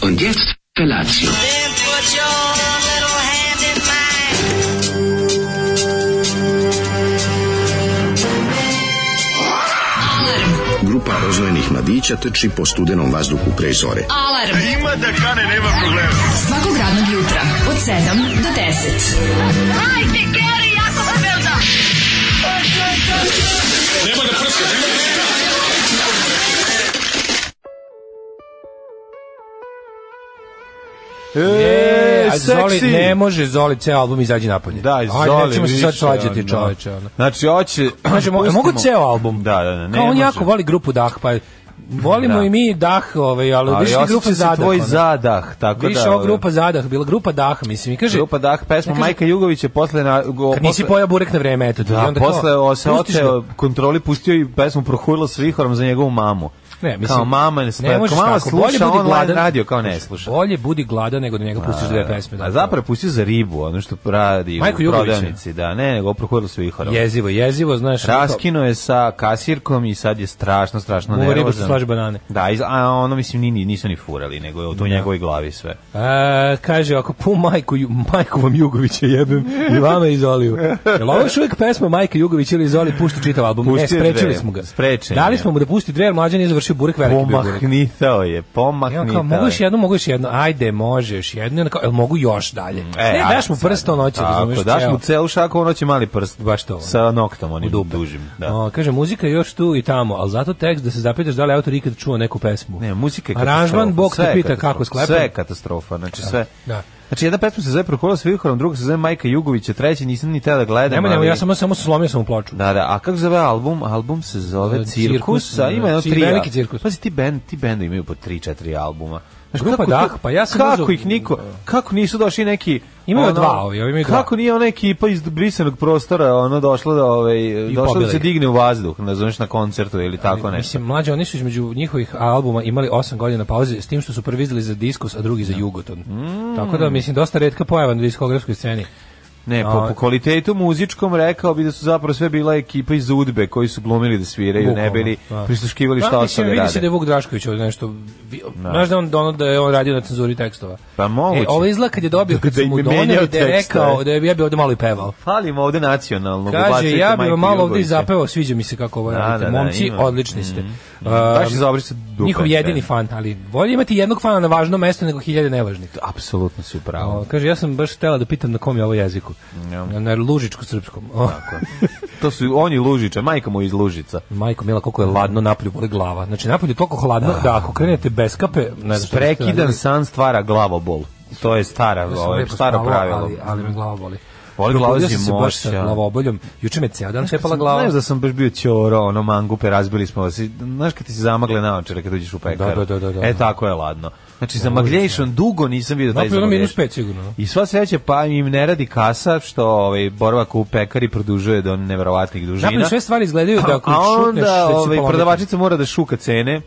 Und jetzt Felatio. Then put your little hand in mine. Grupa rozvojenih mladića trči po studenom vazduhu pre zore. Alarm. Ima da kane, nema problema. Svakog radnog jutra, od 7 do 10. E, Ajde, Zoli, seksi. ne može Zoli ceo album izađi napolje. Da, Ajde, izvoli. nećemo se sad više, svađati ono. čoveče. ono. Znači, hoće... Znači, mo, pustimo. mogu ceo album? Da, da, da. ne Kao on može. jako voli grupu Dah, pa volimo Da. i mi Dah, ovaj, ali, Ali više grupa osjeća se Zadah. tvoj ono. zadah, tako Više da... ova ovaj, grupa Zadah, bila grupa Dah, mislim. I kaže, Grupa Dah, pesma Ne kažem- Majka Jugovića, posle... Na, go, kad nisi posle- pojao burek na vreme, eto. ti. I Da, onda posle kao, o, se pustiš oteo kontroli, pustio i pesmu Prohujla s vihorom za njegovu mamu. Ne, mislim, kao mama, ne, ne ne možeš mama tako, bolje sluša budi online gladan. Znači, radio, kao ne sluša. Bolje budi gladan nego da njega pustiš dve pesme. A zapravo je pustio za ribu, ono što radi Majku u Jugovića. prodavnici. Da, ne, nego Prohujla s vihorom. Jezivo, jezivo, znaš. ono kao- Raskino je sa kasirkom i sad je strašno, strašno Uvo nervozan. ribu što slaže banane. Da, iz- a ono mislim ni, ni- nisu ni furali, nego je to u njegovoj glavi sve. E, kaže, ako pu majku, Ju- majku vam Jugovića jebem i vama i Zoliju. Jel ovo još uvijek pesma Majka Jugović ili Zoli pušti čitav album? Pustio ne, sprečili dve. smo ga. Sprečen Dali je. smo mu da pusti dve, jer mlađan je završio burek, veliki bio burek. Pomahnitao je, I on kao, pomahnitao mogu još je. jedno, mogu još jedno, ajde, može još jedno, I onda kao, jel mogu još dalje? ne, ajde daš mu E, sad. prst, on hoće, Tako, razumeš, daš ceo. mu celu šaku, on hoće mali prst. Baš to. ono, Sa noktom onim U dupe. Ono, dužim. Da. O, kaže, muzika je još tu i tamo, ali zato tekst da se zapitaš da li autor ikad čuo neku pesmu. Ne, muzika je katastrofa. Aranžman, Bog sve te je pita katastrofa, kako sklepa. Sve je katastrofa, znači sve. Da. Znači, jedna pesma se zove Prokola s vihorom, druga se zove Majka Jugovića, treća nisam ni teo da gledam. Nemoj, nemoj, ali- ja samo, samo slomio sam u ploču. Da, da, a kako zove album? Album se zove E, Cirkus, Cirkus, a ima da, jedno cir- tri. veliki cirkus. Pazi, ti bend, ti bend imaju po 3 4 albuma. Znaš, Grupa kako Dah, to- pa ja sam kako uzeo- ih niko, kako nisu došli neki ono, Imaju dva ovi, ovi imaju dva. Kako nije ona ekipa iz brisanog prostora, ono došla da ovaj došla da pobila se ih. digne u vazduh, ne znaš na koncertu ili tako nešto. Mislim, mlađe, oni su između njihovih albuma imali 8 godina pauze, s tim što su prvi izdali za Diskus, a drugi za Jugoton. Mm. Tako da, mislim, dosta redka pojava na diskografskoj sceni. ne, po, a- po kvalitetu muzičkom rekao bi da su zapravo sve bila ekipa iz Udbe koji su glumili da sviraju, ne Bukvalno, bili da. prisluškivali šta Da, ostali vidi se da rade. je Vuk Drašković ovdje nešto... vi- Znaš da, on, da ono da je on radio na cenzuri tekstova. Pa moguće. E, ovo izgleda kad je dobio, kad Da su im mu je e. doneli, menjao da je tekstove. rekao da je, ja bi ovdje malo i pevao. Falimo ovde nacionalno. Kaže, ubacujte ja bih Majku vam malo ovdje i Jugovića. zapevao, sviđa mi se kako ovo Da, radite. da, da, Momci, ima. Mm. odlični ste. Uh, Baš je za obrisat dupe, Njihov jedini da. fan, ali bolje imati jednog fana na važnom mestu nego hiljade nevažnih. Apsolutno si u pravu. O, kaže, ja sam baš htela da pitam na kom je ovo jeziku. Ja. Na, na lužičko-srpskom. O, To su oni Lužića, majka mu iz Lužica. majko mila, koliko je ladno napolju, boli glava. Znači, napolju je toliko hladno da ako krenete bez kape... Ne znam šta biste Prekidan radili. san stvara glavobol. To je stara, Ja sam ovaj, lepo staro spavao, pravilo. Ali, ali me glava boli. Boli glava Probudio sam se baš sa zimoća. glavoboljom. Juče me cijel dan cepala Znaš glava. da sam baš bio ćoro, ono mangupe, razbili smo vas. i- Znaš kad ti se zamagle naočare kad uđeš u pekar? Da, da, da, da, da. E, tako je ladno. Znači, zamagljejšan, dugo nisam vidio taj Napolju je ono minus zamagljejšan. pet sigurno. I sva sreća, pa im ne radi kasa, što ovaj, boravak u pekari produžuje do neverovatnih dužina. Napolju sve stvari izgledaju da ako a Pa onda šutneš... ono, da će se ovaj, polomiti. prodavačica mora da šuka cene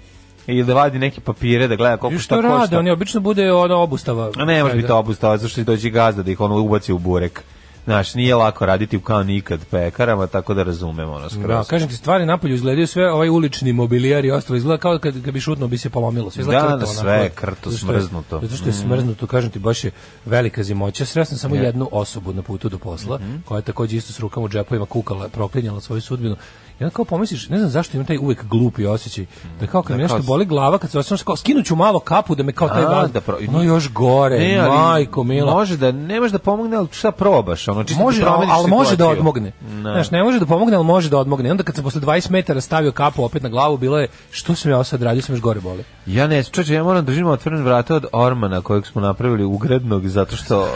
ili da vadi neke papire da gleda I koliko šta što košta. rade, oni obično bude ono obustava. A ne može biti obustava, zato što će doći gazda da ih ono ubaci u burek. Znaš, nije lako raditi u kao nikad pekarama, tako da razumemo ono skroz. Da, kažem ti, stvari napolju izgledaju sve, ovaj ulični mobilijar i ostalo izgleda kao kad, kad bi šutno bi se polomilo. Sve izgleda Da, krto, da, onako. sve je krto, Zato što je- smrznuto. Mhm. Zato što je smrznuto, kažem ti, baš je velika zimoća. Sreo sam samo jednu osobu na putu do posla, Mhm. koja je takođe isto s rukama u džepovima kukala, proklinjala svoju sudbinu. I onda kao pomisliš, ne znam zašto imam taj uvek glupi osjećaj, da kao kad mi nešto kao s- boli glava, kad se osjećam, kao skinuću malo kapu da me kao taj A, vaz, da pro- no još gore, Ne, E, ali e, majko mila. Može da, ne može da pomogne, ali šta probaš? Ono, čisto može, da ali, promeniš ali može da situaciju. odmogne. Ne. Znaš, ne može da pomogne, ali može da odmogne. I onda kad sam posle 20 metara stavio kapu opet na glavu, bilo je, što sam ja ovo sad radio, sam još gore boli. Ja ne, čoče, ja moram držimo otvoren vrata od Ormana kojeg smo napravili ugradnog zato što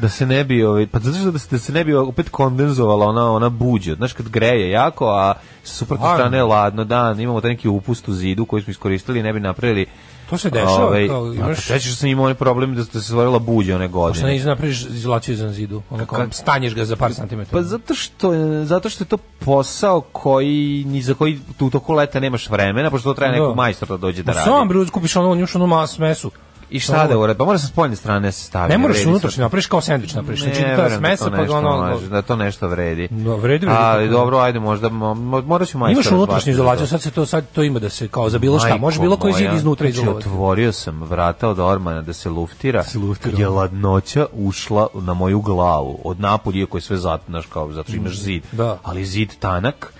da se ne bi ovaj pa zato što da se, da se ne bi opet kondenzovala ona ona buđa. Znaš kad greje jako, a sa suprotne Arman. strane je ladno, da, imamo taj neki upust u zidu koji smo iskoristili i ne bi napravili To se dešava, Ovaj, kao imaš- a, Sećaš se sam imao onaj problem da, da se stvorila buđa one Što ne godine. napraviš izolaciju iznad zidu, ono kao, Kak- stanješ ga za par santimetara. Pa zato što je- zato što je to posao koji ni za koji tu u toku leta nemaš vremena, pošto to treba neko Da. majstor da dođe da U radi. sam, bre, kupiš ono, njuš onu mas, mesu. I šta da uradi? Pa mora sa spoljne strane se staviti. Ne moraš unutrašnje, napraviš kao sendvič, napraviš. Znači, ta smesa, pa ga ono... Da to nešto vredi. No, vredi, vredi. Ali dobro, ajde, možda mo- mo- morat ću majstora. Imaš unutrašnju zvati za to. izolaciju, sad se to sad to ima da se kao za bilo šta, može bilo koji Majko zid moja. iznutra Znači, izolovati. Otvorio sam vrata od ormana da se luftira. Se luftira. Je ladnoća ušla na moju glavu. Od napolje koje je sve zat, znaš, kao, zato što imaš zid. Mm, Da. Ali zid tanak.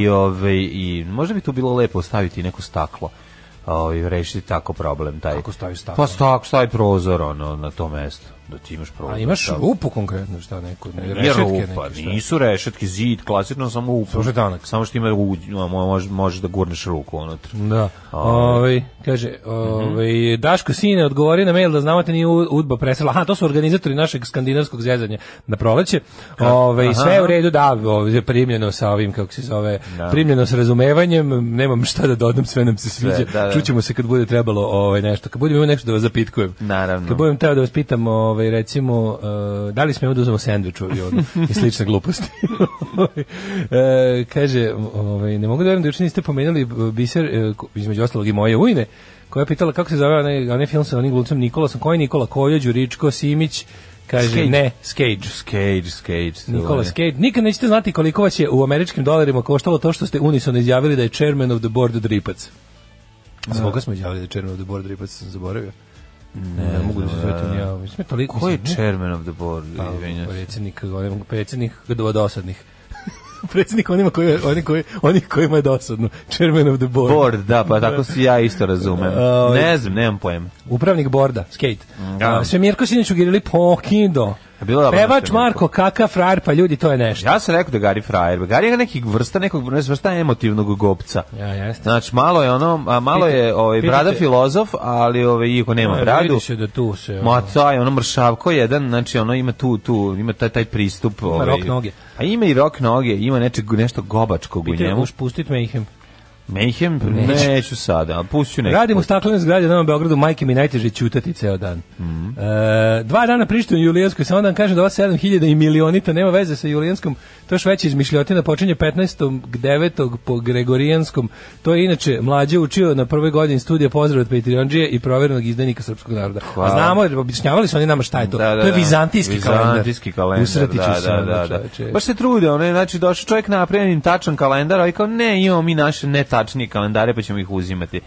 I, ove, I možda bi tu bilo lepo staviti neko staklo. Ovaj rešiti tako problem taj. Kako staviš staklo? Pa stak, stavi prozor ono na to mesto. Pa Da ti imaš prozor. A Pa imaš tamo. rupu konkretno, šta neko, ne, Jer rešetke neke, rupa, šta? pa nisu rešetke, zid, klasično samo upa. Samo što je tanak. Samo što ima uđ, možeš, možeš da gurneš ruku unutra. Da. Ovaj kaže, Mhm. ovaj Daško sine odgovori na mail da znamo te nije U- udba presela. Aha, to su organizatori našeg skandinavskog zezanja na proleće. Ovaj sve je u redu, da, ovaj je primljeno sa ovim kako se zove, primljeno sa razumevanjem. Nemam šta da dodam, sve nam se sviđa. da, da. Čućemo se kad bude trebalo ovaj nešto, kad budemo imali nešto da vas zapitkujem. Naravno. Kad budem teo da vas pitam, ovaj recimo, eh, da li smemo da uzmemo sendvič u avionu i slične gluposti. Eh, kaže, ovaj ne mogu da verujem da juče niste pomenuli eh, biser eh, ko- između ostalog i moje ujne koja je pitala kako se zove onaj, onaj film sa onim glumcem Nikolasom, koji je Nikola Koljeđ, Ričko, Simić, kaže Skage. ne, Skage. Skage, Skage. se Nikola zove. Skage. Nikad nećete znati koliko vas je u američkim dolarima koštalo to što ste unisono izjavili da je chairman of the board dripac. Zbog koga smo izjavili da je chairman of the board dripac, sam zaboravio. Ne, ne mogu da se svetim ja. Mislim, je toliko... Ko je mislim, ne? Pa, chairman of the board? Izvinjam se. Predsjednik, onim, predsjednik do dosadnih. predsjednik onima koji, oni koji, oni kojima je dosadno. Chairman of the board. Board, da, pa tako si ja isto razumem. Ovaj. Ne znam, nemam pojma. Upravnik borda, skate. Da. Da. Sve Mirko sinoć ugirili pokindo. A bilo je dobro Pevač što je Mirko. Marko, kakav frajer, pa ljudi, to je nešto. Ja sam rekao da je Gary frajer. Gary je neki vrsta, nekog, ne znam, vrsta emotivnog gopca. Ja, jeste. Znači, malo je ono, a malo Pitaj- je ovaj, pitajte- brada filozof, ali ovaj, iako nema Ja, bradu, Vidi se da tu se... ono, Ma taj, ono mršavko jedan, znači ono ima tu, tu, ima taj, taj pristup. Ima rock noge. A ima i rok noge, ima nečeg, nešto gobačkog u Pitaju, njemu. "Možeš pustit Mayhem. Mayhem, Neću. neću sada, a pusću neku. Radim u staklenoj zgradi na Novom Beogradu, majke mi najteže ćutati ceo dan. Mhm. E, dva dana prištenu Julijanskoj, samo da vam kažem da ova 7000 i milionita nema veze sa Julijanskom, to je još veća izmišljotina, počinje 15. 9. po Gregorijanskom, to je inače mlađe učio na prvoj godini studija pozdrav od Patreonđije i proverenog izdenika srpskog naroda. Hvala. A znamo, jer objašnjavali su oni nama šta je to. Da, da, to je da. vizantijski, Vizantijski kalendar. Usratiću da, se, da, ono, da, da. čoveče. Baš se trude, ono je, znači, došao čovjek napravljen tačan kalendar, ali kao, ne, imamo mi naše netačnije kalendare, pa ćemo ih uzimati.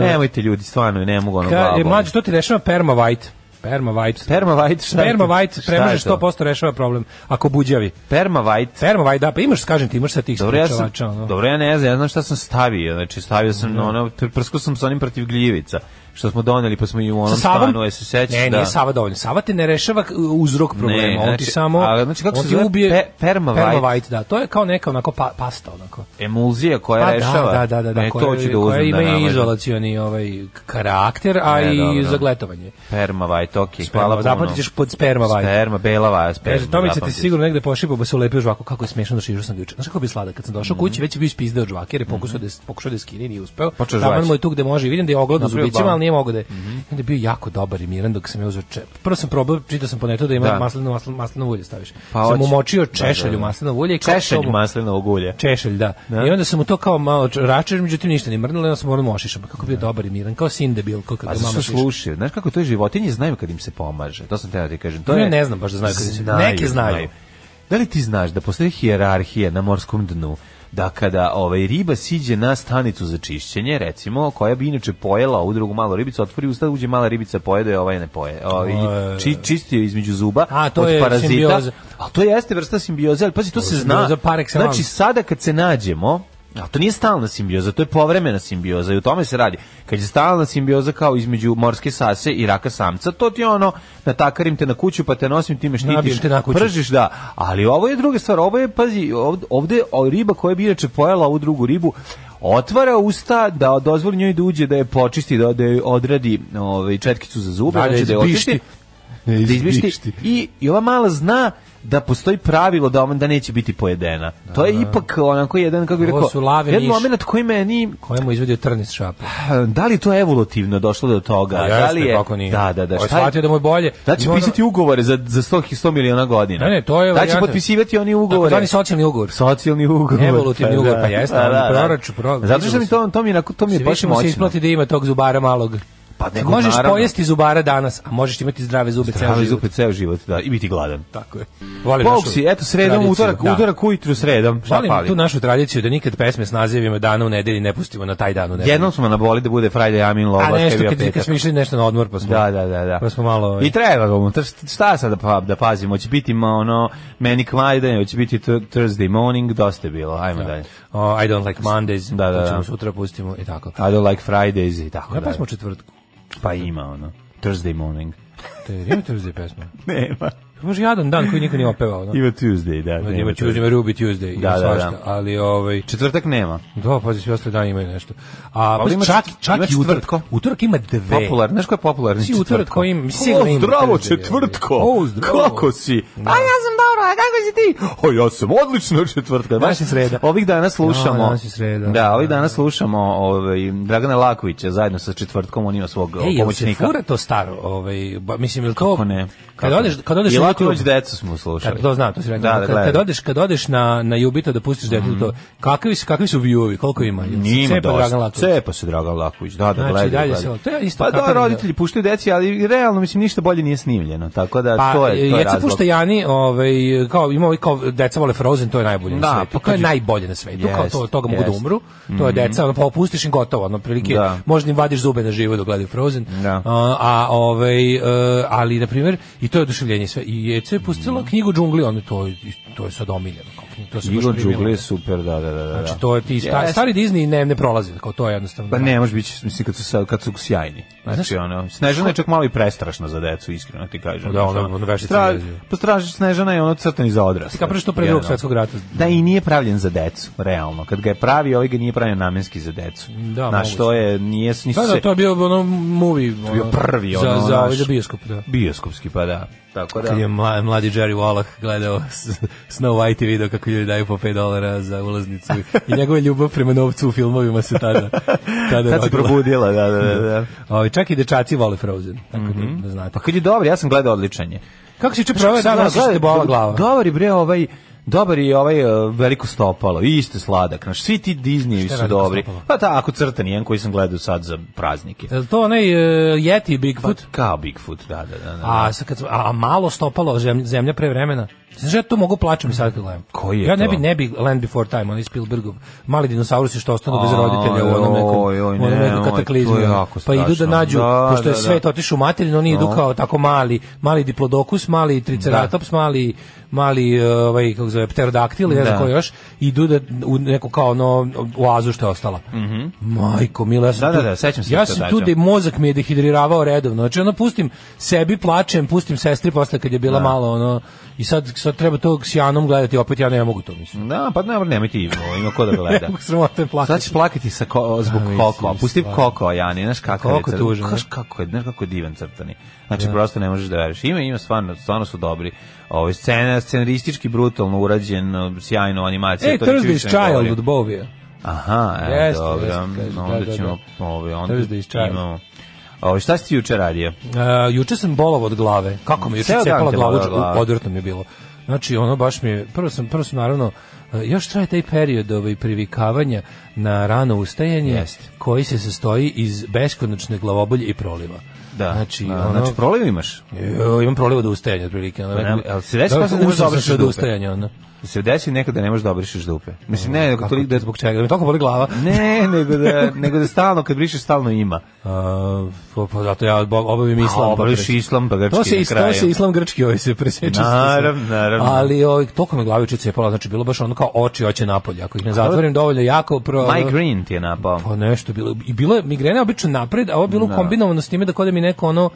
Nemojte ljudi, stvarno, ne mogu ono E, Ka, e, glavom. mlađe, to ti rešava Perma White. Perma White. Perma White, šta je to? Perma White Šta je premaže to? 100% rešava problem ako buđavi. Perma White. Perma White, da, pa imaš, kažem ti, imaš sa tih Dobro, ja sam, sprečavača, ono. dobro, ja ne znam, ja znam šta sam stavio, znači stavio sam ono, pr- prskao sam sa onim protiv gljivica, što smo doneli, pa smo i u Sa onom Savom? stanu, je se sećaš, ne, da. nije Sava dovoljno. Sava te ne rešava k- uzrok problema, on znači, ti samo ali, znači, kako on se ti zove? ubije Pe- Perma White? White, da. To je kao neka onako pa, pasta onako. Emulzija koja Pa, rešava. da, da, da, da, E, koja, to ću da uzmem koja ima da i namažem. izolacioni ovaj karakter, a Ne, i dobro. za gletovanje. Perma White, okej, Sperma, hvala puno. zapamtit ćeš pod Sperma White. Sperma, bela vaja, sperma. Kaže, Tomica ti zapamtit ću. sigurno negde pošipao, ba se ulepio žvaku, kako je smešno došao sam ga juče. Znaš kako bi slada, kad sam došao kući, već je bio ispizdeo od žvake, jer je pokušao da, pokušao da skine, nije uspeo. Mhm. Počeo Taman žvaći. mu je tu gde može, i vidim da je ogledao Napravio zubicima, balon. Mhm. ali nije mogao da je. I onda je bio jako dobar i miran dok sam ja uzeo čep. Prvo sam probao, čitao sam po netu da ima Da. maslino, masl- maslinovo ulje staviš. Pa sam hoće. umočio Da, da, češalj da. u maslinovo ulje. i kao Češalj sobu- maslinovog ulja. Češelj, da. I onda sam mu to kao malo račer, međutim ništa ni mrnulo, onda sam morao mošišam. Pa Kako bio dobar i miran, kao sin debil, kao kad Pa ga zato što mama šiša. slušaju, znaš kako to je životinje, znaju kad im se pomaže. To sam te da ti kažem. To Ja je, ne znam baš da znaju kad im se- neki znaju. Da li ti znaš da postoji hijerarhija na morskom dnu? da kada ovaj riba siđe na stanicu za čišćenje, recimo, koja bi inače pojela ovu drugu malu ribicu, otvori usta, uđe mala ribica, pojede, ovaj ne poje. Ovaj, E. či, čistio je između zuba A, to od je parazita. simbioza. A to jeste vrsta simbioze, ali pazi, to, se zna. simbioza par excellence. Znači, sada kad se nađemo, a to nije stalna simbioza, to je povremena simbioza i u tome se radi. Kad je stalna simbioza kao između morske sase i raka samca, to ti je ono, natakarim te na kuću pa te nosim, ti me štitiš, Nabijem te na kuću. pržiš, da. Ali ovo je druga stvar, ovo je, pazi, ovde, ovde o, riba koja bi inače pojela ovu drugu ribu, otvara usta da dozvoli njoj da uđe da je počisti, da, da je odradi ovaj, četkicu za zube, Da, da znači da je izbišti. očisti da izbišti. I, I ova mala zna da postoji pravilo da on da neće biti pojedena. To je ipak onako jedan, kako bih Ovo rekao, su lave jedan miš. moment koji meni, Kojemu izvedio trn iz šape. da li je to evolutivno došlo do toga? Pa da li jeste, je, kako nije. Da, da, da. Ovo je shvatio da mu je bolje. Da će I ono- pisati ugovore za, za 100, 100 miliona godina. Ne, ne, to je Da će varijanta. potpisivati oni ugovore. Takozvani socijalni ugovor. socijalni ugovor. Evolutivni ugovor, pa jeste, Pa ali proračun, pro- Zato što mi to, to mi, je onako- to mi je Sve baš više mu se moćno. isplati da ima tog zubara malog. Pa nego, Možeš naravno. pojesti zubara danas, a možeš imati zdrave zube ceo Pravi život. zupe ceo život, da, i biti gladan. Tako je. Volim našu Boksi, eto, sredom, tradiciju, utorak, da. utorak ujutru sredom, šta Volim pali? tu našu tradiciju da nikad pesme s nazivima dana u nedelji ne pustimo na taj dan u nedelji. Jednom smo na boli da bude Friday Amin Lola, A nešto Kevija kad, Petak. kad smo išli nešto na odmor pa smo. Da, da, da, da. Pa smo malo, ovaj- I treba ga mu. tr- Šta sad da, pa, da pazimo? Hoće biti ma, ono Manic Monday, hoće biti Thur- Thursday morning, dosta je bilo. Ajmo dalje. O, I don't like Mondays, Da, da, to ćemo da. sutra pustimo i tako. I don't like Fridays i tako Koja dalje. pesma u četvrtku? Pa ima ono Thursday morning. Te, ima Thursday pesma. Nema. Može jadan dan koji niko nije opevao. No? Ima Tuesday, da. nema Ima Pa Tuesday, ima Ruby Tuesday, ima Da, da, svašta. da. Ali, ovaj, Četvrtak nema. da, pazi, svi ostali dani imaju nešto. A, ima pa, čak, čet- čak ima i utorak. četvrtko. Utorak ima dve. Popularno, znaš ko je popularni Si utorak četvrtko? koji im- o, sigurno ima zdravo Thursday, četvrtko! ali. O, zdravo. Kako si? A ja sam dobro, a kako si ti? O, ja sam odlično četvrtka. Danas je sreda. Ovih dana slušamo... Da, danas je sreda. Da, ovih Da, dana slušamo ovaj, Dragana Lakovića zajedno sa četvrtkom, on ima svog Ej, Ej, jel se pomoćnika. fura to staro? Ovaj, ba, mislim, jel to... Kako ne? Kad odeš, kad odeš I na Laković YouTube- decu smo slušali. Kad to znam, to si rekao. Da, da, kad, kad gledaj. odeš, kad odeš na na Jubito da pustiš detetu to. Kakvi su kakvi su viewovi? Koliko ima? Jel se Njima cepa Dragan dosta. Laković? Cepa se Dragan Laković. Da, da, Znači, gledaj, dalje gledaj. se on- to je isto pa kako da, ne- roditelji puštaju deci, ali realno, mislim, ništa bolje nije snimljeno. Tako da, Pa, to je, to je Jeca razlog. pušta Jani, ovaj, kao, ima ovaj kao, deca vole Frozen, to je najbolje Da, na svetu. pa to je kaži- najbolje na svetu, kao Jest, to, od toga mogu da jest. Mhm. umru. To je deca, ono, pa opustiš im gotovo, ono, prilike, Da. možda im vadiš zube na živo dok gledaju Frozen. Da. A, a, ovaj, e, ali, na primjer, i to je oduševljenje sve. I Jeca je pustila Mhm. knjigu džungli, ono, to, je- to je sad omiljeno. Kao, knjiga, to se baš Igor primilo. Đugli je super, da, da, da. da. Znači, to je ti sta, Jeste. stari Disney ne, ne prolazi, kao to je jednostavno. Pa ne, može biti, mislim, kad su, sa- kad su sjajni. Znači, Znaš- ono, Snežana je čak malo i prestrašna za decu, iskreno ti kažem. Da, ona- Znači, ona vešica Tra- jeziva. Postraži Snežana je ono crtani za odrasle. Kao prvo što pre drugog Jedno. svetskog rata. Da, i nije pravljen za decu, realno. Kad ga je pravi, ovaj ga nije pravljen namenski za decu. Da, Znaš, moguće. to je, nije, nisu Da, da, se... to je bio ono movie. To bio prvi, ono, Za, za, ovaj, naš- za bioskop, da. Bioskopski, pa da. Tako da. Kad je mla, mladi Jerry Wallach gledao s- Snow White i video kako ljudi daju po 5 dolara za ulaznicu i njegova ljubav prema novcu u filmovima se tada, tada Kad se rodila. probudila, da, da, da. da. Ovaj, čak i dečaci vole Frozen, tako da, da znate. Pa kad je dobar, ja sam gledao odličanje. kako si čuče prove Šta, dana, što gledaj, te bola glava? Dobar je bre ovaj Dobar je ovaj e, veliko stopalo, isto sladak. Naš svi ti Disneyevi Šta je su veliko dobri. stopalo? Pa tako crtan jedan koji sam gledao sad za praznike. Pa, Pa, Je li to onaj uh, Yeti Bigfoot? Kao Bigfoot, da, da, da. da. A, sad kad, smo- a, a malo stopalo zemlja, zemlja pre vremena. Znaš, ja to mogu plaćam i sad kad gledam. Koji je ja ne to? bi, ne bi Land Before Time, onaj Spielbergov, mali dinosaurusi što ostanu bez roditelja u onom nekom, Oj, oj, u onom nekom nemoj, kataklizmu. to je jako pa idu da strašno. nađu, Da, pošto je da, da. svet otišao u materinu, oni idu kao tako mali, mali diplodokus, mali triceratops, mali mali e, ovaj kako se zove pterodaktil, ne znam Da. ko još, idu da u neku kao ono oazu što je ostala. Mhm. Majko, mila, ja sam Da, da, tu- da, sećam se Ja to, sam da, tu da. da mozak mi je dehidriravao redovno. Znači, ono, pustim sebi, plačem, pustim sestri posle kad je bila malo, ono, i sad, sad treba to s Janom gledati, opet ja ne mogu to, mislim. Da, pa ne, nemoj ti, ima ko da gleda. Sramota je Sad plakati. ćeš plakati sa ko, zbog Znači- mislim, koko, pusti stvarno. koko, Jani, znaš kakav Koko je crtan. tužan, Kaš, ne? kako je, znaš kako je divan crtani. Znači, prosto ne možeš da veriš. Ima, ima, stvarno, stvarno su dobri. Ovo, scena, scenaristički, brutalno urađen, sjajno animacija. Ej, to ničim E, Thursday is više ne govorim. Child od Bovija. Aha, evo, Jeste, dobro. jeste, kaže, onda da, da, ćemo, ovaj, onda Thursday is Child. imamo. Ovo, šta si ti juče radio? Uh, juče sam bolov od glave. Kako mi je juče Ceo dan cepala te glavu, bolela glava. odvrtno mi je bilo. Znači, ono baš mi je, prvo sam, prvo sam naravno, e, još traje taj period ovaj, privikavanja na rano ustajanje Jeste. koji se sastoji iz beskonačne glavobolje i proliva. Da, znači, da, ono, znači proliv imaš? Jo, E, imam proliva do ustajanja otprilike. Ono, ne, jel se desilo Da, da ne možeš da uzeo sam obrišeš sve do dupe? ustajanja. Ono. Se desi nekad da ne možeš da obrišeš dupe. Mislim, ne, nego Kako toliko to da je zbog čega? Da mi toliko boli glava. Ne, nego da, nego da stalno, kad brišeš, stalno ima. A, pa, pa zato ja bo- obavim islam. obaviš pres- islam, pa grčki to se, na is- To kraju. se islam grčki ovaj se presjeća. Naravno, naravno. Ali ovaj, toliko me glavi uče cepala, znači bilo baš ono kao oči oće napolje. Ako ih ne zatvorim dovoljno jako, pro... Mike Green ti je napao. Pa nešto bilo. I bilo je migrena obično napred, a ovo je bilo kombinovano s time da kao da mi neko ono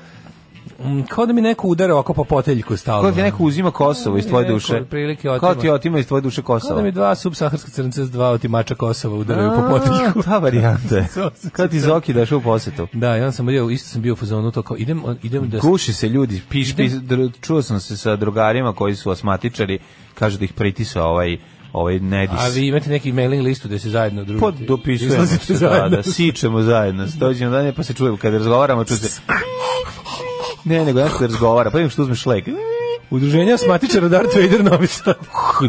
mm, kao da mi neko udara ovako po poteljku stalno. Kako ti neko uzima Kosovo iz tvoje Neko duše? otprilike Kako otima. ti otima iz tvoje duše Kao da Kosovo? mi dva subsaharska crnca s dva otimača Kosova udaraju po potiljku. A, pa- Ta varijanta je. Kada ti Zoki daš u posetu? Da, ja sam bio, isto sam bio u fazonu to kao idem, idem da... Guši se ljudi, piš, piš, dr- čuo sam se sa drugarima koji su asmatičari, kažu da ih pritisa ovaj, ovaj nedis. A vi imate neki mailing listu da se zajedno družite. Pod Pa dopisujemo Izlazite se, da, zajedno. da, sičemo zajedno, dođemo dalje pa se čujemo, kada razgovaramo, čuje se... Ne, nego ja se razgovara, pa imam što uzmeš lek. Udruženje asmatičara Darth Vader Novi Sad.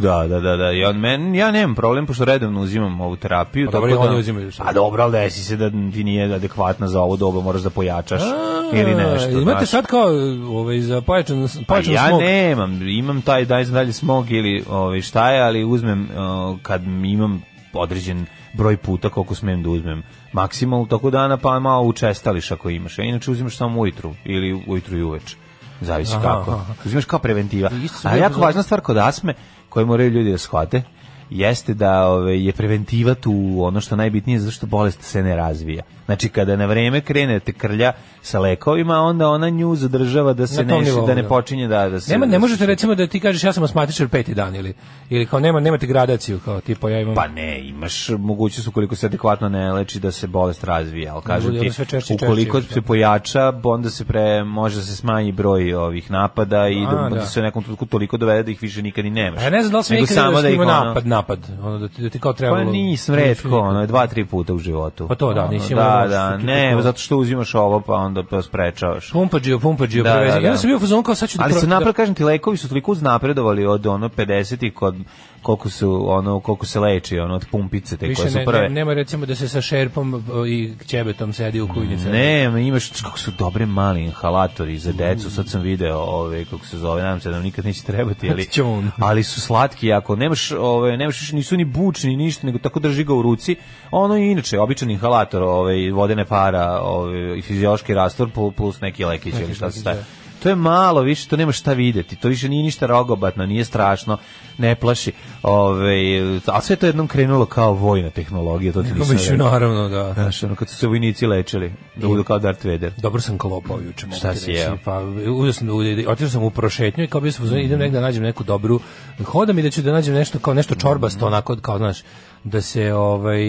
Da, da, da, da. Ja, men, ja nemam problem, pošto redovno uzimam ovu terapiju. Pa dobro, tako i da- oni uzimaju sad. Pa dobro, ali desi se da ti nije adekvatna za ovo doba, moraš da pojačaš ili nešto. Imate znaš. sad kao ovaj, za pojačan, Pa pojačan ja smog. nemam, imam taj daj dalje smog ili ovaj, šta je, ali uzmem o, kad imam određen broj puta koliko smem da uzmem maksimal u toku dana, pa malo učestališ ako imaš. Ja inače uzimaš samo ujutru ili ujutru i uveče. Zavisi Aha, kako. aha. Uzimaš kao preventiva. Isto sam A bio jako pozor- važna stvar kod asme, koju moraju ljudi da shvate, jeste da ove, je preventiva tu ono što najbitnije zato što bolest se ne razvija. Znači kada na vreme krene da te krlja sa lekovima, onda ona nju zadržava da se Na tom ne, nivou, da ne da. počinje da, da se... Nema, da ne se- možete recimo da ti kažeš ja sam asmatičar peti dan ili, ili kao nema, nemate gradaciju kao tipa ja imam Pa ne, imaš mogućnost ukoliko se adekvatno ne leči da se bolest razvija, ali kažem Bude ti, ono sve češće i češće ukoliko još, se pojača, onda se pre, može da se smanji broj ovih napada i A, da, da. da. se u nekom trenutku toliko dovede da ih više nikad i nemaš. A ja ne znam da li sam Nego nikad samo da ih, ima ono- napad, napad, ono da ti, da ti kao Pa trebalo... Znači, nisam, redko, ono, je dva, tri puta u životu. Pa to da, Ono, nisi imao Da, ono što da, ti ne, kao- zato što uzimaš ovo pa onda pa sprečavaš. Pumpađio, pumpađio, Da, da, prevezi. da. Ja sam bio u fazonu kao sad ću da... Ali pro- se da- naprav, kažem ti, lekovi su toliko uznapredovali od ono 50-ih kod koliko su ono koliko se leči ono od pumpice te koje Više su ne, prve. ne, nema recimo da se sa šerpom e, i ćebetom sedi u kujnici. Ne, ma imaš kako su dobre mali inhalatori za decu. Sad sam video ove kako se zove, nadam se da nam nikad neće trebati, ali Ćon. ali su slatki jako. Nemaš ove nemaš više- nisu ni bučni ni ništa, nego tako drži ga u ruci. Ono i inače običan inhalator, ovaj vodene para, ovaj i fiziološki rastvor plu- plus neki lekić ili šta se staje. To je malo, više to nema šta videti. To više nije ništa rogobatno, nije strašno, ne plaši. Ove, a sve to je jednom krenulo kao vojna tehnologija, to ti Kako nisam mislim, rekao. naravno, da. Znaš, ono kad su se vojnici lečili, da budu kao Darth Vader. Dobro sam kalopao juče, mogu Šta ti si reći. jeo? Pa, uzeo sam, u- otišao sam u prošetnju i kao bio sam uzeo, idem negde da nađem neku dobru, hodam i da ću da nađem nešto kao nešto čorbasto, onako kao, znaš, da se, ovaj,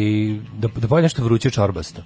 da, da bolje nešto vruće čorbasto.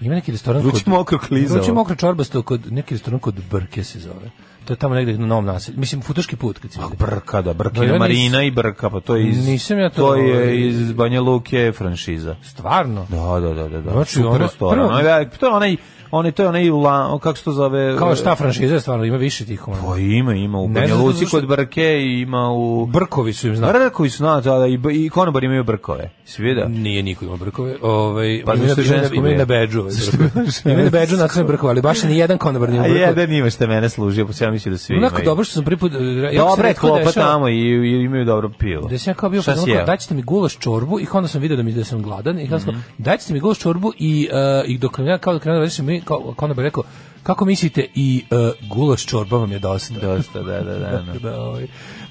Ima neki restoran Mhm. Vruće mokro klizavo. Vruće mokro čorbasto kod, neki restoran kod Brke se zove. To je tamo negde na novom naselju. Mislim, futoški put kad si ide. Brka, da, Brka, Da, ja da, nis- Marina i Brka, pa to je iz... Nisam ja to- To je iz Banja Luke franšiza. Stvarno? Da, da, da, da, da. Znači, Znači, Super ono- ono, restoran. prvo- Ono je velik, to je onaj, onaj, to je onaj, la, kako se to zove? Kao šta franšiza je stvarno, ima više tih. ono. Pa ima, ima u Ne Banja znam zato Luci što- kod Brke i ima u... Brkovi su im znali. Brkovi su, na, da, da, i, i konobari imaju Brkove. Svi vide? Nije niko ima brkove. Ovaj Pa ima, zašto je ima, žensko ima i na brkove? bedžu. ovaj, brkove. Ima i na bedžu na sve brkove, ali baš ni jedan konobar nije A ima brkove. Ono jedan ima što je mene služio, pa se ja mislim da svi Onako imaju. dobro što sam prvi put... e, Ja Dobra je rekao klopa tamo i, i imaju dobro pivo. Da sam ja kao bio Šta fazon, si kao, jeo? Mhm. daćete mi gulaš čorbu i onda sam video da mi da sam gladan i kao mm daćete mi gulaš čorbu i e, i dok ja kao dok krenuo da radiš, mi kao konobar rekao kako mislite i e, gulaš čorba vam je dosta. Dosta, da, da, da. da. Da, ovaj.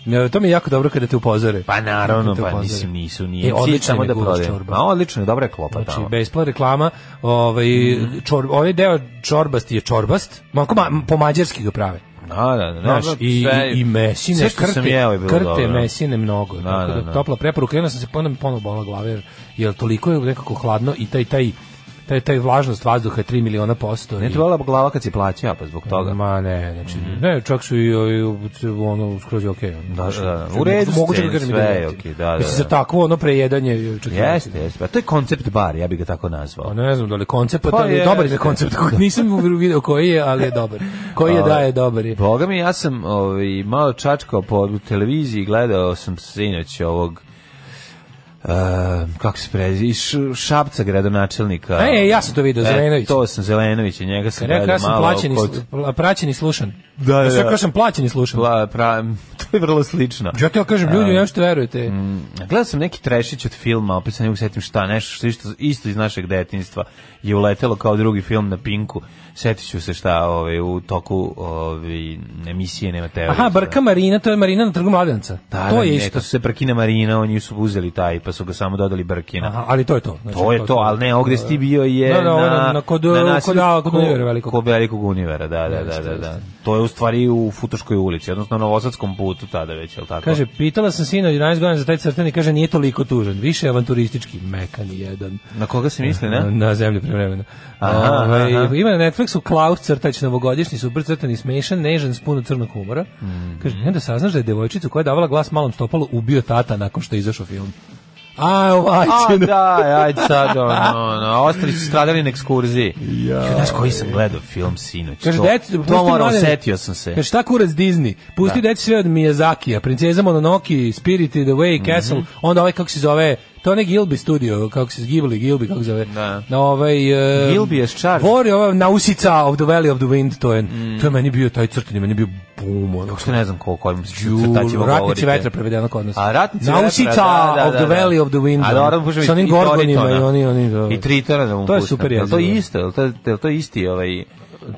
E, to mi je jako dobro kada te upozore. Pa naravno, Te pa upozore. mislim nisu, E, nije. E, odlična Cilj samo je da gulaš prodaje. čorba. Ma odlično, je, dobra je klopa Znači, tamo. bespla reklama, ovaj, Mhm. čor, ovaj deo čorbasti je čorbast, mako ma, po mađarski ga prave. Da, da, da. Znaš, dobro, i, sve- i, i mesine, sve što krte, sam jeo je bilo krte dobro. mesine mnogo. Da, tako da, da, da. Topla preporuka, jedna sam se ponovno ponovo bola glava, jer, jer toliko je nekako hladno i taj, taj, taj, taj vlažnost vazduha je 3 miliona posto. Ne i- ti volila glava kad si plaća, pa zbog toga. Mhm. Ma ne, znači, ne, čak su i, ovi, ono, skroz je okej. ono, Da, znaš, da, da. U mogu- redu moguće sceni, da kažem i sve je negativ. okej, da, da, Mislim, da. za takvo ono prejedanje, čak i Jeste, jeste. Pa to je koncept bar, ja bih ga tako nazvao. Pa ne znam da li je koncept, pa, Pa ali je, dobar je jeste. koncept. Nisam u- video koji je, ali je dobar. Koji je A, da je dobar je. Boga mi, ja sam ovaj, malo čačkao po televiziji, gledao sam sinoć ovog Uh, kako se prezi, iz Š- Šapca gradonačelnika. E, ja sam to video, Zelenović. to sam Zelenović, i njega sam Rekao gledao ja sam malo. plaćen i kod- slu- pla- praćen i slušan. Da, da, Ja sam da. rekao sam plaćen i slušan. Pla, pra, to je vrlo slično. Ja ti ja kažem, ljudi, A. nešto verujete. Gledao sam neki trešić od filma, opet se ne mogu setim šta, nešto što isto, isto iz našeg detinjstva je uletelo kao drugi film na Pinku. Setit ću se šta ovaj, u toku ovaj, emisije nema teorije. Aha, Brka Marina, to je Marina na trgu Mladenca. Da, to da, je ne, isto. to su se Brkina Marina, oni su uzeli taj, pa su ga samo dodali Brkina. Aha, ali to je to. Znači, To je to, ali ne, ogde si ti bio je Da, da, ovo na, na- na- kod, na uh, nasilju- kod, a, kod ko- Univera velikog. Kod velikog univera, da, da, da, Jeste, da, da. jeste. To je u stvari u Futoškoj ulici, odnosno na Novosadskom putu tada već, je li tako? Kaže, pitala sam sina od 11 godina za taj crten i kaže, nije toliko tužan, više je avanturistički, mekan jedan. Na koga se misli, ne? Na zemlju prevremeno. Aha, Ovaj, aha. Ima na Netflixu Klaus crtač novogodišnji, super crtani, smešan, nežan, s puno crnog humora. Hmm. Kaže, i onda saznaš da je devojčicu koja je davala glas malom stopalu ubio tata nakon što je izašao film. A, ovaj A, ćemo. da, ajde sad, ono, ono, ostali su stradali na ekskurziji. Ja. Znaš koji sam gledao film sinoć? Kaže, to, deci, to pusti moram, mlade- setio sam se. Kaže, šta kurac Disney? Pusti da. deci sve od Miyazakija, princeza Mononoke, Spirit in the Mhm. Way, Castle, onda ovaj, kako se zove, to je onaj Gilby studio, kako se Ghibli, Gilby, kako se zove. Da. Na ovaj... e, Gilby je Charged. Vori, ova Nausica of the Valley of the Wind, to je, Mm. to je meni bio, taj crtani, meni je bio bum, ono, Što ne znam koliko ovim crtačima Ju, ratnici govorite. vetra prevedeno kod nas. A ratnici Nausica vetra, da, da, of the da, da. Valley of the Wind. ono, A dobro, možemo sa onim i gorgonima i Toritona. oni, oni, da. I Tritona da mu To je pustim. super Jel To jezivo. je isto, jel to, jel to je isti ovaj...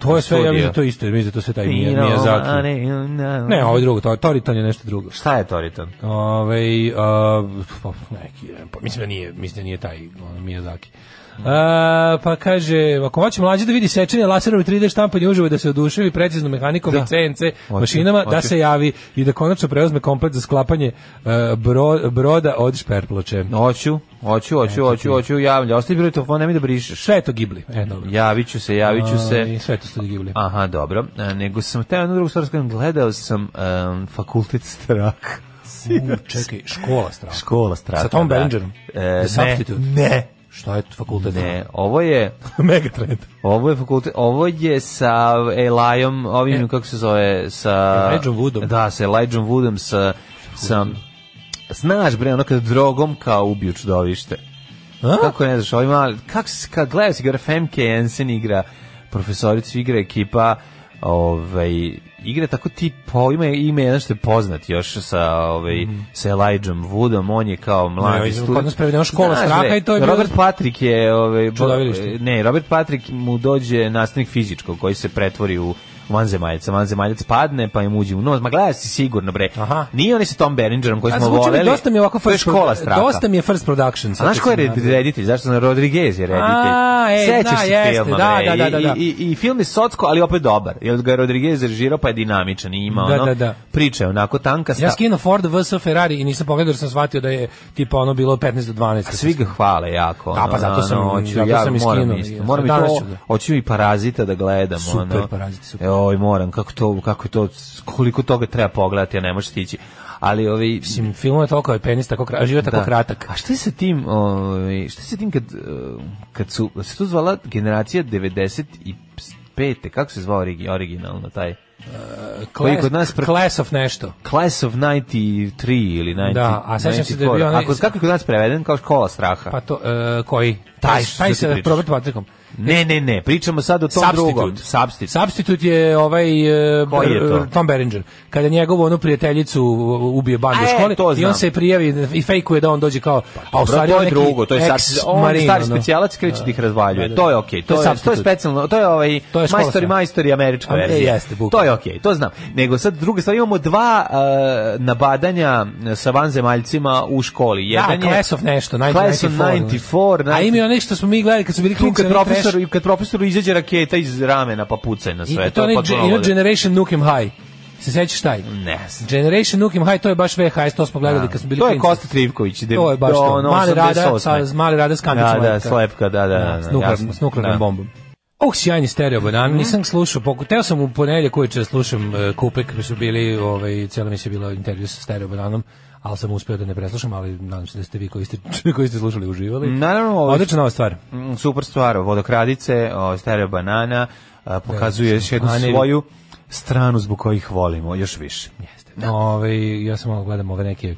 To je sve, ja studio? mislim, da to je isto, mislim, da to je sve taj Mija- Ino, a Miyazaki. ne, ne, Ne, ovo je drugo, to, Toriton je nešto drugo. Šta je Toriton? Ove, a, pa, neki, pa, mislim da nije, mislim da nije taj ono, Miyazaki. Mhm. A, pa kaže, ako hoće mlađi da vidi sečenje laserove 3D štampanje uživo i da se oduševi preciznom mehanikom i CNC mašinama, da hoću. se javi i da konačno preuzme komplet za sklapanje e, bro- broda od šperploče. Hoću, hoću, hoću, hoću, hoću, javlja. Ostavi broj telefona, nemoj da brišeš. Sve je to Ghibli. E, dobro. Javit ću se, javit ću A, se. i Ovaj, sve je to studio Ghibli. Aha, dobro. E, nego sam teo jednu drugu stvar, s kojom gledao sam em, fakultet straka. U, čekaj, škola strava. Škola straka. Sa Tom da. Berengerom? E, The Substitute? ne, ne, Šta je to fakultet? ne. Ovo je, Megatrend. ovo je fakultet, ovo je sa Elajom, ovim, E. kako se zove, sa... Elijahom Woodom. Da, sa Elijahom Woodom, sa... sa Znaš bre, ono kad drogom kao ubiju čudovište. A? Kako ne znaš, ovaj mali, kako se, kad gledaju se igra Femke Jensen igra, profesoricu igra ekipa, ovaj, igra tako ti, po, ima ime jedan što je poznat još sa, ovaj, sa Elijahom Woodom, on je kao Mhm. Ne, ovo mladi je student. kod nas prevedeno škola Znaš, straha bre, i to je bilo- Robert Patrick je, ovaj, bo- Čudovilište. ne, Robert Patrick mu dođe nastavnik fizičkog koji se pretvori u vanzemaljaca, vanzemaljac padne pa im uđe u nos, ma gledaj si sigurno bre. Aha. Nije oni sa Tom Berengerom koji A smo zvuči mi voleli. dosta mi je ovako to je first škola produ- straha. Dosta mi je first production. A sad znaš kad ko je sam red- nabrao. reditelj? Zašto sam Rodriguez je reditelj? A, e, Sećaš da, se jeste, filma, da, bre, da, da, da, i- da. I, i, i film je socko, ali opet dobar. Jer ga je Rodriguez režirao pa je dinamičan i ima Da, ono, da, da. priča je onako tanka sta. Ja skinuo Ford vs Ferrari i nisam pogledao jer sam shvatio da je tipa ono bilo 15 do 12. Svi ga hvale jako. Da, pa zato sam- ono, hoću, zato ja sam i moram skinuo, isto. ja. Moram i Danas to, ću ga. hoću i parazita da gledam. Super, ono. Parazit, super. E, oj, moram, kako to, kako je to, koliko toga treba pogledati, a ne možeš stići. Ali, ovi, Mislim, film je toliko, je penis tako kratak, život je tako kratak. A šta je sa tim, ovaj, šta je sa tim kad, eh, kad su, se to zvala generacija 95. Kako se zvao origi- originalno taj? koji Class- kod nas pre- Class of nešto. Class of 93 ili 90, Da, a sećam se da je bio 94. onaj- A kod- kako je kod nas preveden? Kao škola straha. Pa to, e, koji? Taj, Taj, što taj ti sa pričaš? Robert Patrickom. ne, ne, ne, pričamo sad o tom drugom. Substitute. Substitute je ovaj e, Koji je to? Tom Berenger. Kada njegovu onu prijateljicu ubije band A, u e, školi to i on znam. se prijavi i fejkuje da on dođe kao pa, a u Dobro, stvari to on je neki drugo, to je sad on je ex-marin, stari ono. specijalac kreće da ih razvaljuje. Da, da, To je da. okej, To je to je to je substitute. specijalno, to je ovaj To je škola majstori strana. majstori američka A, e, verzija. jeste, to bukvalno. je okej, to znam. Nego sad druga stvar imamo dva eh, nabadanja e, sa vanzemaljcima u školi. Jedan da, je Class of nešto, 94. Class of 94, A ima i onaj što smo mi gledali kad su bili tu klinci, kad onaj trash. profesor, kad profesoru izađe raketa iz ramena pa pucaj na sve. I to je onaj potpuno Ge- ludo. Generation Nukem High. Se sećaš taj? Ne znam. Generation Nukem High, to je baš VHS, to smo gledali kad smo bili To je klinci. Kosta Trivković. de- To je baš do, to. ono, Mali rada, 88.. sa, mali rada s kambicom. Da, da, Ajka. slepka, da, da. da, s nuklearnom, jasno. s nuklearnom Da. bombom. Oh, sjajni stereo banan, nisam slušao, poku... teo sam u ponedeljak uveče da slušam e, kupek, koji su bili, ovaj, cijelo mi se bilo intervju sa stereo bananom, ali sam uspeo da ne preslušam, ali nadam se da ste vi koji ste, koji ste slušali uživali. Naravno, ovaj- Odlična nova stvar. Mm, super stvar, vodokradice, o, stereo banana, a, pokazuje još jednu bananeri. svoju stranu zbog kojih volimo, još više. Jeste. Ovaj, ja sam malo gledam ove neke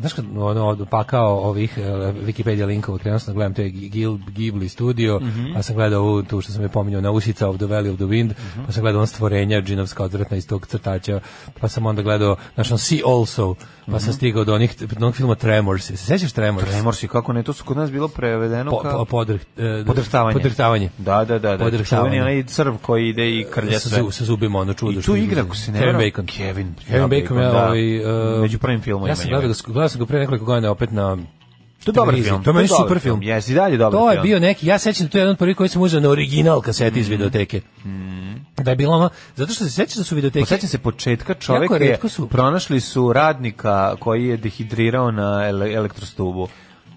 znaš kad ono od- pakao ovih e, Wikipedia linkova krenuo sam da gledam te Gil, Ghibli studio pa sam gledao ovu tu što sam je pominjao Nausica of the Valley of the Wind pa sam gledao on stvorenja džinovska odvratna iz tog crtača pa sam onda gledao znaš on See Also pa sam stigao do onih do onog filma Tremors se sećaš Tremors? Remorsi, kako ne, to su kod nas bilo prevedeno Po, kao... po, podrh, e, Podrhtavanje. podrhtavanje. Da, da, da, da. Podrhtavanje. Čuveni onaj crv koji ide i krlja Sa, sve. zu- sa zubima ono čudo. I što tu izlazi. igra, ako se ne Kevin varam, Bacon. Kevin, Kevin Bacon, ja, da. ovaj, e, Među prvim filmovima Ja sam njega. gledao ga, gledao sam ga pre nekoliko godina opet na To je dobar televiziji. film. To je meni dobar super film. Jesi i dalje dobar To je film. Pa Mhm. bio neki, ja sećam da to je jedan od prvih koji sam uzeo na original kaseti iz videoteke. Da je bilo ono, zato što se sećam da su videoteke... Pa Sećam se početka, čovek Jako je, retko su- pronašli su radnika koji je dehidrirao na ele- elektrostubu.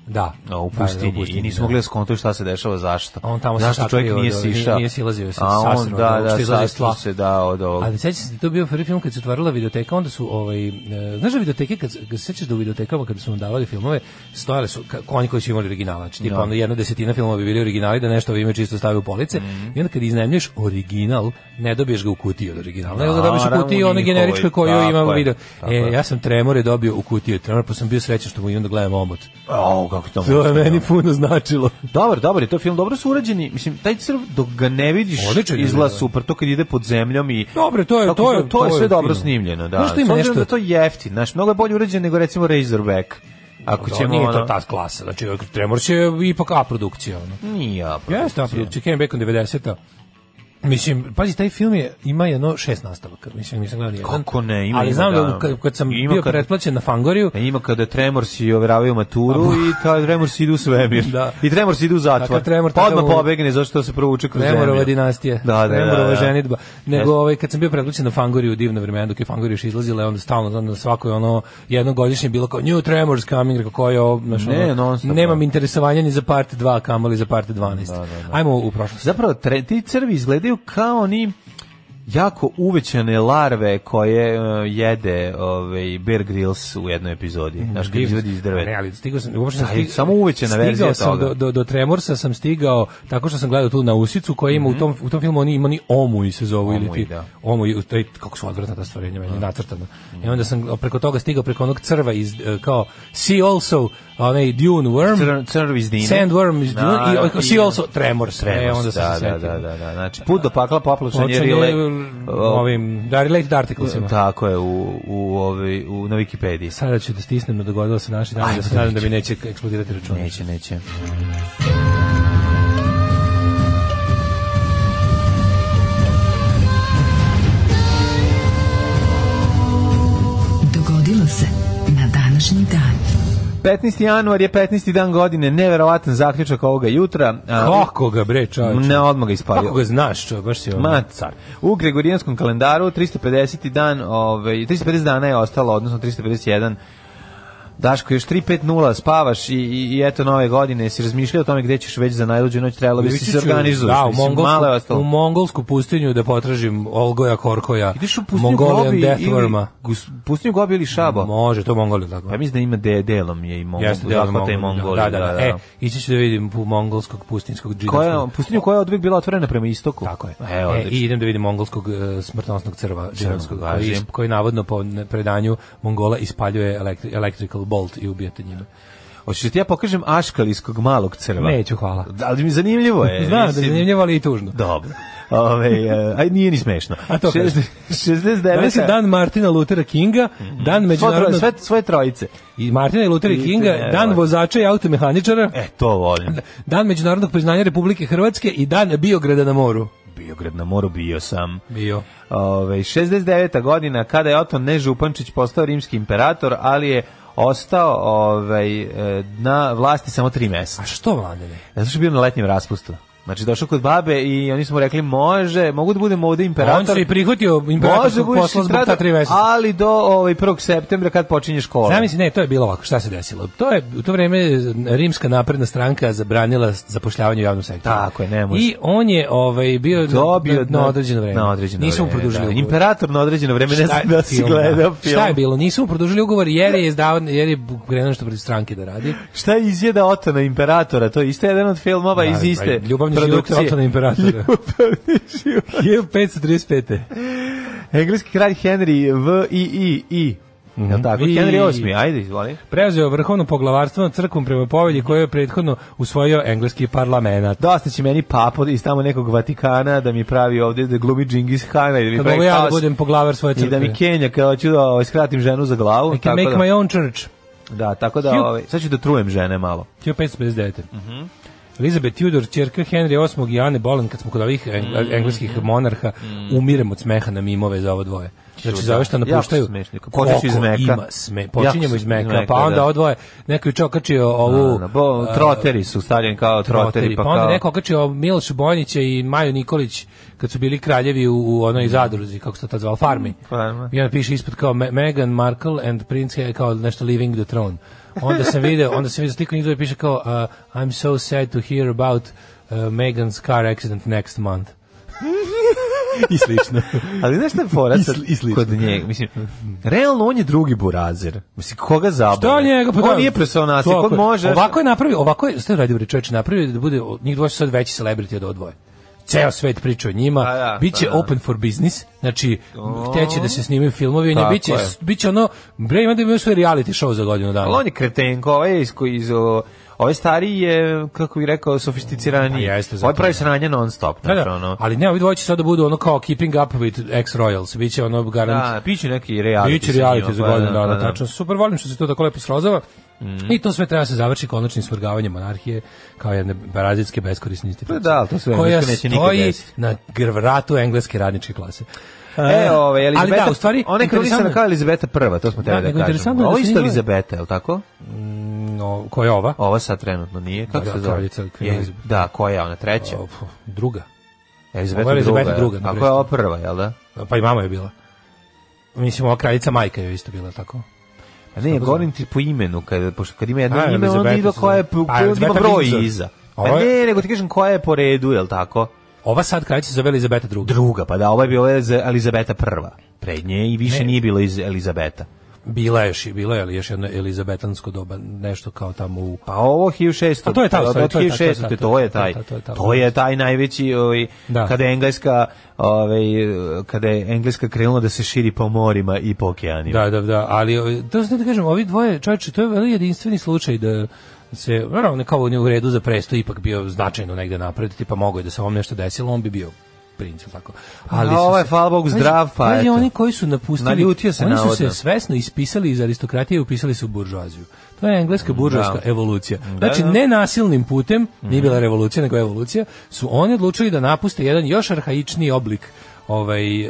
Da. A, u pustinji. Da, da, u pustinji, I nismo da. mogli da skontuju šta se dešava, zašto. A on tamo se zašto sakrio čovjek nije od- nije- sišao. nije silazio se, A on, sasro, da, ono, što da, izlazi iz sastro tla. se, da, od ovog. Ali sećaš se, to je bio prvi film kad se otvarala videoteka, onda su, ovaj, e, znaš da videoteke, kad, kad se sećaš da u videotekama kad su nam davali filmove, stojale su ka, oni koji su imali originale, znači tipa ono jedna desetina filmova bi bili originali, da nešto ime čisto stavi u police, Mhm. i onda kad iznajmljuješ original, ne dobiješ ga u kutiji od originala, nego ga dobiješ u Naravno, kutiji one njihovoj, generičkoj koju tako ima je, video. tako E, je. ja sam Tremore dobio u kutiji od Tremora, pa sam bio srećan što mu i onda gledam omot. ono. O, kako to To je može, meni da. puno značilo. Dobar, dobar je to film, dobro su urađeni. Mislim, taj crv, dok ga ne vidiš, Odličan je izgleda film. super, to kad ide pod zemljom i... Dobro, to je- Kako to je- to je to je sve dobro fino. snimljeno, da. Znaš što ima S obzirom nešto- Da to je jeftin, znaš, mnogo je bolje urađen nego recimo Razorback. Ako To ćemo... nije to ono- ta klasa, znači Tremor će ipak A produkcija. Ono. Nije, a, pa. Jeste, Apple, Chicken Bacon 90-a. Mislim, pazi, taj film je, ima jedno šest nastavaka, mislim, nisam gledao nijedan. Kako ne, ima, Ali ima, znam da, da. u- kad, kad sam Ima bio kad- pretplaćen na Fangoriju, E, Ima kada Tremorsi overavaju maturu i ta Tremorsi idu u svemir. Da. I Tremorsi idu u zatvor. Takav Tremor, pa odmah takav u- pobegne zato što se provuče kroz zemlju. Tremorova dinastija, Da, da, Tremorova da, da. ženidba. Nego Jeste. ovaj, kad sam bio pretplaćen na Fangoriju u divno vremena, dok je Fangorija još izlazila, onda stalno, onda svako je ono, jednogodišnje bilo kao New Tremors coming, rekao ko je ovo, znaš, Ne, ono, non stop, nemam da. interesovanja ni za part 2, kamoli za part 12. Ajmo u prošlost. Zapravo, tre, ti crvi izgledaju kao oni jako uvećane larve koje e, jede ovaj, Bear Grylls u jednoj epizodi. Znaš, kad izvadi iz Ne, drveta. ali stigao sam, uopšte sam Taj, samo uvećana verzija Stigao sam toga. do, do, do Tremorsa, sam stigao tako što sam gledao tu na Usicu koja ima u, tom, u tom filmu, oni ima oni Omuj se zovu ili Omuj, ti. Mhm. da. Mhm. Omuj, taj, kako su odvratna ta stvorenja, meni je nacrtano. I onda sam preko toga stigao preko onog crva iz, eh, kao See Also, onaj Dune Worm, Crn, crv iz dine. Sandworm iz Dune Da, i da, o- See Also Tremors. E, Tremors, onda sam da, se da, setio. da, da, da. Znači, put do pakla popločan je Počeo rile... je, e, ovim, da, related articlesima. Tako je, u, u, ovaj, u, na Wikipediji. Sada ću da stisnem, da dogodilo se naši dan, da se nadam da mi neće eksplodirati račun. Neće, neće. Dogodilo se na današnji dan. 15. januar je 15. dan godine, neverovatan zaključak ovoga jutra. A, Kako ga bre, čovječe? Ne, odmah ga ispalio. Kako ga znaš, čovječe, baš si ono. Ma, car. U Gregorijanskom kalendaru 350. dan, ovaj, 350 dana je ostalo, odnosno 351 Daško, još 3.50 spavaš i, i, i eto nove godine, si razmišljao o tome gde ćeš već za najluđu noć, trebalo bi Ići si se ću- organizuješ. Da, u mislim, malo je mongolsku, ostalo. u mongolsku pustinju da potražim Olgoja Korkoja. Ideš u pustinju Mongolian Gobi Death ili, Worma. gus- pustinju Gobi ili Šaba? Može, to Mongolija tako. Pa mislim da ima de, delom je i Mongol. Jeste, delo zahvata i Mongolija. Mongoliju, Da, da, da. E, ići ću da vidim pu- mongolskog pustinjskog Koja, džidovskog. pustinju koja je od uvijek bila otvorena prema istoku. Tako je. E, e, odlično. I idem da vidim mongolskog e, smrtonosnog crva džinovskog, koji, važi. is- koji navodno po ne- predanju Mongola ispaljuje elektri, electrical bolt i ubijate njima. Hoćeš da ti ja pokažem aškalijskog malog crva? Neću, hvala. Da, Ali mi zanimljivo je. Znam da je mislim. zanimljivo, ali i tužno. Dobro. Ove, e, aj, nije ni smešno. A to Šest- 69. Danas je Znači, dan Martina Luthera Kinga, dan Svo troje- međunarodnog... Mhm. sve, svoje trojice. I Martina i Luthera Vidite, Kinga, evo. dan vozača i automehaničara, E, to volim. dan međunarodnog priznanja Republike Hrvatske i dan Biograda na moru. Biograd na moru bio sam. Bio. Ove, 69. godina kada je Oton Nežupančić postao rimski imperator, ali je ostao ovaj, e, na vlasti samo tri meseca. A što, mladene? Zato što je E, bio na letnjem raspustu. Znači, došao kod babe i oni su mu rekli, može, mogu da budem ovde imperator. On se i prihvatio Može imperatorskog budeš posla zbog ta imperator, tri meseca. Ali do ovaj 1. septembra kad počinje škola. Zamisli, ne, to je bilo ovako, šta se desilo? To je, u to vreme rimska napredna stranka zabranila zapošljavanje u javnom sektoru. Tako je, ne može. I on je ovaj, bio na- dobio na, na određeno vreme. Na određeno Nisu mu vreme, produžili da. ugovor. Imperator na određeno vreme, ne znam Šta je da si film, gledao da. film. Šta je bilo? Nisu mu produžili ugovor jer je izdao, jer je krenuo što protiv stranke da radi. Šta je izjeda Otona imperatora? To je isto jedan od filmova Pa iz Da, pa iste Ljubavni život produkcije. Otona imperatora. Ljubavni život. 1535. Engleski kralj Henry V I I I. Jel tako? Vi- Henry VIII. Ajde, izvoli. Preuzeo vrhovno poglavarstvo nad crkvom prema povelji koju je prethodno usvojio engleski parlament. Dosta će meni papo iz tamo nekog Vatikana da mi pravi ovdje da glumi Džingis Hana i da mi Kad mogu pravi ja da haos budem poglavar svoje i crkve. da mi Kenja kao hoću da ovaj, skratim ženu za glavu. I can tako make da- my own church. Da, tako da, Hugh- ovaj, sad ću da trujem žene malo. 1559. Elizabeth Tudor, čerka Henry VIII i Anne Boleyn, kad smo kod ovih eng- Mm. engleskih monarha, umirem od smeha na mimove za ovo dvoje. Znači, Čudo. za ove što napuštaju, Mm. Jako smešni. Počet ću iz koliko meka. ima sme, Jako počinjemo sam iz meka, iz meka, pa onda da. ovo dvoje, neko je čokačio ovu... Ana, bo, a, troteri su stavljeni kao troteri, Troteri, pa, pa, onda kao... neko okačio Miloš Bojnića i Maju Nikolić kad su bili kraljevi u, u Mm. onoj zadruzi, kako se to tad zvalo, farmi. Farma. I onda piše ispod kao Me- Meghan Markle and Prince Harry, kao nešto leaving the throne. onda sam video, onda sam video sliku njih dvoje piše kao uh, I'm so sad to hear about uh, Megan's car accident next month. I slično. Ali znaš šta je fora I sad sli- i slično. kod njega? Mislim, realno on je drugi burazer. Mislim, koga zabavlja? Šta njega pa da, On nije presao nas, kog ovako je- može. Ovako je napravio, ovako je, ste radi bre čoveče, napravio je da bude njih dvoje su sad veći celebrity od ovo dvoje. Ceo svet priča o njima, Pa da, biće pa da. open for business, znači hteće da se snimaju filmovi, o njoj, Tako biće, je. biće ono, bre ima da imaju svoj reality show za godinu dana. Ali on je kretenko, ovaj je iz, koji- iz o, ovaj stari je, kako bih rekao, sofisticiraniji. Pa jeste, zato ovaj pravi je. sranje non stop. Da, Da, da. Ono. Ali ne, ovi dvoje će sad da budu ono kao keeping up with ex-royals, biće ono garant Da, piću neki reality. Biće sa reality njima, za pa godinu da, dana, pa da. Mhm. tačno. Super, volim što se to tako lepo srozava. I to sve treba se završi konačnim svrgavanjem monarhije kao jedne parazitske beskorisne institucije. Pa da, ali to sve u koja Engleskoj neće nikad stoji desiti. na gr- vratu engleske radničke klase. E, ove, Elizabeta, ali da, u stvari, ona je interesantno kanonisana je- kao Elizabeta prva, to smo Da, tebe da, nego interesantno kažemo. je da Ovo se je isto njegove- Elizabeta, je li tako? No, koja je ova? Ova sad trenutno nije, kako Da, se zove? kraljica- Je, kraljica. da, koja je ona, treća? O, pf, druga. Elizabeta Ovo je Elizabeta druga. druga, druga na Ako je prestolu. ova prva, jel da? Pa i mama je bila. Mislim, ova kraljica majka je isto bila, tako? A ne, govorim ti po imenu, kada, pošto kad ima jedno pa A, ime, Elizabeta onda ima se koja je, zove. A, onda ima Elizabeta broj Windsor. iza. Ovo Pa je- ne, nego ti kažem koja je po redu, jel tako? Ova sad kraljica se zove Elizabeta druga. Druga, pa da, ova je bila Eliz- Elizabeta prva. Pred nje i više Ne. nije bilo iz Elizabeta. Bila je, još- bila je, ali još jedno elizabetansko doba, nešto kao tamo u... Pa ovo 1600. A to je ta, od- to je od ta, to je ta, 1600, to je ta, to je taj. to je ta, to je ta. To je taj najveći ovaj Da. kada je engleska, ovaj kada je engleska krenula da se širi po morima i po okeanima. Da, da, da, ali ovi- to sam da kažem, ovi dvoje, čovječe, to je veli jedinstveni slučaj da se, naravno, kao on je u redu za presto ipak bio značajno negde napred, tipa mogo je da se ovom nešto desilo, on bi bio princ, ili tako. Ali A su ovaj, se- hvala Bogu, Znaš, zdrav, pa znaš, eto. oni koji su napustili, Naljutio se oni su navodno. se svesno ispisali iz aristokratije i upisali su u buržuaziju. To je engleska buržuarska evolucija. Znači, Mm, da. Mhm. ne nasilnim putem, nije bila revolucija, nego evolucija, su oni odlučili da napuste jedan još arhaičniji oblik ovaj e,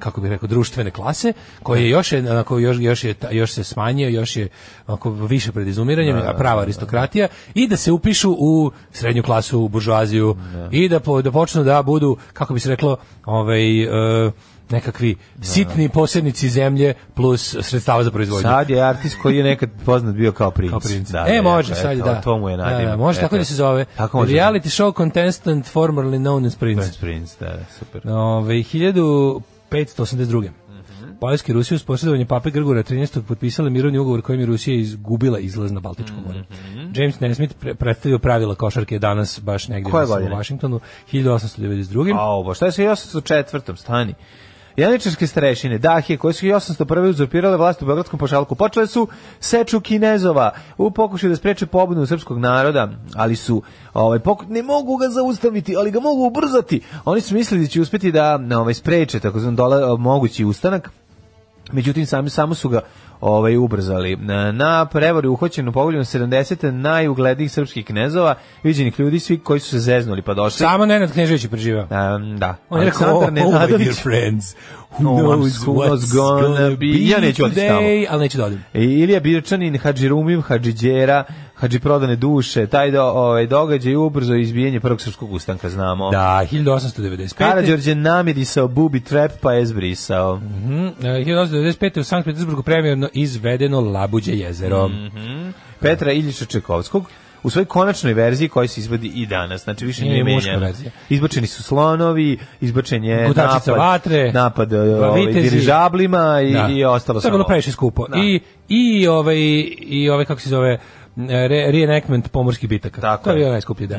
kako bih rekao društvene klase koji je još je onako još još je ta- još se smanjio još je onako više pred izumiranjem a prava aristokratija i da se upišu u srednju klasu u buržoaziju i da po, da počnu da budu kako bi se reklo ovaj e, nekakvi sitni posjednici zemlje plus sredstava za proizvodnju Sad je artist koji je nekad poznat bio kao princ. kao princ. Da, e, da, može, eto, sad je, eto, da. To mu je nadimno. Da, da, može tako Eto, da se zove. Tako može. Reality show contestant formerly known as Prince. Prince, princ, da, da, super. Ove, 1582. Mhm. Poljski i Rusija uz posjedovanje pape Grgura 13. potpisala mirovni ugovor kojim je Rusija izgubila izlaz na Baltičko more. Mhm. James Nesmith pre predstavio pravila košarke danas baš negdje Koje mislim, u godine? Washingtonu 1892. A ovo, šta je sa 1804. stani? Janičarske starešine, Dahije, koje su 1801. uzurpirale vlast u Beogradskom pošalku, počele su seču Kinezova u pokušaju da spreče pobunu srpskog naroda, ali su, ovaj, poku- ne mogu ga zaustaviti, ali ga mogu ubrzati. Oni su mislili da će uspjeti da ovaj, spreče takozvan dola, mogući ustanak, Međutim, sami samo su ga ovaj ubrzali. Na, na prevari uhoćenu povoljom 70. najuglednijih srpskih knezova, viđenih ljudi, svi koji su se zeznuli pa došli. Samo Nenad Knežević je preživao. Um, da. On je rekao, oh, Aleksandar oh, my dear Nenadović. friends, who No one knows who was what's gonna gonna be- be Ja neću otići tamo. today, ali neću da odim. I Ilija Birčanin, Hadži Rumim, Hadži Đera, Hadži Prodane duše, taj do, ovaj, događaj i ubrzo izbijenje prvog srpskog ustanka, znamo. Da, 1895. Karađorđe namirisao bubi trep pa je zbrisao. Mhm, e, 1895. u Sankt Petersburgu premjerno izvedeno Labuđe jezero. Mhm. Petra Iljiša Čekovskog u svojoj konačnoj verziji koja se izvodi i danas, znači više Nije nije muška menjena. verzija. Izbačeni su slonovi, izbačen je Gudačica napad, vatre, napad e, ovaj, vitezi. dirižablima i, i ostalo To je samo. bilo previše skupo. Da. I, i, ovaj, I ovaj, kako se zove, re, reenactment pomorskih bitaka. Tako to je je. Mhm. bio najskuplji, da.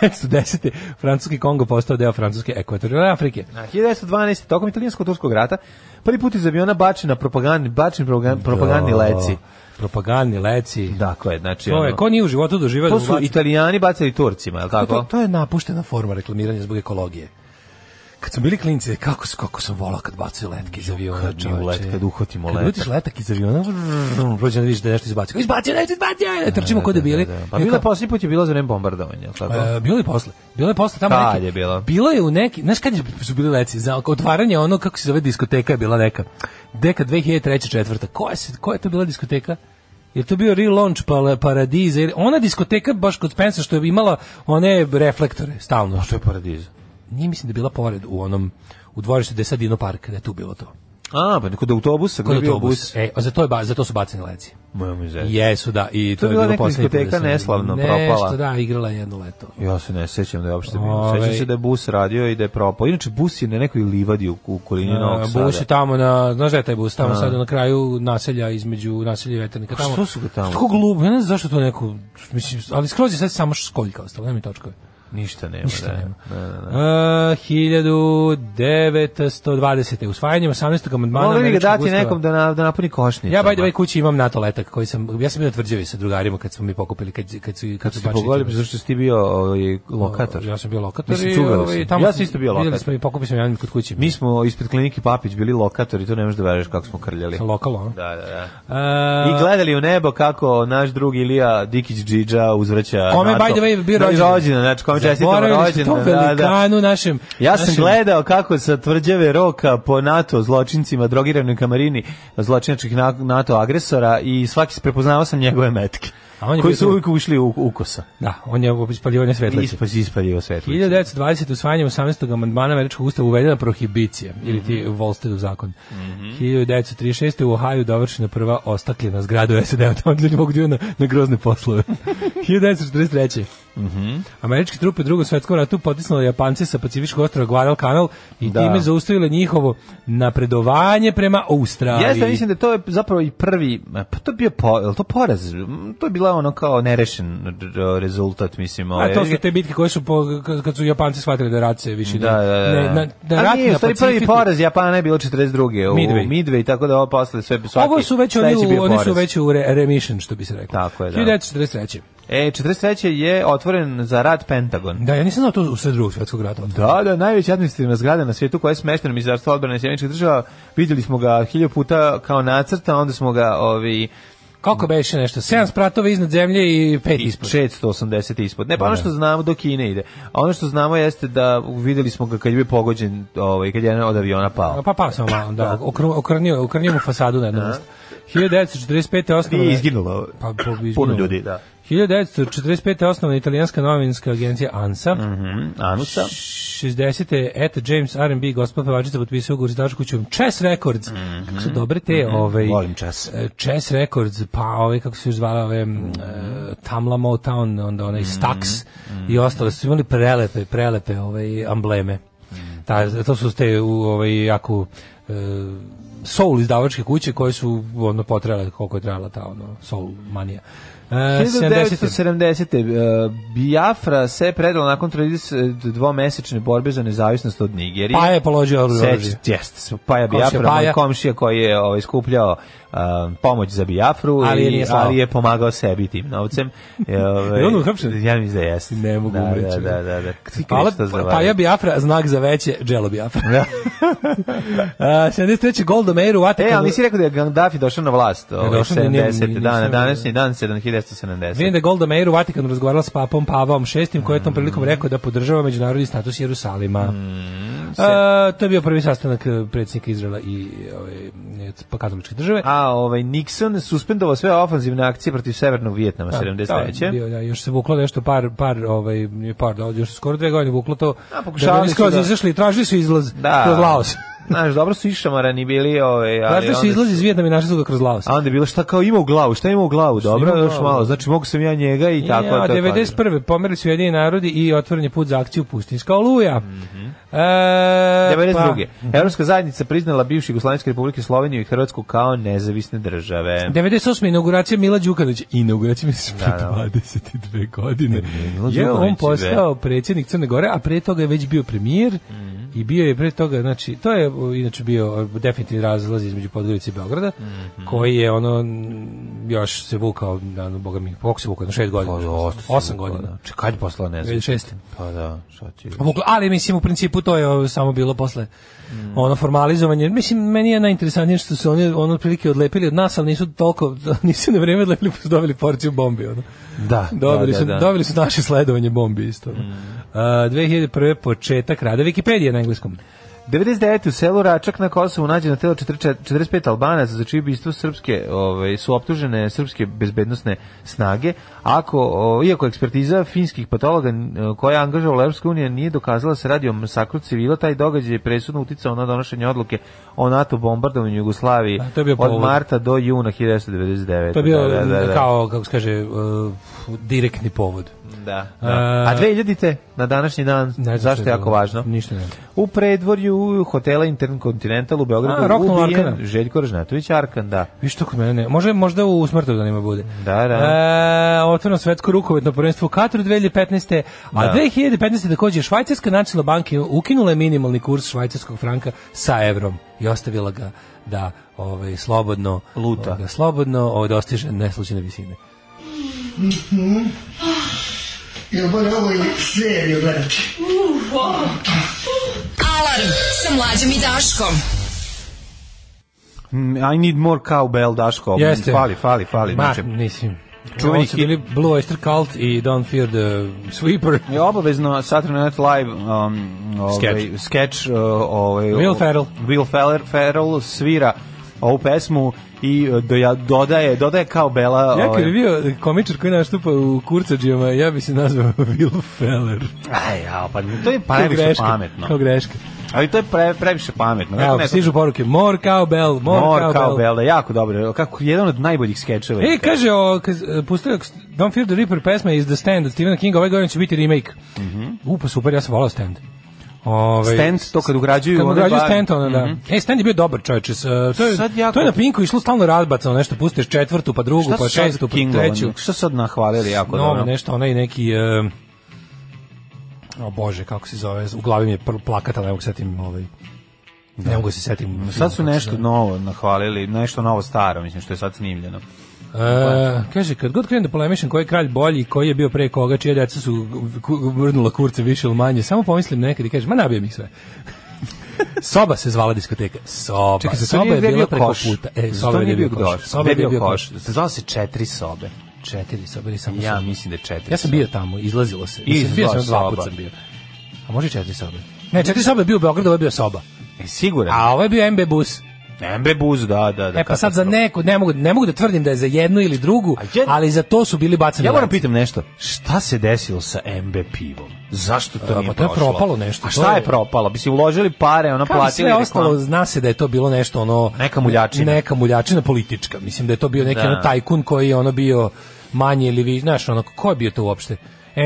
1910. Francuski Kongo postao deo francuske ekvatorijalne Afrike. Na 1912. tokom italijansko-turskog rata prvi put iz aviona bačena propagandni, bačen propagan- propagandni O, leci. Propagandni leci. Dakle, znači To je, ono, ko nije u životu doživao to da mu su baci- Italijani bacali Turcima, je li To- tako? To, to je napuštena forma reklamiranja zbog ekologije. Kad smo bili klinci, kako, s- kako sam volao kad bacaju letke iz aviona, kad mi čoveče. u let- kad uhvatimo Kad letak. uhvatiš letak iz aviona, vrrrr, prođe da vidiš da je nešto izbacio. Kao, Izbacio, nešto izbacio, ne trčimo kod debili. Da, da. Pa I bila kao, posljednji put je bila za vreme bombardovanja, je li tako? e, bilo je posle. Bilo je posle tamo Kad neki. je bilo? Bilo je u neki, znaš kad je- su bili leci, za oko otvaranje ono kako se zove diskoteka je bila neka. Deka 2003. četvrta. Koja se koja je to bila diskoteka? Je to bio relaunch pa Paradiza? ili- Ona diskoteka baš kod Spensa što je imala one reflektore stalno Što je paradiz? nije mislim da je bila pored u onom u dvorištu gde je sad Dino Park, da je tu bilo to. A, pa kod autobusa, Kod kod autobus. autobusa. E, a za to, je, ba- za to su bacani leci. Moja izvesti. Jesu, da, E. i to, To je bila bilo neka poslednji put diskoteka da sam- neslavno Nešto, propala. da, igrala je jedno leto. Ja se ne sećam da je uopšte bilo. Ovaj. Sećam se da je bus radio i da je propao. Inače, bus je na nekoj livadi u okolini Novog Sada. E, Bus je tamo na, znaš da je taj bus tamo sada na kraju naselja između naselja i veternika tamo. što su ga tamo? Tako glupo, ja ne znam zašto to neko, mislim, ali skroz je sad samo školjka ostala, nema mi točkove. Ništa nema. Ništa da. nema. Da, da, da. Uh, 1920. Usvajanjem 18. amandmana Mogli bi ga američkog dati ustava- nekom da, na, da napuni košnicu. Ja by the way kući imam NATO letak koji sam ja sam bio na tvrđavi sa drugarima kad smo mi pokupili kad kad su kad su Ste bačili pogledali, tamo. zašto si ti bio ovaj, lokator? Ja sam bio lokator. Mislim, i, cugao ovaj, sam. tamo Ja smo- sam isto bio Videli lokator. smo i pokupili smo jedan kod kuće. Mi smo ispred klinike Papić bili lokatori, to ne možeš da veruješ kako smo krljali. sa lokalo. ono. Da, da, da. Uh, I gledali u nebo kako naš drug Ilija Dikić Džidža uzvraća Kome, NATO. by the way, bio Pa Da, rođendan. rođendan, znači kome čestitamo Zaboravili smo rođendan. tom velikanu našem. Ja sam našem- gledao kako sa tvrđave roka po NATO zločincima, drogiranoj kamarini zločinačkih na- NATO agresora i svaki prepoznavao sam njegove metke. A on je koji bio su tu. uvijek ušli u ukosa. Da, on je ispaljivanje I svetlice. ispad, ispadio svetlice. 1920. usvajanjem 18. amandmana američkog ustava uvedena prohibicija, ili Mhm. ti Volstedov zakon. 1936. u Ohaju dovršena prva ostakljena zgrada u SED-u, tamo gdje ljudi mogu da idu na, na grozne poslove. 1943. Mhm. Američke trupe u drugom svetskom ratu potisnule Japance sa pacifičkog ostrava Guadalcanal i Da. time zaustavile njihovo napredovanje prema Australiji. Jeste, mislim da to je zapravo i prvi, pa to je bio po, je li to poraz, Mm, to je bila ono kao nerešen r- r- rezultat, mislim. A ovaj. to su te bitke koje su po, kad- kad su Japanci shvatili da rat se više Da, da, da. ne, na, da A rat nije, u na stvari prvi Pacifiku- poraz Japana je bilo 42. u Midway. Midway, tako da ovo posle sve svaki Ovo su već oni, sledeći u, bio oni su poraz. već u re, remission, što bi se reklo. Tako je, da. 1943. E, 43. je otvoren za rad Pentagon. Da, ja nisam znao to u sve drugog svjetskog rata. Da, da, najveća administrativna zgrada na svijetu koja je smeštena u Ministarstvo odbrane Sjemeničkih država. Vidjeli smo ga hiljadu puta kao nacrta, onda smo ga ovi, Koliko beše nešto? 7 spratova iznad zemlje i pet I ispod. 680 ispod. Ne, pa ono što znamo do Kine ide. A ono što znamo jeste da videli smo ga kad je bio pogođen, ovaj, kad je jedan od aviona pao. Pa pa samo malo, da. Okru, okrnio, okrnio mu fasadu na jednom mestu. 1945. osnovna... Nije izginulo. Pa, pa, izginulo. Puno ljudi, da. 1945. osnovna italijanska novinska agencija ANSA. Mhm, Anusa. 60. Eta James R&B gospel pevačica potpisao ugovor s Daško kućom Chess Records. Kako su dobre te, ovaj Mhm. Volim Chess. e, Chess Records, pa ovaj kako se još zvala, ove mm. Tamla Motown, onda onaj Mhm. Stax i ostale su imali prelepe, prelepe ovaj ambleme. Mhm. Ta, to su te u ovaj jako e, soul izdavačke kuće koje su ono potrajale koliko je trajala ta ono soul manija. E, 70. 1970. Uh, Biafra se predala nakon 32 mesečne borbe za nezavisnost od Nigerije. Pa je položio oružje. Seć, jest, Paja Komšija Biafra, moj Paja. komšija koji je ovaj, skupljao uh, pomoć za Biafru, Ali je i, nije slao. ali je pomagao sebi tim novcem. E, ovaj, Je on uhapšen? Ja mislim da jeste. Ne mogu da, reći. Da, da, da. da. Ti Pala, Krista zavadi. Pa- Paja Biafra, znak za veće, dželo Biafra. Da. Uh, 73. Golda Meir u E, ali Atakalu. nisi rekao da je Gaddafi došao na vlast ovaj, došao, ne, ne, 70. nisam, dana, ne. današnji dan Vidim 1770. da je Golda Meir u Vatikanu razgovarala s papom Pavom VI, koji je Mm. tom prilikom rekao da podržava međunarodni status Jerusalima. Mm, A, to je bio prvi sastanak e, predsjednika Izraela i ove, e, pa katoličke države. A ovaj Nixon suspendovao sve ofanzivne akcije protiv Severnog Vijetnama Da, 73. bio, da, još se vuklo nešto par, par, ovaj, nije par, da, još skoro dve godine vuklo to. A, pokušavali da bi oni su skroz da- izašli, i tražili su izlaz Da. kroz Laos. Znaš, dobro su išamarani bili, ovaj, ali Tražili su onda- izlaz iz Vijetnama i našli su ga kroz Laos. A onda je bilo šta kao ima u glavu, šta ima u glavu, dobro, ima u još glavu? malo, znači mogu sam ja njega i tako. ja, to je 91. pomerili su jedini narodi i otvoren je put za akciju Pustinjska oluja. Mm Mhm. fajno. e, 92. Evropska zajednica priznala bivšu Jugoslavijske republike Sloveniju i Hrvatsku kao nezavisne države. Pa, 98. inauguracija Mila Đukanovića. Inauguracija mi se da. 22 godine. Milo Je on Đukanović, postao predsjednik Crne Gore, a pre toga je već bio premijer Mhm. i bio je pre toga, znači, to je o, inače bio o, definitivni razlaz između Podgorice i Beograda, Mhm. koji je ono m, još se vukao, da, no, boga mi, koliko se vukao, jedno šest godina, osam godina. Pa, Čekaj, kad je poslala nezavisne? 96. Pa da, šta ti... Vuklo- ali mislim u principu to je o, samo bilo posle ono formalizovanje. Mislim meni je najinteresantnije što su oni ono otprilike odlepili od nas, ali nisu toliko nisu na vreme odlepili, pa su dobili porciju bombi ono. Da, Dobili da, su da, Mm. da. dobili su naše sledovanje bombi isto. ono. A, 2001. početak rada Wikipedije na engleskom. 99. u selu Račak na Kosovu nađeno telo 44 45 Albanaca za čije ubistvo srpske, ovaj, su optužene srpske bezbednosne snage. Ako, o, iako ekspertiza finskih patologa n- koja je angažovala Europska unija nije dokazala da se radi o masakru civila, taj događaj je presudno uticao na donošenje odluke o NATO bombardovanju Jugoslavije A, to je bio od povod. marta do juna 1999. To je bio da, da, da. kao, kako se kaže, uh, direktni povod. Da, da. A 2000-te, na današnji dan, Ne znam zašto je šta jako bilo. važno? Ništa ne. znam. U predvorju hotela Intercontinental u Beogradu A, roknula ubijen Arkana. Željko Ražnatović Arkan, da. Viš to kod mene ne. Može, možda u smrtovdanima bude. Da, da. E, otvoreno svetsko rukovetno prvenstvo u Kataru 2015. A Da. 2015. takođe Švajcarska nacionalna banka je ukinula je minimalni kurs švajcarskog franka sa evrom i ostavila ga da ovaj, slobodno Luta. ovaj, da slobodno ovaj, dostiže neslučene visine. Jel bolje ovo ili seriju gledati? Alarm sa mlađom i Daškom. Mm, I need more cowbell, Daško. Mm, Jeste. Fali, fali, fali. Ma, znači, mislim. Čuveni Ovo su hit. bili Blue Oyster Cult i Don't Fear the Sweeper. je obavezno Saturday Night Live um, ovaj, Sketch. sketch uh, ovaj, Will Ferrell. Will Ferrell, Ferrell svira ovu pesmu i uh, doja, dodaje, dodaje kao Bela. Ja ovaj, kad bi bio komičar koji nastupa u kurcađijama, ja bi se nazvao Will Feller. Aj, ja, pa to je Kao previše greška, pametno. Kao greška. Ali to je pre, previše pametno. Dakle, Evo, ne- stižu poruke, more cowbell, more, More cowbell. kao Bela, jako dobro. Kako, jedan od najboljih skečeva. E, kaže, o, kaz, e, pustio je Don't Fear the Reaper pesma iz The Stand od Stephena Kinga, ovaj godin će biti remake. Mm Mhm. -hmm. U, pa super, ja sam volao Stand. Ove, Stent, to Ovaj, kad ugrađuju... Kad mu one građu bar- Mhm. Stand, ona, da. E, Stand je bio dobar čovječe. s, e, To je, Sad jako- to je na Pinku išlo stalno razbacano, nešto pustiš četvrtu, pa drugu, Šta pa su sad ono, šestu, pa Kingovan? treću. Šta su sad nahvalili jako novo dobro? nešto, onaj neki... e, o bože, kako se zove, u glavi mi je pr- plakat, ali ne mogu se setim ovaj... Ne mogu se setim. Sad su kako se nešto novo nahvalili, nešto novo staro, mislim, što je sad snimljeno. E, kaže, kad god krenem da polemišem koji je kralj bolji, koji je bio pre koga, čije djeca su ku- vrnula kurce više ili manje, samo pomislim nekad i kažem, ma nabijem ih sve. Soba se zvala diskoteka. Soba. Pa soba je bila preko puta. E, soba to je nije bio koš. Soba je Gde bio koš. Se zvao se četiri sobe. Četiri sobe ili samo Ja soba. mislim da je četiri Ja sam sobe. bio tamo, izlazilo se. I Mislim, bio sam izlazila soba. dva puta sam bio. A može i četiri sobe. Ne, četiri sobe je bio u Beogradu, ovo je bio soba. E, siguran. A ovo je bio MB bus. Nembe buz, da, da, da. E pa sad za katastrofa. neku, ne mogu, ne mogu da tvrdim da je za jednu ili drugu, A jed- ali za to su bili bacani Ja moram lanci. pitam nešto. Šta se desilo sa MB pivom? Zašto to E, nije pa to je prošlo? propalo nešto, A to šta je- je propalo? Bi si uložili pare, ono Kao i platili sve ostalo, reklamu? zna se da je to bilo nešto ono... Neka muljačina. Neka muljačina politička. Mislim da je to bio neki Da. ono tajkun koji je ono bio manje ili vi... Znaš, ono, ko je bio to uopšte?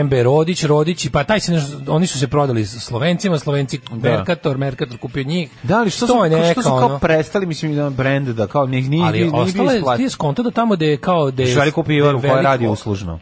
MB Rodić, Rodići, pa taj se nešto, oni su se prodali Slovencima, Slovenci Merkator, Merkator kupio njih. Da, ali što su, To je neka, što su kao ono- prestali, mislim, da brend, da kao nije, nije, ali nije, nije bio ostalo je, ti isplativo. je skonto da tamo gde je kao... Gde je, Švali kupi gde je Ivaru koja veliko- radi uslužno.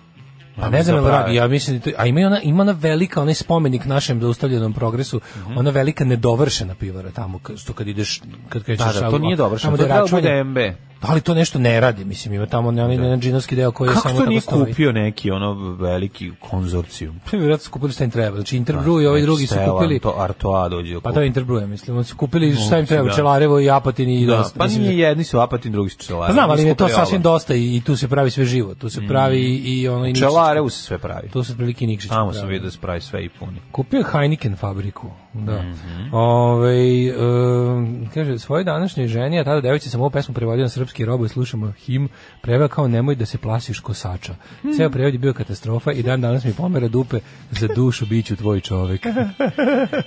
Pa ne znam Za ili prave. radi, ja mislim, da to- a ima i ona, ima ona velika, onaj spomenik našem zaustavljenom progresu, Mhm. ona velika nedovršena pivara tamo, ka- što kad ideš, kad krećeš... Da, da, to šalom, nije dobro. Što tamo to gde je treba računje. bude MB. ali to nešto ne radi, mislim, ima tamo onaj da. džinovski deo koji je Kako samo to tako nije stoji. kupio neki ono veliki konzorcijum? Pa vjerojatno su kupili šta im treba, znači Interbrew i ovi drugi su kupili, Pa, To Artoa dođe. pa to je Interbrew, mislim, oni su kupili šta im treba, da. Čelarevo i Apatin i Da, dosta, pa mislim, nije jedni su apatin, drugi su čelari. Pa znam, ali je to Skupili ovo. sasvim dosta i, i tu se pravi sve živo, tu se pravi i ono i Nikšić. Čelare u se sve pravi. Tu se prilike i Nikšić. Mhm. Tamo pravi. sam vidio da se pravi sve i puni. Kupio je Heineken fabriku, da. Mhm. Ovaj, em, kaže, svojoj današnjoj ženi, a tada devojci sam ovu pesmu prevodio na srpski robo i slušamo him, preveo kao nemoj da se plasiš kosača. Hmm. Ceo prevod je bio katastrofa i dan danas mi pomera dupe za dušu biću tvoj čovek.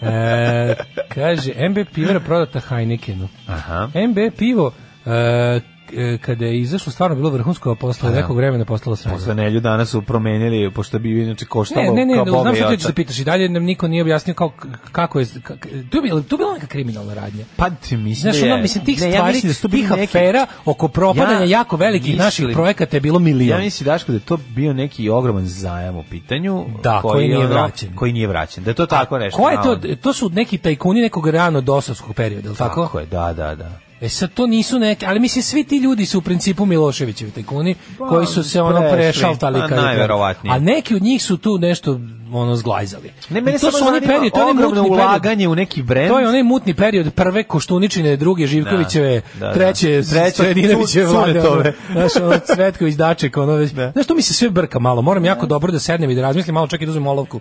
E, kaže, MB pivara prodata Heinekenu. Aha. MB pivo, e, e, kada je izašlo stvarno bilo vrhunsko, a posle nekog vremena postalo sranje. Pa Posle nelju dana su promenili, pošto bi inače koštalo Ne, ne, ne, kao ne, Boga znam i što ti ćeš oca. da pitaš i dalje nam niko nije objasnio kao, k- kako je, kak, tu, je bila, tu je bila neka kriminalna radnja. Pa ti mislim Znaš, da je. ono, mislim, tih Ne, ja stvari, mislim da su to bili tih neki- afera oko propadanja Ja jako velikih mislim- naših projekata je bilo milijon. Ja mislim Daško da je to bio neki ogroman zajam u pitanju Da, koji nije ono, vraćen. Koji nije vraćen. Da je to tako nešto. Ko je to? navodno. To su neki tajkuni nekog rano dosovskog perioda, ili tako? Tako je, da, da, da. E sad to nisu neki, ali mislim svi ti ljudi su u principu Miloševićevi tajkuni koji su se Pa, ono prešli, prešaltali pa kad je- najverovatnije. A neki od njih su tu nešto ono zglajzali. Ne, I mene to samo su oni zanima period, to je onaj ogromno mutni period. ulaganje u neki brend. To je onaj mutni period prve Koštuničine, druge Živkovićeve, Da, da, da. treće Treće Stojadinovićeve Cu- vlade. Cunetove. ono, Znaš, ono Cvetković, Daček, ono već. Znaš, to mi se sve brka malo. Moram jako dobro da sednem i da razmislim malo, čak i da uzmem olovku.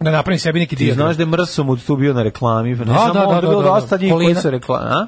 da napravim sebi neki Ti dijagram. znaš da je Mrsomud tu bio na reklami, ne da, samo da, on, da, da, bilo da, da. dosta njih koji Kolina. su reklami, a?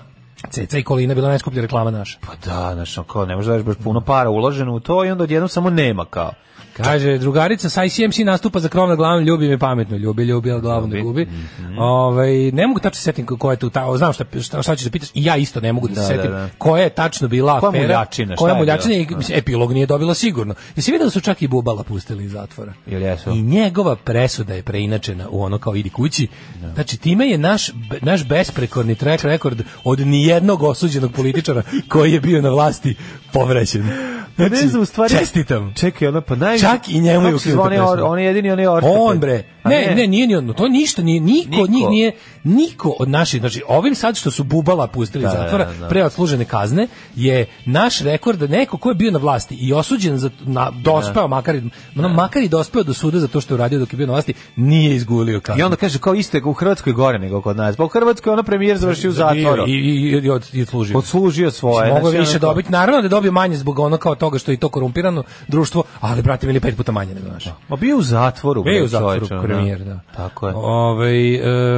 Ceca i kolina je bila najskuplja reklama naša. Pa da, znaš, ono kao, ne možeš da daš baš puno para uloženo u to i onda odjednom samo nema kao. Kaže, drugarica sa ICMC nastupa za krov na glavom, ljubi me pametno, ljubi, ljubi, ali glavom ne gubi. Mhm. Ovaj, ne mogu tačno se setim ko je tu, ta, znam šta, šta, šta ćeš da pitaš, i ja isto ne mogu da, se Da, setim da, da. koja je tačno bila Koja afera, muljačina, šta koja je muljačina, bila? i, mislim, epilog nije dobila sigurno. Jesi vidio da su čak i Bubala pustili iz zatvora? Jel jesu? I njegova presuda je preinačena u ono kao idi kući. Znači, time je naš, be- naš besprekorni track record od nijednog osuđenog političara koji je bio na vlasti povraćen. Znači, Pa Ne znam, u stvari- čestitam. Čekaj, ono, pa naj... Čak i njemu je Kako se ukinuta zvao onaj or- presuda. On je jedini, on je ortak. On bre. A Ne, ne, nije ni on. To ništa nije niko, od njih Niko. nije niko od naših, znači ovim sad što su bubala pustili iz da, zatvora da. pre odslužene kazne je naš rekord da neko ko je bio na vlasti i osuđen za na dospeo makar i ono, makar i dospeo do suda za to što je uradio dok je bio na vlasti, nije izgulio kaznu. I onda kaže kao isto je u Hrvatskoj gore nego kod nas. Pa u Hrvatskoj ono premijer završio u zatvoru. I, i, i, i od, i odslužio. Odslužio svoje. Mogu znači, više ono kao- dobiti. Naravno da je dobio manje zbog ono kao toga što je i to korumpirano društvo, ali brate mili pet puta manje nego naše. Ma bio je u zatvoru. Bio je u bre, zatvoru čoveče, ono, premijer, da. Tako je. Ovaj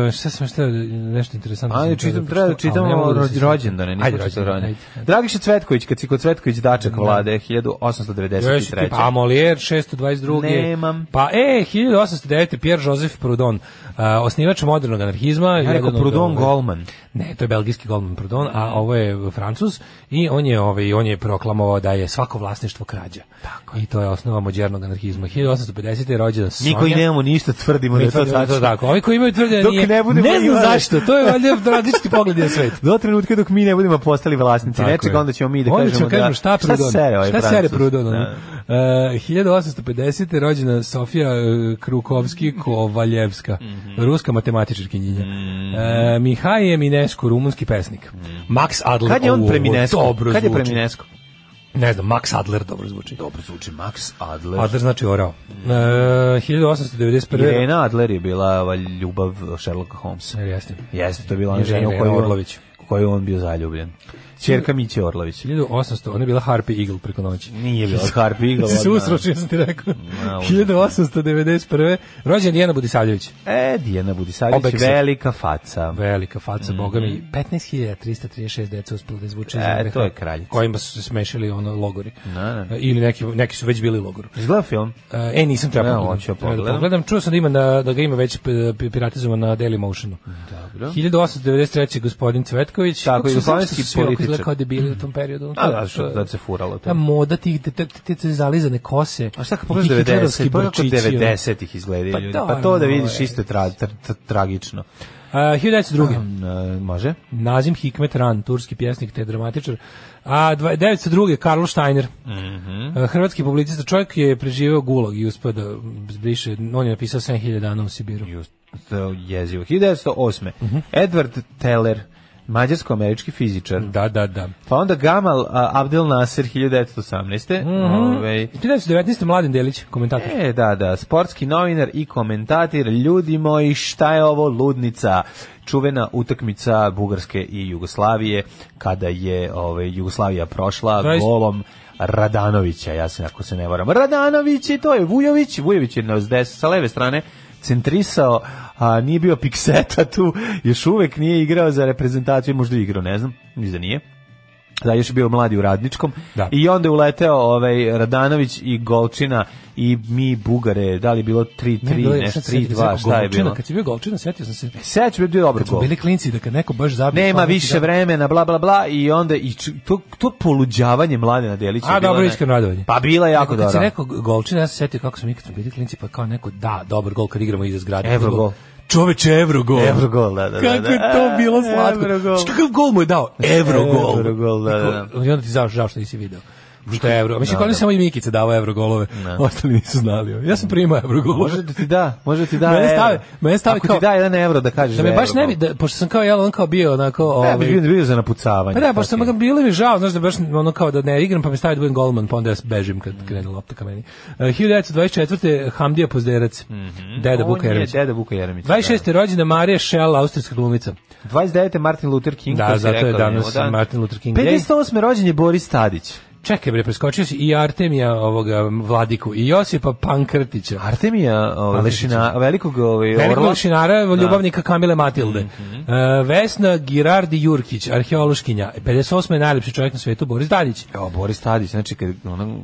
e, šta sam šta nešto interesantno. sam Ajde, htio da čitam, pročitam, treba da čitam ali ne mogu o da se rođ- sjetim. rođendane, nisam Ajde, čitao rođendane, rođendane. ajde. Dragiša Cvetković, kad si kod Cvetković Dačak vlade, Jesi ti, 1893. Pa Molière 622. Nemam. Pa e 1809 Pierre Joseph Proudhon, a, osnivač modernog anarhizma, Ja jedan rekao od, Prudon ovaj, Golman. Ne, to je belgijski golman Proudhon, a ovo je Francuz i on je ovaj on je proklamovao da je svako vlasništvo krađa. Tako. I to je osnova modernog anarhizma. 1850 je rođen Mi Sonja- koji nemamo ništa tvrdimo da Mi je to tvrdimo da je tačno. tako. Ovi koji imaju tvrde da znači- Dok nije. ne budemo znam imali. zašto, to je valjda različiti pogled na svet. Do trenutka dok mi ne budemo postali vlasnici Tako nečega, je. onda ćemo mi da Onda kažemo ćemo da... šta Prudon? Šta sere ovaj šta Francus? sere Prudon? ono? Da. E, 1850. je rođena Sofija e, Krukovski Kovaljevska, Mhm. ruska matematičarkinja. E, Mihaj Eminescu, rumunski pesnik. Max Adler. Mhm. Kad je on ovo, preminesko? Dobro Kad je zvuči. preminesko? Ne znam, Max Adler dobro zvuči. Dobro zvuči Max Adler. Adler znači orao. E, 1891. Irena Adler je bila ova ljubav Sherlocka Holmesa. Jel jeste? Jeste, to je bila ona Irena žena u koju, Orlović. Orlović. u koju on bio zaljubljen. Čerka Miće Orlović. 1800, ona je bila Harpy Eagle preko noći. Nije bila Harpy Eagle. Ti se odmah. usročio, sam ti rekao. Ma, 1891. Rođen Dijana Budisavljević. E, Dijana Budisavljević, Obeksa. velika faca. Velika faca, boga mi. 15.336 deca uspilo da izvuče iz Mhm. E, NDH, to je kraljica. Kojima su se smešili ono logori. Da, da. E, Ili neki, neki su već bili u logoru. Izgleda film? E, nisam trebao Ne, pogledam. hoću ja Treba da pogledam. pogledam. Čuo sam da, ima na, da ga ima već p- p- piratizovan na Dailymotionu. Dobro. 1893. gospodin Cvetković. Tako, Kako su- jugoslovenski kako su svi oko izgledali političar. Kao debili u tom periodu. A, da, što da se furalo Ta to. moda tih te, te, te, te zalizane kose. A šta kako i ti pogledaš hitlerovski 90, pa kako brčići, ono. 90-ih izgledaju Pa ljudi. da, Pa to da vidiš moje. isto je tra, tra, tra, tragično. A, 1902. E, može? Nazim Hikmet Ran, turski pjesnik te dramatičar. A dva- 902. Karl Steiner, Mhm. A, hrvatski publicista. Čovjek je preživeo gulag i uspio da zbriše, on je napisao 7000 dana u Sibiru. Just, to je jezivo. 1908. Edward Teller, mađarsko-američki fizičar. Da, da, da. Pa onda Gamal a, Abdel Nasser 1918. Ovaj, 1919. Mladen Delić, komentator. E, da, da, sportski novinar i komentator, ljudi moji, šta je ovo ludnica? Čuvena utakmica Bugarske i Jugoslavije, kada je ovaj, Jugoslavija prošla Zaista. golom Radanovića, ja se ako se ne varam. Radanović je to je Vujović, Vujović je na des, sa leve strane centrisao, a nije bio pikseta tu, još uvek nije igrao za reprezentaciju, možda je igrao, ne znam, ni da nije da još je bio mladi u Radničkom Da. i onda je uleteo ovaj Radanović i Golčina i mi Bugare, da li je bilo 3-3, je- nešto sad se sjetio sam 3-2, šta je Golčina, bilo? Kad si bio Golčina, sjetio sam se. Seć bi bio dobar Kad smo gol. bili klinci, da kad neko baš zabije. Nema kao neki više dan- vremena, bla bla bla i onda i č- to to poluđavanje Mladena Delića. A, je bilo dobro, ne- iskreno radovanje. Pa bila je jako Nego Kad si dobra. rekao golčina, ja se sjetio kako smo mi kad smo bili klinci, pa kao neko, da, dobar gol kad igramo iza zgrade. Evrogol. Fudbal. Čoveče, Evrogol. Evrogol, da, da, da. Kako da. je to bilo slatko. Evrogol. Što kakav gol mu je dao? Evrogol. Evrogol, da, da. Kako- I onda ti žao, žao što nisi video. Što je Evrogol. Mislim, kao da je samo i Mikica davao Evrogolove. Ostali nisu znali. Ja sam primao Evrogolove. Može da ti da, može da ti da. Mene evro. stave- mene stave Ako kao- ti da 1 evro da kažeš. Da me je baš ne bi, Evrogol. da, pošto sam kao jel, on kao bio onako... Ne, bi bio- bio za napucavanje. Pa da, baš Sad sam je. ga bilo mi žao, znaš da baš ono kao da ne igram, pa mi stavi da budem golman, pa onda ja bežim Mm. kad krene lopta ka meni. Uh, 1924. Hamdija Pozderac, Deda Mhm. On Vuka je Jeremić. Deda Vuka Jeremić. da. 26. rođena Marija Schell, austrijska glumica. 29. Martin Luther King. Da, to si zato je rekao, danas njemu, da. Martin Luther King Day. 58. rođen je Boris Tadić. Čekaj bre, preskočio si i Artemija ovoga Vladiku i Josipa Pankrtića. Artemija, o, lešina, velikog ovaj, Velikog orla. Mhm. lešinara, ljubavnika Kamile Matilde. E, Vesna Girardi Jurkić, arheološkinja. 58. je najlepši čovjek na svijetu, Boris Dadić. Jo, Boris Tadić, znači kad ono...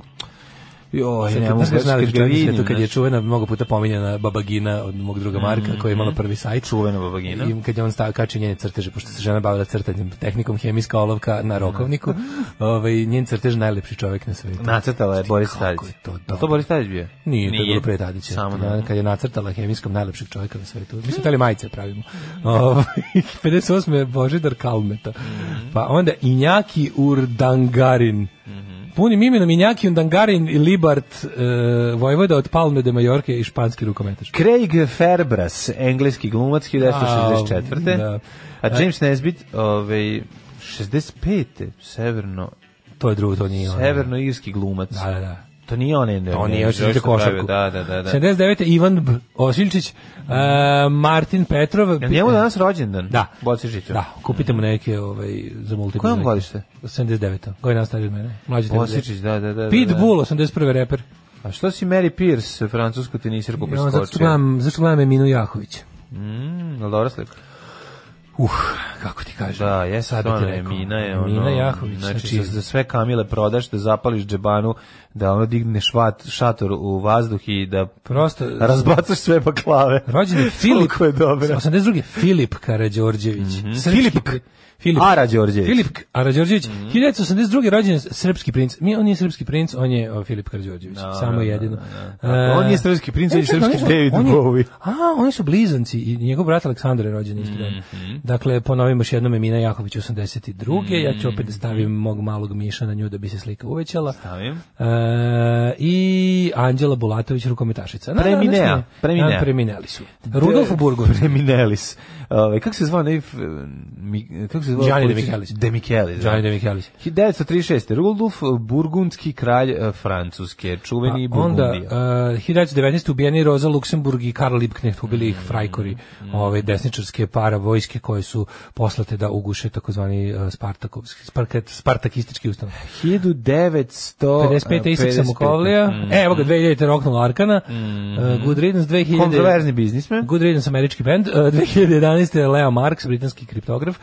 Joj, Sad ne kad mogu nas reći ga znali kad ga čovjek na svijetu, vidim. kad je znaš, Mm, čuvena, mnogo puta pominjena Babagina od mog druga Marka, koja je imala prvi sajt. Čuvena babagina. I kad je on stavio kači njene crteže, pošto se žena bavila crtanjem tehnikom, hemijska olovka na rokovniku, ovaj, njen crtež je najlepši čovjek na svijetu. Nacrtala je Boris Kako Tadić. je to Jel dobro. to Boris Tadić bio? Nije, to je bilo pre Tadića. Samo da, da. kad je nacrtala hemijskom najlepšeg čovjeka na svetu. Mislim, da li majice pravimo. Ovaj, 58. je Božidar Kalmeta. Mhm. Pa onda Injaki Urdangarin. Mhm. Punim imenom Injaki Urdangarin i Libart e, Vojvoda od Palme de Majorke i španski rukometaš. Craig Ferbras, engleski glumac 1964. Da. A James Nesbitt, ovaj, 65. severno To je drugo, to nije ono. severnoirski glumac. Da, da, da. To nije on Ender. To nije, još je košarku. Da, da, da. da. 79. Ivan B. Osilčić, e, Martin Petrov. Jel njemu danas rođendan? Da. Bocižiću. Da, kupite mu neke ovaj, za multiple. Koje on neke. godište? 79. Godina stariji od mene. Mlađi od mene. Bocižić, da, da, da. da, Pitbull, 81. reper. Da. A što si Mary Pierce, francusku tenisirku Ja, zato što preskočio? gledam, zato što gledam Eminu Jahović. Mm, jel dobra slika? Uh, kako ti kažem. Da, jes, Sad bi ti stvarno je rekao. Mina je ono... Mina Jahović. Znači, znači, za sve kamile prodaš, da zapališ džebanu, da ono digne švat, šator u vazduh i da prosto... razbacaš sve baklave. Rođen je Filip, Koliko je dobra. Mhm. 82. Filip Karađorđević. Mm -hmm. Filip Mhm. K- Arađorđević. Filip K- Arađorđević. 1982. rođen je srpski princ. Mi, on nije srpski princ, on je o, Filip Karađorđević. samo i jedino. E, On je srpski princ, on je e, čekaj, srpski oni su- David oni- Bowie. A, oni su blizanci i njegov brat Aleksandar je rođen isti dan. Mhm. Dakle, ponovimo još jednom Emina Jaković 82. Ja ću opet da stavim mog malog Miša na nju da bi se slika uvećala. Mhm. Stavim. E, I Anđela Bulatović, rukometašica. Na, Preminea, današnji- preminea. Na, premineli su. Rudolf Burgund. Preminelis. Ovaj kako se zvao onaj, f- mi- kako se zvao? Gianni De policijski- Michelis. De Michelis. da. Gianni De Michelis. 1936. Rudolf Burgundski kralj e, Francuske, čuveni A Onda, Burgundija. uh, 1919. ubijeni Roza Luksemburg i Karl Liebknecht, ubili ih frajkori, ove desničarske para vojske koje su poslate da uguše takozvani uh, spartakovski, sparkat, spartakistički ustav. 1955. eh, 55. Isak Samokovlija, evo ga, 2000. roknula Arkana, uh, Good Riddance 2000... Kontroverzni biznismen. Good Riddance, američki band, uh, 2011. Leo Marks, britanski kriptograf,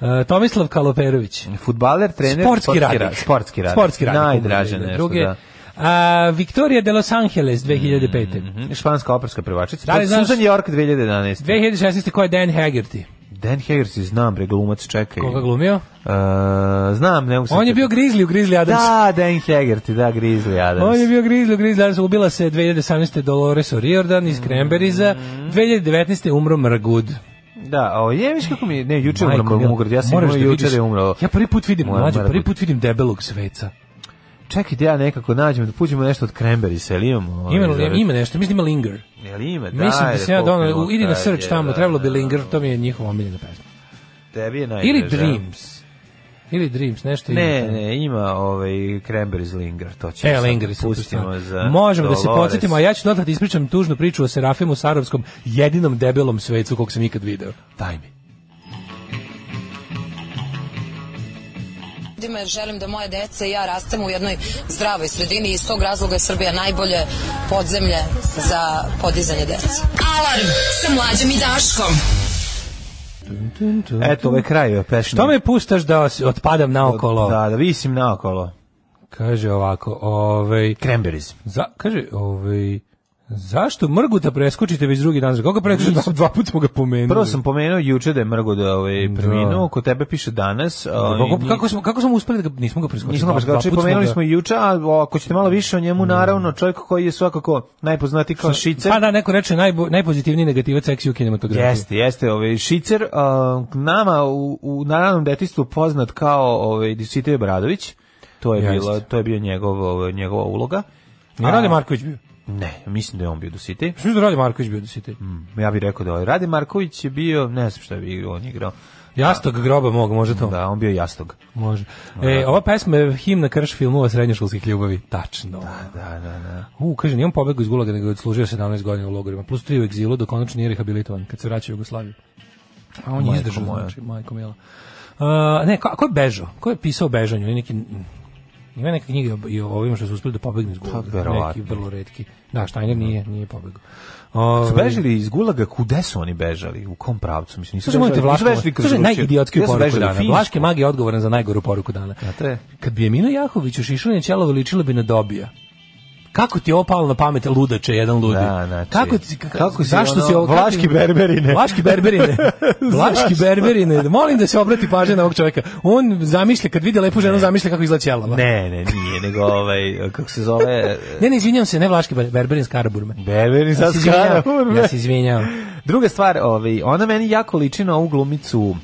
uh, Tomislav Kaloperović. Futbaler, trener, sportski, radnik. ra- Sportski radnik. Sportski radnik. Najdraže umrli, nešto, druge. da. A, Victoria de Los Angeles 2005. Mhm, Španska operska pevačica. Da li Pa znaš- Susan York 2011. 2016. ko je Dan Haggerty? Dan Haggerty znam bre glumac čekaj. Koga glumio? E, znam, ne mogu se On je bio Grizzly u Grizzly Adams. Da, Dan Haggerty, da Grizzly Adams. On je bio Grizzly u Grizzly Adams. Ubila se 2018. Dolores O'Riordan Mm. iz Cranberryza. 2019. umro Mrgud. Da, o jemiš kako mi, ne, juče je Majko umro mila, Mugard, ja sam moraš imao da juče vidiš- da je umro. Ja prvi put vidim, Moja mlađo, prvi Mrgud. put vidim debelog sveca. Čekaj da ja nekako nađem, da puđemo nešto od Cranberries, jel imamo? ovaj, Ima, zove- ima nešto, mislim ima Linger. Jel ima, da. Mislim da se ja donao, idi na search srč tamo, trebalo bi Linger, to mi je njihova omiljena pesma. Tebi je najdraža. Ili Dreams. Ili Dreams, nešto ima Ne, tamo. ne, ima ovaj Cranberries Linger, to će. E, sad Lingeri su Pustimo super za stvar. Možemo da se Dolores. podsjetimo, a ja ću dodatno da ispričam tužnu priču o Serafimu Sarovskom, jedinom debelom svecu kog sam ikad video. Daj mi. ljudima jer želim da moje dece i ja rastemo u jednoj zdravoj sredini i iz tog razloga je Srbija najbolje podzemlje za podizanje dece. Alarm sa mlađom i Daškom. Eto, ovaj kraj je pesma. Što me puštaš da os- otpadam naokolo? Da, da visim naokolo. Kaže ovako, ovaj, Cranberries. za, kaže, ovaj, zašto Mrguta preskočite već drugi dan? Koga preskočite? Dva, dva puta smo ga pomenuli. Prvo sam pomenuo juče da je Mrgo da ovaj preminuo, kod tebe piše danas. a, Kako, i- kako, smo, kako smo uspeli da ga, nismo ga preskočili? Ovaj, Nismo Dva- baš dva gače, puta smo pomenuli ga- smo i juče, a ako ćete malo više o njemu, naravno, čovjek koji je svakako najpoznatiji kao Šicer. Pa da, neko reče najbo, najpozitivniji negativac seksi u kinematografiji. Jeste, jeste, ovaj Šicer a, nama u, u naravnom detinjstvu poznat kao ovaj Disitej Bradović. To je Jeste. bilo, to je bio njegov ovaj, njegova uloga. Nije A, Rade Marković bio. Ne, mislim da je on bio Disitej. Što je da Rade Marković bio da si Mm. ti? Ja bih rekao da ovaj Rade Marković je bio, ne znam šta je bio, on je igrao. Jastog groba mog, može to? Da, on bio Jastog. Može. E, ova pesma je himna krš filmova srednjoškolskih ljubavi. Tačno. Da, da, da. U, kaže, nije on pobegao iz gulaga, nego je odslužio 17 godina u logorima, plus 3 u egzilu, dok konačno nije rehabilitovan, kad se vraća u Jugoslaviju. A on je Majko izdržao, moja. znači, majko mila. Uh, ne, ko, ko je bežao? Ko je pisao bežanju? On je neki... mm, Ima neka knjiga i o ovima što su uspeli da pobegnu iz Pa, gulaga. verovatno. neki vrlo redki. Da, Steiner nije, nije pobegao. Ove, Su bežali iz Gulaga, kude su oni bežali? U kom pravcu? Mislim, nisu Slušaj, molite, bežali, nisu Vlaško, bežali kroz slušaj, Rusiju. najidiotskiju Gde su poruku bežali? dana. Finsku. Vlaški mag je odgovoran za najgoru poruku dana. Znate? Kad bi Emina Jahović u Šišanje ćelo veličila bi na dobija. Kako ti je ovo palo na pamet, ludače, jedan ludi? Da, znači, kako, ti, ka- kako si zašto ono, si ovo... kako- Vlaški berberine. Vlaški berberine. Vlaški berberine. Molim da se obrati pažnja na ovog čoveka. On zamišlja, kad vidi lepu ženu, zamišlja kako izgleda ćelava. Ne, ne, nije, nego ovaj, kako se zove... Znači, Ne, ne, izvinjam se, ne Vlaški berberin, berberin Skaraburme. Berberin sa Ja se izvinjavam, Skaraburme. Ja se izvinjam. Druga stvar, ovaj, ona meni jako liči na ovu glumicu,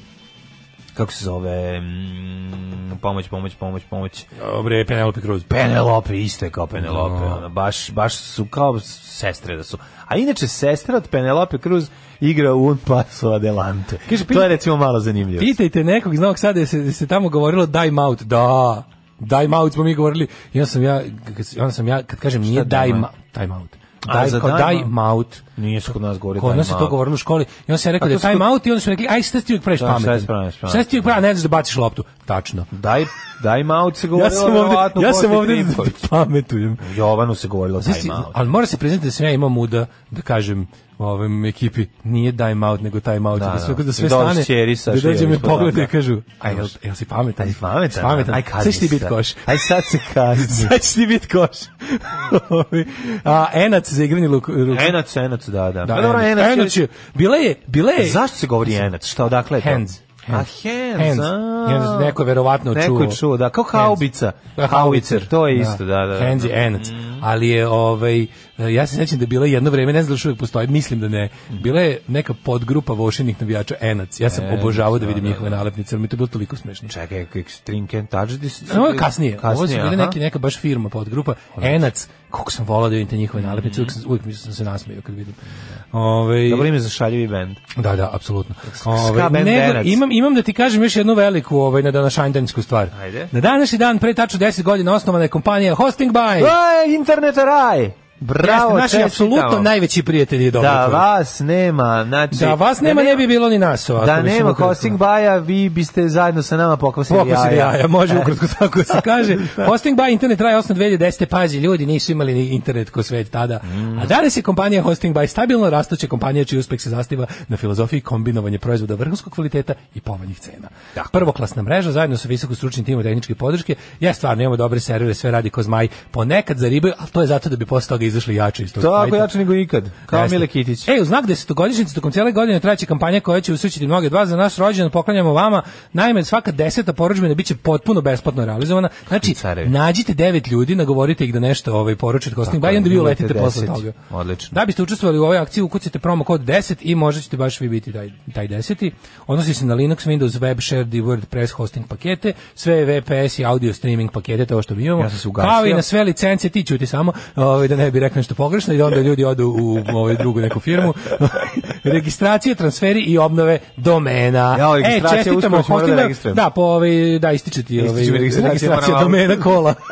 kako se zove, mm, pomoć, pomoć, pomoć, pomoć. Dobre, Penelope Cruz. Penelope, isto je kao Penelope, ona, baš, baš su kao sestre da su. A inače, sestra od Penelope Cruz igra u Un Paso Adelante. Kaže, to je recimo malo zanimljivo. Pitajte nekog iz Novog Sada, je se, je se tamo govorilo daj maut, da, daj maut smo mi govorili, i onda sam ja, kad, onda sam ja, kad kažem nije daj daj maut? maut, daj maut, A, daj, za kao daj daj maut? maut, Nije se kod nas govorili. Kod nas se to govorilo u školi. I onda sam ja rekao A da to je su- time out i onda su rekli, aj šta si ti uvijek previš Da, šta pametan. si pravi, šta si pravi. Šta si ti uvijek pravi, ne znaš da baciš loptu. Tačno. Daj, daj maut se Ja govorilo. sam ovde, Pa, verovatno, ja sam Kosti ovde da Trifunović. pametujem. Jovanu se govorilo Znaš ti, time out. ali mora se priznati da sam ja imao muda da kažem ovom ekipi nije time out nego time out Da, da, da, sve, da. da sve I dođu stane ćeri sa da dođe me Šiljevićem, pogleda da. i kažu aj jel, jel si pametan Aj Pa pametan, pametan aj sve kazni će ti biti se. koš Aj sad se kazni. sad će ti biti koš a enac za igranje luk, luk, Enac, enac, da, da. da, Pa dobro, enac, enac je, bila je bila je Zašto se govori enac? Šta, odakle je to? Hands. A hands, Hands. a. Hands, neko je verovatno Neko je čuo. čuo, da, kao haubica. Da, Haubicer, to je isto, da, da. Hands i enac. Ali je, ovaj, ja se sećam da je bila jedno vreme, ne znam da li još uvijek postoji, mislim da ne, bila je neka podgrupa vošenih navijača enac. Ja sam obožavao da vidim njihove nalepnice, ali mi je to bilo toliko smešno. Čekaj, Extreme Can Touch This. Ovo je kasnije. Ovo su Kasnije, bili aha. neki, neka baš firma podgrupa. Enac, koliko sam volao da vidim te njihove nalepnice, uvijek, sam- uvijek mislim sam se nasmejao kad vidim. Ovaj, Dobro ime za šaljivi band. Da, da, apsolutno. ska Ovaj band nego, Venac. imam imam da ti kažem još jednu veliku ovaj na današnjdansku stvar. Ajde. Na današnji dan pre tačno 10 godina osnovana je kompanija Hosting by. Aj, internet raj! Bravo, Jeste, naši čestitamo. apsolutno najveći prijatelji i Da dobrotvori. vas nema, znači... da vas nema ne bi bilo ni nas ovako. Da mislim, nema ukratko. Hosting Baja, vi biste zajedno sa nama pokvasili jaja. Pokosili jaja, može ukratko tako se kaže. Hosting by internet traje osnovno 2010. Pazi, ljudi nisu imali ni internet ko svet tada. A danas je kompanija Hosting by stabilno rastuća kompanija čiji uspeh se zastiva na filozofiji kombinovanja proizvoda vrhunskog kvaliteta i povoljnih cena. Prvoklasna mreža zajedno sa visoko stručnim timom tehničke podrške. Ja stvarno imamo dobre servere, sve radi ko zmaj. Ponekad zaribaju, ali to je zato da bi posle toga izašli jače iz tog Tako fajta. jače nego ikad, kao Jeste. Mile Kitić. E, u znak desetogodišnjice, tokom cijele godine trajeće kampanja koja će usrećiti mnoge od vas za naš rođendan poklanjamo vama. Naime, svaka deseta poručbina biće potpuno besplatno realizovana. Znači, Carevi. nađite devet ljudi, nagovorite ih da nešto ovaj, poručite Hosting Tako by, je, i onda vi budete uletite posle 10. toga. Odlično. Da biste učestvovali u ovoj akciji, ukucite promo kod 10 i možda ćete baš vi biti taj, taj 10. Odnosi se na Linux, Windows, Web, Shared i WordPress hosting pakete, sve VPS i audio streaming pakete, to što mi imamo. Ja sam se ugasio. Kao i na sve licence, ti ćuti samo, ovaj, da ne bi rekao nešto pogrešno i da onda ljudi odu u ovaj drugu neku firmu. Registracije, transferi i obnove domena. Ja, ovaj, registracija, uskoro ćemo da hosting- registrujemo. Da, po, ovaj, da, ističe ti ovaj, Ističe mi registracija, registracija moram- domena kola.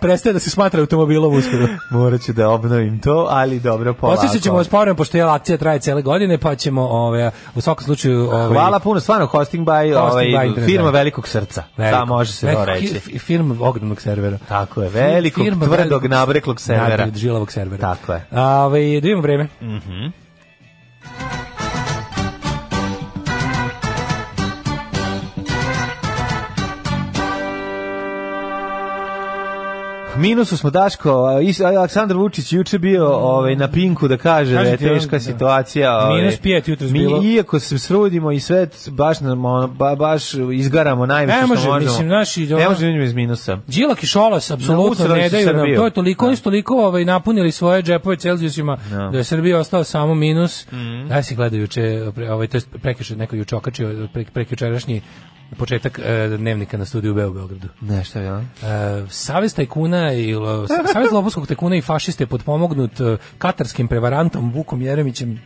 Prestaje da se smatra automobilom uskoro. Morat ću da obnovim to, ali dobro, polako. Posjećat ćemo vas povremeno, pošto je akcija traje cele godine, pa ćemo ove, u svakom slučaju... Ove, Hvala puno, stvarno, Hosting By, Hosting ovaj, by Internet firma Raj. velikog srca. Da, pa može se to reći. Firma ogromnog servera. Tako je, velikog, Firma tvrdog, velikog- nabreklog servera. Napred, žilavog servera. Tako je. Ove, da imamo vreme. Minusu smo Daško, a, is- a, Aleksandar Vučić juče bio ovaj na Pinku da kaže da Kažem je ti, on- teška Mm. da. situacija. Ovaj, Minus pet jutros bilo. Iako se srudimo i sve t- baš nam ono, ba, baš izgaramo najviše Ne može, što možemo. mislim, naši- ono, ne može vidimo iz minusa. Đilak i Šolas apsolutno Naucrali ne su daju nam. Srbiju. To je toliko, oni su toliko ovaj, napunili svoje džepove Celzijusima da je Srbija ostao samo minus. Mhm. Da si gledaju juče, pre- ovaj, to je prekiče, neko juče okačio, pre, prekičerašnji početak e, dnevnika na studiju B u Beogradu. Ne, šta je ono? E, Savez tajkuna i lo- Savez lopovskog tajkuna i fašiste je potpomognut e, katarskim prevarantom Vukom Jeremićem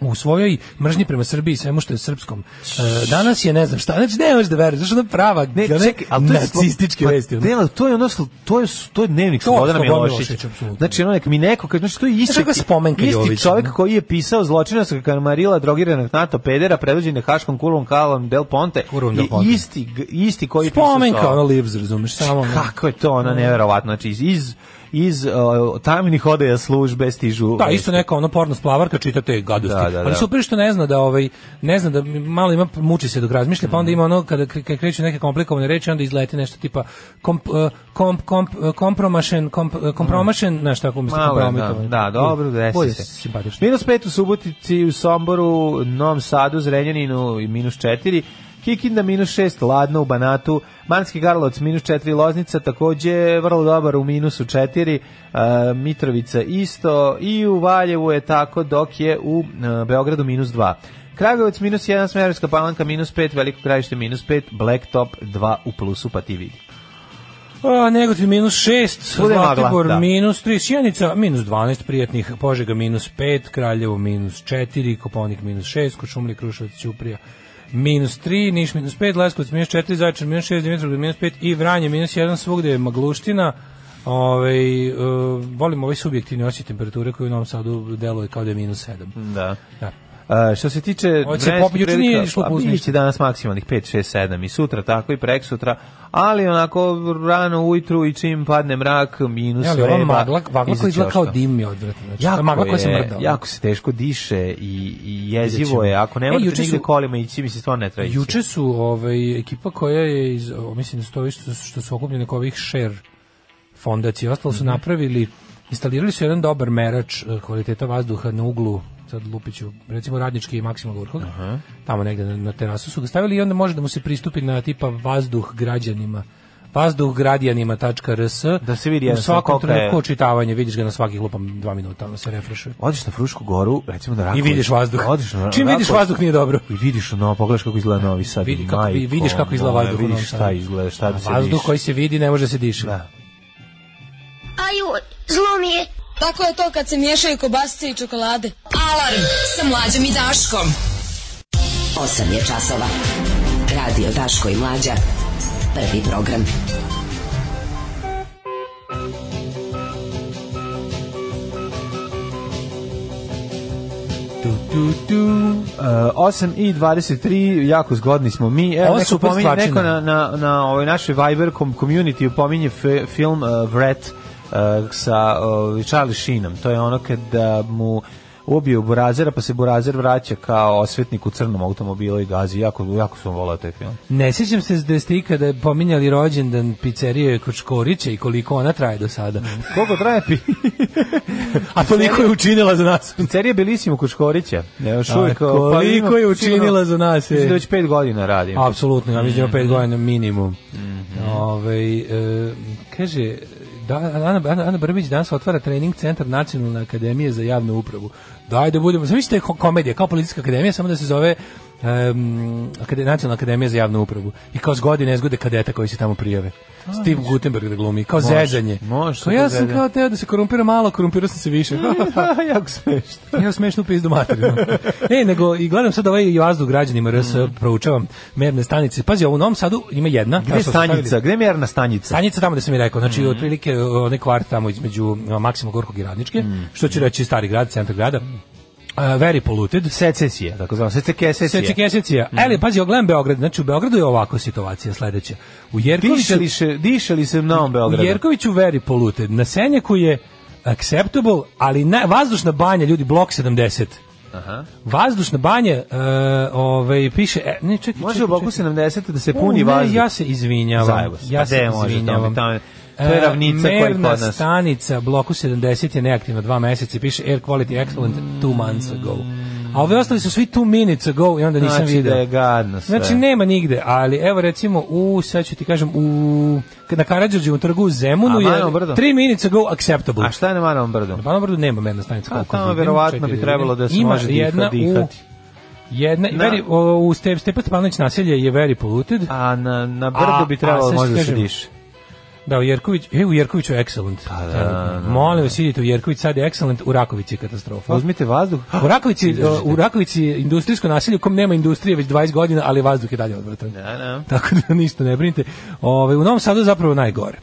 u svojoj mržnji prema Srbiji i svemu što je srpskom. E, danas je ne znam šta, znači ne možeš da veruješ, znači ona prava, ne, čekaj, to je nacističke slo- vesti. Pa, ono. ne, ali to je ono, sl- to je, s- to je dnevnik To, Slobodana Slobodan Milošević. Milošević, apsolutno. Znači, ono, nek mi neko, kaže, znači, to je isti, Znaš kako je spomenka isti Jović, čovjek ono? koji je pisao zločinačka kamarila drogiranog NATO pedera, predvođene Haškom Kurvom Kalom Del Ponte, Kurvom je Del Ponte. isti, g- isti koji je pisao Spomenka, to. ona lives, razumeš, samo ono. Kako je to, ono, neverovatno, znači, iz, iz, iz uh, tamnih odeja službe stižu... Da, isto neka ono porno splavarka čita te gadosti. Da, da, da. Ali super što ne zna da ovaj ne zna da malo ima muči se dok razmišlja, pa Mhm. onda ima ono kada kre- kada kreću neke komplikovane reči, onda izleti nešto tipa komp, eh, komp, komp, eh, kompromašen, komp, eh, kompromašen, znaš tako mislim Mhm. Malo je, da, kompromitovan. da, dobro, Bolje desi se. simpatično. Minus 5 u Subotici, u Somboru, Novom Sadu, Zrenjaninu i minus 4. Kikinda minus 6, Ladno u Banatu, Manski Karlovac minus 4, Loznica takođe vrlo dobar u minusu 4, e, Mitrovica isto i u Valjevu je tako dok je u e, Beogradu minus 2. Kragovac minus 1, Smerovska palanka minus 5, Veliko krajište minus 5, Blacktop 2 u plusu pa ti vidi. A, Negotin Pa, minus 6, Bude magla, Zlatibor da. minus 3, Sjenica minus 12 prijatnih, Požega minus 5, Kraljevo minus 4, Koponik minus 6, Kočumlje, Kruševac, Ćuprija minus 3, Niš minus 5, Leskovac minus 4, Zaječar minus 6, Dimitrovgrad minus 5 i Vranje minus 1, svugde je magluština. Ovaj, e, volim ovaj subjektivni osjećaj temperature koji u Novom Sadu deluje kao da je minus 7. Da. Da. A, što se tiče Hoće pop- juče nije išlo pa po uzništu. biće danas maksimalnih 5, 6, 7 i sutra tako i preksutra, ali onako rano ujutru i čim padne mrak minus Ja, ali vreba. ova magla, magla izaći koja izgleda kao ošta. dim je odvratna. Znači, ta Jako, magla koja je, se mrda. ono. jako se teško diše i, i Vidjet ćemo. jezivo je. Ako ne E, morate juče nigde su- kolima ići, mi se stvarno ne treba ići. Juče su ovaj ekipa koja je iz o, mislim da stoji što, što su okupljene oko ovih share fondacija, ostalo Mhm. su napravili instalirali su jedan dobar merač e, kvaliteta vazduha na uglu sad Lupiću, recimo Radnički i Maksima Gorkog, tamo negde na, na terasu su ga stavili i onda može da mu se pristupi na tipa vazduh građanima vazduhgradjanima.rs Da se vidi u jednostavno svakom koliko je- trenutku očitavanje, vidiš ga na svakih lupam dva minuta, ono se refrešuje. Odiš na Frušku goru, recimo da Raković. I vidiš vazduh. Odiš na Čim vidiš Raković- vazduh nije dobro. I vidiš ono, pogledaš kako izgleda Novi Sad. vidi kako vi- majko vidiš kako izgleda moja, vazduh u Novom Vidiš šta Sadu. izgleda, šta da se vazduh diše. koji se vidi ne može da se diši. Da. Aju, zlo mi je. Tako je to kad se miješaju kobasice i čokolade. Alarm sa mlađom i Daškom. 8 je časova. Radio Daško i Mlađa. Prvi program. Tu, tu, tu. Uh, 8 i 23, jako zgodni smo mi. Evo, Ovo je neko, super pominje, stvarčina. neko na, na, na ovoj našoj Viber kom, community pominje fe- film uh, Vret uh, sa uh, Charlie Sheenom. To je ono kada mu ubio Burazera, pa se Burazer vraća kao osvetnik u crnom automobilu i gazi. Jako, jako sam volao taj film. Ne sjećam se da ste ikada pominjali rođendan pizzerije kod Škorića i koliko ona traje do sada. Koliko traje pi? A toliko je učinila za nas. Pizzerija Belisimo kod Škorića. Evo, još uvijek, A, uh, koliko ima je sigurno- učinila za nas, je. Mislim da već pet godina radim. Apsolutno, ja mislim da Mm. pet godina minimum. Mhm. Ovaj, e, kaže, da, Ana, Ana, Ana Brbić danas otvara trening centar Nacionalne akademije za javnu upravu. Daj da budemo, zamislite je ko- komedija, kao policijska akademija, samo da se zove em, akade, Nacionalna akademija za javnu upravu. I kao zgodi ne zgode kadeta koji se tamo prijave. Steve Gutenberg da glumi, kao Može, zezanje. može, Kao super ja sam zezanje. kao teo da se korumpira malo, korumpirao sam se više. jako smešno. Ja smešno u pizdu materinu. ne, E, nego i gledam sad ovaj jazdu građanima RS, proučavam merne stanice. Pazi, ovo u Novom Sadu ima jedna. ta Mm. Gde što su stanjica? stavili. Gde je Mm. mjerna stanjica? Stanjica tamo da sam mi rekao, znači otprilike onaj kvart tamo između a, Maksima Gorkog i Radničke, Mm. što ću reći stari grad, centar grada. A, very polluted. Secesija, tako zvano, secekesesija. Secik esencija. Mm. Ali, pazi, ogledam Beograd. Znači, u Beogradu je ovako situacija sledeća. U Diše Jerkoviću, li se, diše li se u Novom u Beogradu? Jerkoviću very polluted. Na Senjaku je acceptable, ali na, vazdušna banja, ljudi, blok 70. Aha. Vazdušna banja, e, ovaj piše, e, ne čekaj. Može čekaj, u bloku čekaj. 70 da se U, puni ne, vazduh. Ja se izvinjavam. Zajebo se. Ja Pa se gde može tamo, izvinjavam. tamo- to je E, ravnica koja je kod merna nas. stanica bloku 70 je neaktivna dva meseca i piše air quality excellent two months ago. A ove ostali su svi two minutes ago i onda nisam Znači video. da je gadno sve. Znači nema nigde, ali evo recimo u, sad ću ti kažem, u, na Karadžorđevom trgu u Zemunu A je Banovom brdu? 3 minutes ago acceptable. A šta je na Manovom brdu? Na Banovom brdu nema merna stanica. A, koliko tamo vidim. verovatno Čekaj bi da trebalo vidim. da se Ima može diha- jedna u- dihati. Jedna, Na- very, o, u Ste, Stepa Stepanović naselje je very polluted. A na, na brdu bi trebalo sad ću možda da se kažem, diše. Da, u Jerković, e, u Jerkoviću je excellent. Pa da, Trenutno. da. Molim vas, idite u Jerković, sad je excellent, u Rakovici je katastrofa. Uzmite vazduh. U Rakovici, pa, u Rakovici je industrijsko nasilje u kom nema industrije već 20 godina, ali vazduh je dalje odvratan. Da, da. Tako da ništa ne brinite. Ove, u Novom Sadu je zapravo najgore.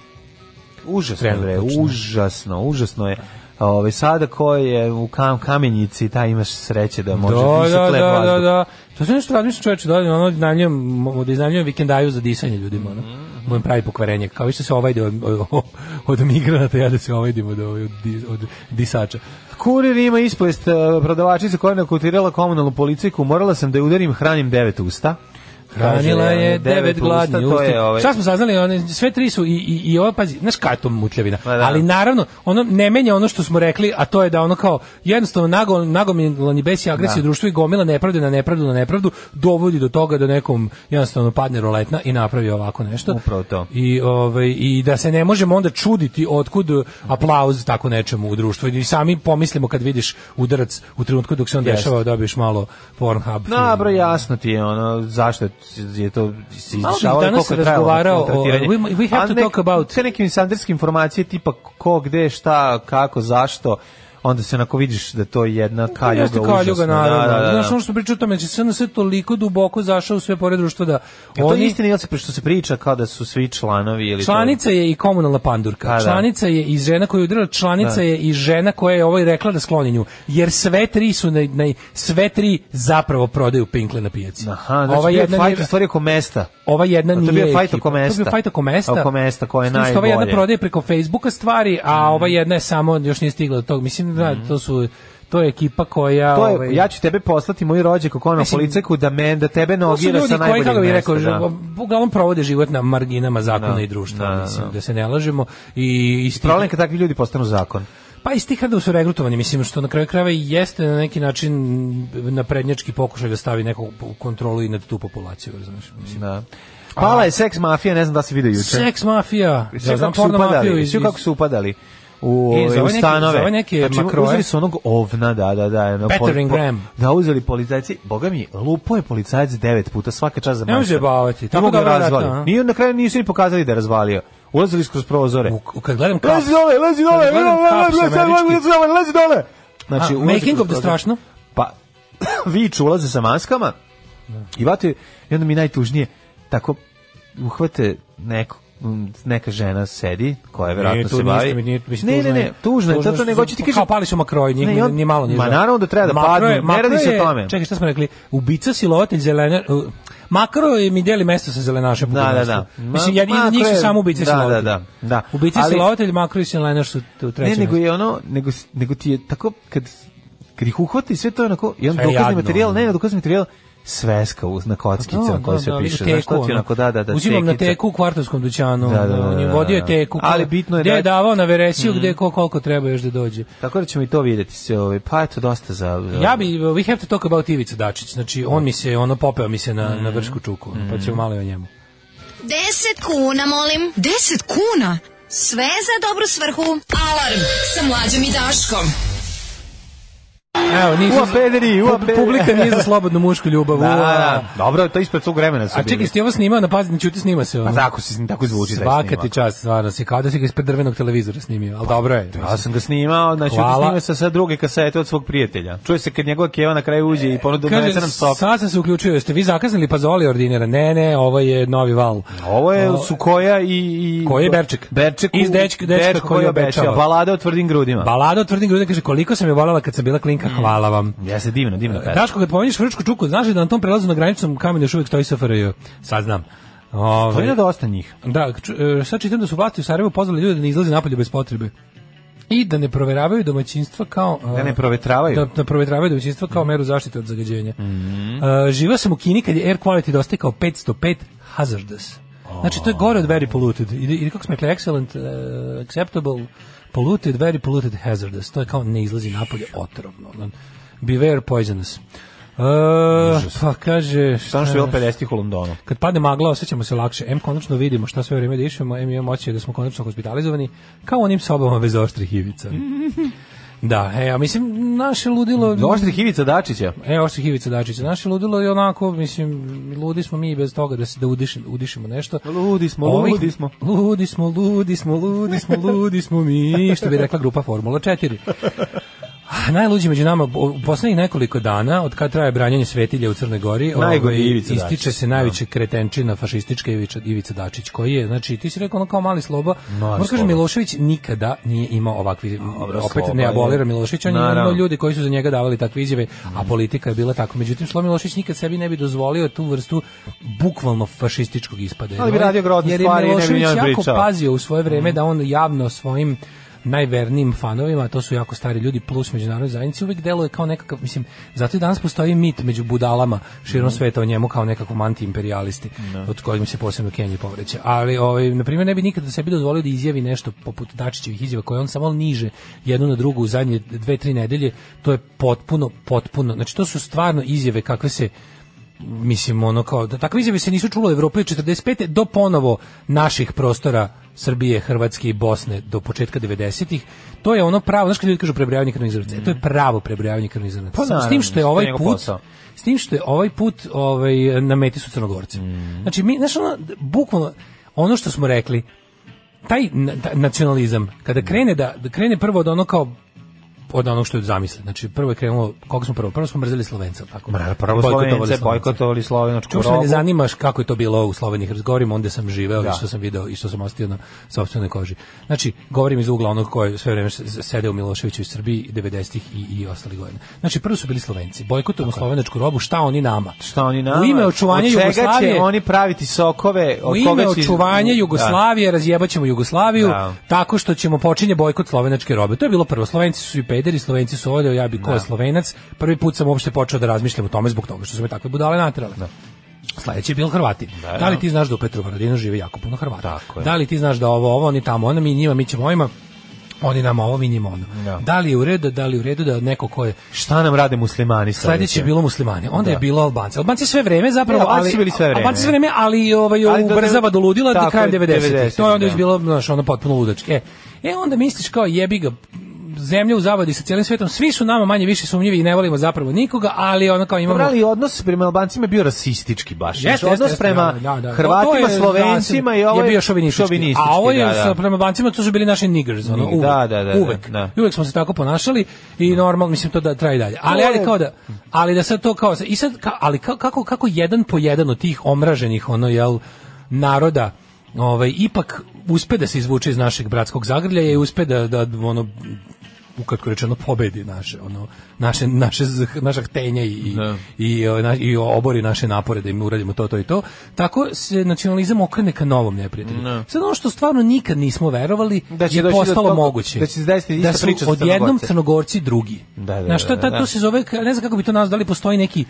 Užasno, bre, Trenutačno. užasno, užasno je. Ove, sada ko je u kam, kamenjici, taj imaš sreće da može da, disati da, lep da, da, vazduh. da. To se nešto razmišljam čoveče, da ono iznajmljujem, mo- da iznajmljujem vikendaju za disanje ljudima, ono. Mhm, Mu im pravi pokvarenje. Kao vi što se ovajde od, od, od migranata, ja da se ovajdim od, ovaj, od, dis- od disača. Kurir ima ispovest e, prodavačica koja je nakutirala komunalnu policajku. Morala sam da je udarim, hranim devet usta. Hranila Kaže, ono, je devet gladnih To usta. je, ovaj, Šta smo saznali, one, sve tri su i, i, i ova, pazi, znaš kada je to mutljavina. Pa da. Ali naravno, ono ne menja ono što smo rekli, a to je da ono kao jednostavno nago, nagomilan i bes i agresija u društvu i gomila nepravde na nepravdu na nepravdu dovodi do toga da nekom jednostavno padne roletna i napravi ovako nešto. Upravo to. I, ovaj, I da se ne možemo onda čuditi otkud eh, aplauz tako nečemu u društvu. I sami pomislimo kad vidiš udarac u trenutku dok se on Jeste. dešava, dobiješ malo Pornhub. Na, bro, jasno ti je, ono, zašto je to se Malo bih izdešavalo i danas koliko je trajalo razgovarao to tretiranje. o- we- we have A to nek- talk about- Te neke insiderske informacije tipa ko, gde, šta, kako, zašto, onda se onako vidiš da to je jedna kaljuga Jeste užasna. kaljuga, naravno. Pa, Da, da, da. Znaš ono što priča o tome, će SNS toliko duboko zašao u sve pored društva da Jel to oni... istina ili se, što se priča kao da su svi članovi ili to- Članica je i komunalna pandurka. Pa da. Članica je i žena koju je udarila, članica Da. je i žena koja je ovoj rekla da skloni nju. Jer sve tri su na, na sve tri zapravo prodaju pinkle na pijaci. Aha, znači, ova bio je jedna fajt u nije- stvari oko mesta. ova jedna A to nije je bio fajt ekipa. oko mesta. To je bio fajt oko mesta. Oko mesta, koja je S tim što Ova jedna najbolje. Mhm. prodaje preko Facebooka stvari, a ova jedna je samo još nije stigla do toga. Mislim da to su to je ekipa koja To ovaj, je, ja ću tebe poslati moj rođak u konu Mislim, policajku da, me, da tebe To su nogira ljudi sa koji, najboljeg kako bih mesta. rekao, da. ž- uglavnom provode život na marginama zakona Da, i društva, da, da, mislim, da. da. se ne lažemo. I, iz tih, Problem je kad takvi ljudi postanu zakon. pa iz tih radova su regrutovani, mislim, što na kraju krajeva i jeste na neki način naprednjački pokušaj da stavi neku kontrolu i nad tu populaciju, razumiješ? Mislim. Da. Pala je seks mafija, ne znam da si vidio juče. Seks mafija, Svi ja znam kako su porno mafiju upadali, iz, svi kako iz su upadali u, E, za u ove neke- stanove. za ove neke znači, makroje. uzeli su onog ovna, da, da, da. ono, Peter poli- Ingram. da, uzeli policajci. Boga mi, lupo je policajac devet puta, svaka čast za Ne može bavati, tako Tako da dobro rata, razvalio. a? Nije, na kraju nisu ni pokazali da je razvalio. Ulazili skroz prozore. u- kad gledam kap- Lezi dole, lezi dole, Kad lezi gledam dole, kaps lezi dole, američki. lezi dole, lezi dole. Znači, A, ulaze making kroz of the prozore. strašno? Pa, viču, ulaze sa maskama i vate, i onda mi je najtužnije, tako, uhvate neko, m, neka žena sedi, koja je verovatno tu se ništa bavi. mi nije- ne, mislim, ne, tužno je. ne, tužno je, Tužno to, to je, nego ću ti kao kažem. pali su makroji, njih Ne, i on- ni malo nije Ma žao. naravno da treba da Makro padnu, je- ne radi makro se je- o tome. Čekaj, šta smo rekli? Ubica, silovatelj, zelenar... uh, Makro je mi deli mesto sa zelenašem. po Da, da, kućanstvu. da. Ma- Mislim, jedni makro iz njih je- su samo ubice da, silovatelj. da, da, da. Ubice, Ali- silovatelj, makro i zelenar su tu- u Ne, trećem. nego mestu. je ono, nego, s- nego ti je tako, kad, kad ih uhvati, sve to je onako, i on Sve je dokazni jadno, materijal, ne, ono. Pa ne, dokazni materijal, sveska uz, na kockice Da, na koje da, se da, piše. vidim Znaš šta ti ono. onako, da, da, da, Uzimam na čekica. teku u kvartovskom dućanu. Da, da, da, on je da, vodio da. teku. Ali kao- bitno je gde da- je Mhm. davao na veresiju, gde ko koliko treba još da dođe. Tako da ćemo i to vidjeti sve ove, pa eto, dosta za... za- Ja bi, we have to talk about Ivica Dačić. Znači, on mi se, ono, popeo mi se na, na vršku čuku. Pa ćemo malo i o njemu. 10 kuna, molim. 10 kuna? Sve za dobru svrhu. Alarm sa mlađom i Daškom. Evo, nisu, Ua, pederi, ua, pederi. publika nije za slobodnu mušku ljubav. Da, ua. da, dobro, to je ispred svog vremena su A čekaj, bili. ste ovo snimao, na pazi, ne čuti, snima se Pa ono. tako se tako zvuči taj Svaka snimak. ti čast, stvarno, si kao da si ga ispred drvenog televizora snimio, ali dobro Pa, je. Ja sam ga snimao, znači Hvala. snimao sa sa druge kasete od svog prijatelja. Čuje se kad njegova keva na kraju uđe i ponudi da E, Kaže, nam sok. sad sam se uključio, jeste vi zakasnili pa zvali ordinera? Ne, ne, ovo je novi val. Ovo je O, su koja i, i Koji je Berček? Berček Iz Dečka- Dečka koji obećava. Balada o tvrdim grudima. Balada o tvrdim grudima kaže, koliko sam je voljela kad sam bila klinka, hvala vam. ja se divno, divno pesma. Daško, kad pomeniš Vrčku čuku, znaš li da na tom prelazu na graničnom kamenu još uvijek stoji SFRJ? Sad znam. Ovaj, To je dosta njih. Da, ču- e, sad čitam da su vlasti u Sarajevu pozvali ljude da ne izlaze napolje bez potrebe. I da ne proveravaju domaćinstva kao... e, Da ne provetravaju. Da, da provetravaju domaćinstva kao meru zaštite od zagađenja. Mhm. E, živa sam u Kini kad je air quality dostikao 505 hazardous. Znači, to je gore od very polluted. Ili, ili kako smo rekli, excellent, e, acceptable, polluted, very polluted, hazardous. To je kao ne izlazi napolje otrovno. Ono, Beware poisonous. E, pa Samo kaže... što je šta- bilo 50 u Londonu. kad padne magla, osjećamo se lakše. M konačno vidimo šta sve vrijeme dišemo, M imamo osjećaj da smo konačno hospitalizovani, kao u onim sobama bez oštrih ivica. Da, e, a mislim, naše ludilo... Oštrih Ivica Dačića. E, oštrih Ivica Dačića. Naše ludilo je onako, mislim, ludi smo mi bez toga da se da udiši, udišimo nešto. Ludi smo, ludi smo. Ludi smo, ludi smo, ludi smo, ludi smo mi, što bi rekla grupa Formula 4. A najluđi među nama bo- u poslednjih nekoliko dana od kad traje branjenje svetilja u Crnoj Gori, ovaj, Najgori Ivica Dačić. ističe se najveća kretenčina fašistička Ivica, Ivica Dačić koji je, znači ti si rekao ono kao mali sloba, Mali možda kažem sloba. Milošević nikada nije imao ovakvi Dobro, opet sloba ne je. aboliram Milošević, on je Naravno. imao ono ljudi koji su za njega davali takve izjave, a politika je bila tako. Međutim Sloba Milošević nikad sebi ne bi dozvolio tu vrstu bukvalno fašističkog ispada. Ali bi radio grozne Jer je stvari i ne bi Milošević ni on jako pričao. Mhm. pazi pazio u svoje vreme da on javno svojim najvernijim fanovima, a to su jako stari ljudi plus međunarodne zajednice, uvek deluje kao nekakav, mislim, zato i danas postoji mit među budalama širom Mhm. sveta o njemu kao nekakvom antiimperialisti, od kojim se posebno Kenji povreće. Ali, ovaj, na primjer, ne bi nikada sebi dozvolio da izjavi nešto poput Dačićevih izjava koje on samo niže jednu na drugu u zadnje dve, tri nedelje, to je potpuno, potpuno, znači to su stvarno izjave kakve se mislim ono kao da takve izjave se nisu čule u Evropi od 45. do ponovo naših prostora Srbije, Hrvatske i Bosne do početka 90-ih. To je ono pravo, znaš kad ljudi kažu prebrojavanje krvnih to je pravo prebrojavanje krvnih zrnaca. Pa s tim što je naravno, ovaj to je njegov put posao. s tim što je ovaj put ovaj na meti su Crnogorci. Mm. Znači mi znaš ono, bukvalno ono što smo rekli taj na- ta- nacionalizam kada Mm. krene da, da krene prvo od ono kao od onog što je zamisli. Znači prvo je krenulo koga smo prvo prvo smo mrzeli Slovence, jel tako. Mra, prvo Bojkotovali Slovenice, Slovence. bojkotovali Slovenočku Čemu se ne robu. zanimaš kako je to bilo u Sloveniji, razgovorim onda sam živeo Da. i što sam video i što sam ostio na sopstvenoj koži. Znači, govorim iz ugla onog koji sve vreme s- sede u Miloševiću u Srbiji 90-ih i, i ostali godina. Znači, prvo su bili Slovenci. Bojkotujemo slovenačku robu, šta oni nama? Šta oni nama? U ime očuvanja Od čega Jugoslavije, će oni praviti sokove? Od u ime koga će- očuvanja Jugoslavije razjebaćemo Jugoslaviju Da. tako što ćemo počinje bojkot slovenačke robe. To je bilo prvo. Slovenci su i pederi, Slovenci su ovdje, ja bi ko je Slovenac. Prvi put sam uopšte počeo da razmišljam o tome zbog toga što su me takve budale natrale. Da. Sledeći je bil Hrvati. Da, li ti znaš da u Petrovaradinu žive jako puno Hrvata? Tako je. Da li ti znaš da ovo, ovo, oni tamo, ono, mi njima, mi ćemo ovima, oni nama ovo, mi njima ono. Da. Da li je u redu, da li je u redu da neko ko je... Da. Šta nam rade muslimani Sledeći je bilo muslimani, onda je bilo Albanci. Albanci sve vreme zapravo, Ne, Albanci ali su bili sve vreme. Albanci sve vreme, ali ovaj Ali do- ubrzava do ludila do tako kraja je, 90. To je 90-ih, onda već da. bilo znaš, ono potpuno ludački. E, e onda misliš kao jebi ga zemlja u zavadi sa cijelim svetom, svi su nama manje više sumnjivi i ne volimo zapravo nikoga, ali ono kao imamo... Dobro, ali odnos prema Albancima je bio rasistički baš. Znači, Jeste, jeste, odnos jeste, prema da, da. To Hrvatima, je Slovencima ovaj i ovo je bio šovinistički. A ovo je sa- prema Albancima to su bili naši niggers, ono, Nig- uvek. da, da, da, da, uvek. da. I uvek smo se tako ponašali i normalno mislim to da traje i dalje. Ali ajde kao da ali da sad to kao i sad ka- ali ka- kako kako jedan po jedan od tih omraženih ono jel naroda ovaj ipak uspe da se izvuče iz našeg bratskog zagrljaja i uspe da da ono ukratko rečeno pobedi naše ono naše naše z- naša htenja i i, Da. i, o, na- i obori naše napore da im uradimo to to i to tako se nacionalizam okrene ka novom neprijatelju sad ono što stvarno nikad nismo verovali Da će je doći do postalo toga- moguće da će se desiti ista da su priča sa odjednom Crnogorcem. crnogorci drugi Da, da, Znaš, da, to- da, ta- da. to se zove ne znam kako bi to nazvao da li postoji neki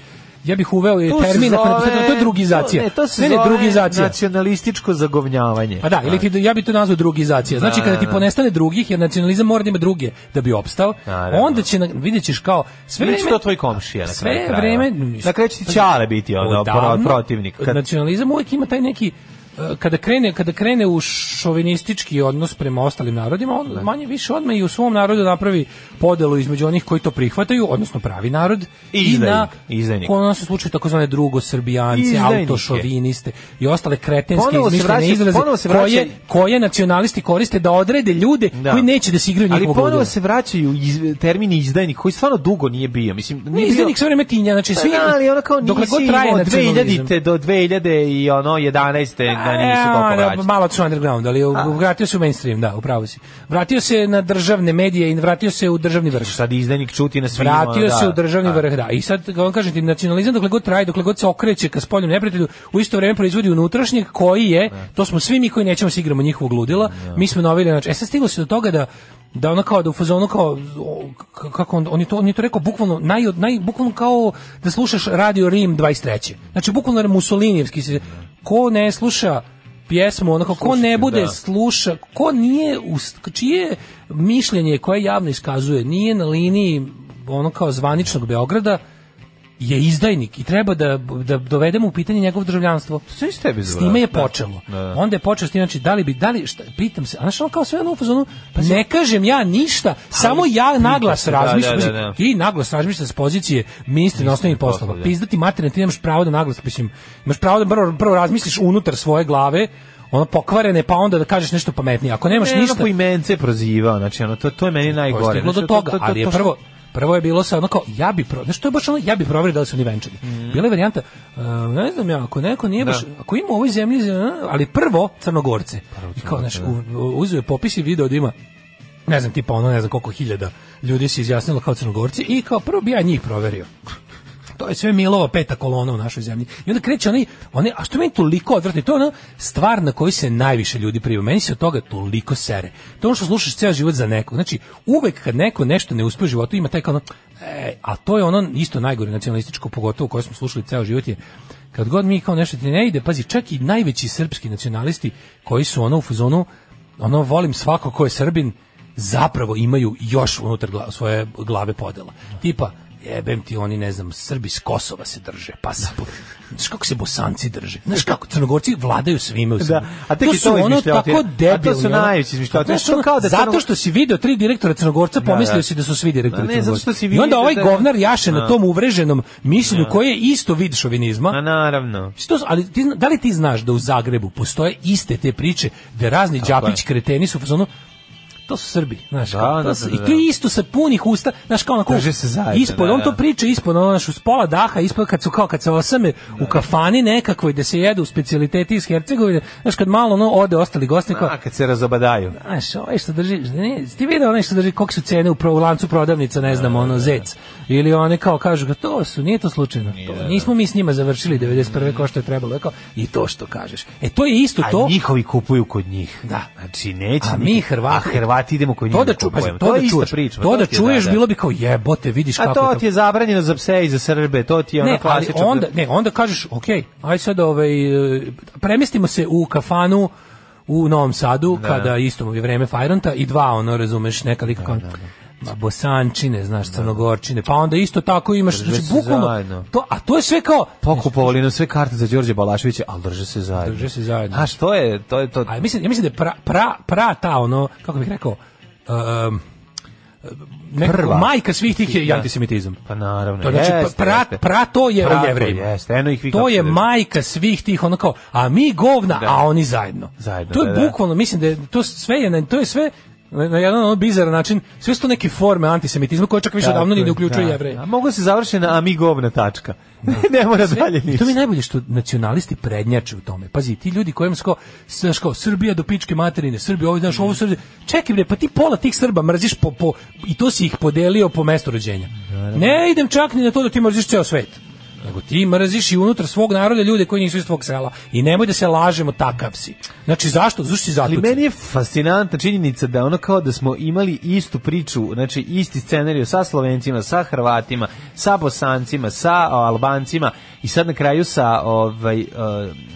ja bih uveo je To se termin ako ne zove- postoji, to je drugizacija Ne, to se ne, ne, zove drugizacija nacionalističko zagovnjavanje. pa da, ili ti, ja bi to nazvao drugizacija. Znači, kada ti ponestane drugih, jer nacionalizam mora da ima druge da bi opstao, Naravno. onda će, na- vidjet ćeš kao, sve Sve vreme... će to tvoj komšija na sve kraju krajeva. vreme- Na kraju će ti Ćale biti ono, Odavno, Znači, pro- protivnik. Kad, Nacionalizam uvijek ima taj neki e, kada krene kada krene u šovinistički odnos prema ostalim narodima on manje više odmah i u svom narodu napravi podelu između onih koji to prihvataju odnosno pravi narod i izdajnik, na izdajnik. u nas slučaju takozvane drugo srbijance Izdajnike. autošoviniste i ostale kretenske Ponovo se izmišljene vraća- izraze ponovo se vraća- koje koje nacionalisti koriste da odrede ljude Da. koji neće da se igraju ali njihovog ponovo ludila. se vraćaju iz, termini izdajnik koji stvarno dugo nije bio. Mislim, Ne, nije bio, izdajnik sve vreme tinja, znači svi, Pa da, ali ono kao dokle nisi god traje imao od nacionalizam. 2000 do 2000 i ono 11. da E, nisu toliko ono, vraćali. Malo su underground, ali u- vratio se u mainstream, da, upravo si. Vratio se na državne medije i vratio se u državni vrh. Sad izdajnik čuti na svima. Vratio ono, da. se u državni Da. vrh, da. I sad, kako vam kažem ti, nacionalizam dokle god traje, dokle god se okreće ka spoljnom neprijatelju, u isto vrijeme proizvodi unutrašnjeg koji je, to smo svi mi koji nećemo se igramo njihovog ludila, mi smo novili, znači, e sad stiglo se do toga da da ono kao da u fazonu kao o, k- kako on, on je to on je to rekao bukvalno naj naj bukvalno kao da slušaš radio Rim 23. Znači bukvalno Mussolinijevski se ko ne sluša pjesmu, onako, ko ne bude da. sluša, ko nije, us- čije mišljenje koje javno iskazuje, nije na liniji ono kao zvaničnog Beograda, je izdajnik i treba da, da dovedemo u pitanje njegovo državljanstvo. Sve iz tebi S izvrat. time je Da. počelo. Da, da. Onda je počeo s tim, znači, da li bi, da li, šta, pitam se, a znaš, ono kao sve ono u fazonu, Pa ne kažem ja ništa, samo ja naglas se, da, razmišljam, da, da, mislim, da. ti naglas razmišljaš s pozicije ministra inostranih poslova, poslova. da. Pizdati materine, ti nemaš pravo da naglas, mislim, imaš pravo da prvo, prvo razmisliš unutar svoje glave, ono pokvarene, pa onda da kažeš nešto pametnije. Ako nemaš Ne, ono ništa, po imence je prozivao, znači ono, to, to je meni pa je najgore. stiglo Znači, do to- to- toga, to- to- ali je to što- prvo prvo je bilo sa ono kao ja bi pro, znači to je baš ono ja bi proverio da li su oni venčani. Mhm. Bila je varijanta uh, ne znam ja ako neko nije baš ako ima u ovoj zemlji uh, ali prvo Crnogorce. I kao znači uzeo je popis i video da ima ne znam tipa ono ne znam koliko hiljada ljudi se izjasnilo kao Crnogorci i kao prvo bi ja njih proverio. To je sve Milova peta kolona u našoj zemlji. I onda kreće onaj, onaj a što je meni toliko odvratno, i to je ona stvar na koju se najviše ljudi prima. Meni se od toga toliko sere. To je ono što slušaš ceo život za nekog. Znači, uvek kad neko nešto ne uspe u životu, ima taj kao ono, e, a to je ono isto najgore nacionalističko, pogotovo koje smo slušali ceo život je, kad god mi kao nešto ti ne ide, pazi, čak i najveći srpski nacionalisti koji su ono u fazonu, ono volim svako ko je Srbin, zapravo imaju još unutar gla- svoje glave podela. Tipa, jebem ti oni ne znam Srbi s Kosova se drže pa sa znaš kako se Bosanci drže znaš kako Crnogorci vladaju svime u Srbiji Da, a tek je to ono izmišljotine. tako A to debilni su ono. najveći izmišljotine. Znaš, Što ono, kao da zato Crnogor- što si video tri direktora Crnogorca pomislio si da su svi direktori A Pa ne, zato Crnogorca. što si i onda vidio ovaj da- govnar jaše na A. tom uvreženom mišljenju koje je isto vid šovinizma Ma naravno. Što, Znači, ali ti, zna- da li ti znaš da u Zagrebu postoje iste te priče da razni đapić je. kreteni su u fazonu to su Srbi, znaš, Da, kao, to da, su- da, da, i to je isto sa punih usta, znaš, kao onako, Drže se zajedno, ispod, da, on to da. priča ispod, ono, znaš, uz pola daha, ispod, kad su, kao, kad se osame u kafani nekakvoj, da se jedu specialiteti iz Hercegovine, znaš, kad malo, ono, ode ostali gosti, kao, A, kad se razobadaju. znaš, ovaj što drži, ne, ti vidio onaj što drži, koliko su cene u, pro, u lancu prodavnica, ne znam, ono, zec. Ili one kao kažu, to su, nije to slučajno. To, nismo mi s njima završili 91. ko što je trebalo. Ja Kao, I to što kažeš. E, to je isto A to. njihovi kupuju kod njih. Da. Znači, neće. A niko- mi Hrvati, A Hrvati idemo kod njih. to da da ču, pazi, kupujemo. to, je da ista čuješ, priča, pa to da ti je, čuješ, da. bilo bi kao jebote, vidiš A kako to je ti je zabranjeno za pse i za Srbe, to ti je ono Ne, ali klasično. onda, ne, onda kažeš, ok, aj sad ovaj, e, premjestimo se u kafanu u Novom Sadu, kada isto je vreme Fajronta i dva, ono, razumeš, neka lika kao, ma, bosančine, znaš, crnogorčine, pa onda isto tako imaš, Drže znači, se bukvalno, zajedno. to, a to je sve kao, Pokupovali nam sve karte za Đorđe Balaševića, ali drže se zajedno. Drže se zajedno. Znaš, to je, to je to. a ja mislim, ja mislim da je pra, pra, pra ta, ono, kako bih rekao, um, nekako Prva. majka svih tih je i antisemitizam. Pa naravno. To znači jeste, pra, jeste. pra to je Pra o to jevrejima. jeste, eno ih vi to kako je se drže. majka svih tih ono kao, a mi govna, Da. a oni zajedno. Zajedno, to je da, da. bukvalno, mislim da je to sve je na- to je sve na na jedan ono bizaran način, sve su to neke forme antisemitizma koje čak više Tako odavno ni je, ne uključuju da. jevreje. A mogu se završiti na amigovna tačka. ne mora dalje I ništa. to mi je najbolje što nacionalisti prednjače u tome. Pazi, ti ljudi kojima sko, znaš kao, Srbija do pičke materine, Srbija ovo, znaš, ovo Srbija. Čekaj bre, pa ti pola tih Srba mrziš po, po, i to si ih podelio po mestu rođenja. Ne idem čak ni na to da ti mrziš ceo svet. Nego ti mrziš i unutar svog naroda ljude koji nisu iz tvog sela. I nemoj da se lažemo, takav si. Znači, zašto? Zašto si Ali zatucan? meni je fascinantna činjenica da ono kao da smo imali istu priču, znači isti scenariju sa Slovencima, sa Hrvatima, sa Bosancima, sa o, Albancima i sad na kraju sa ovaj e,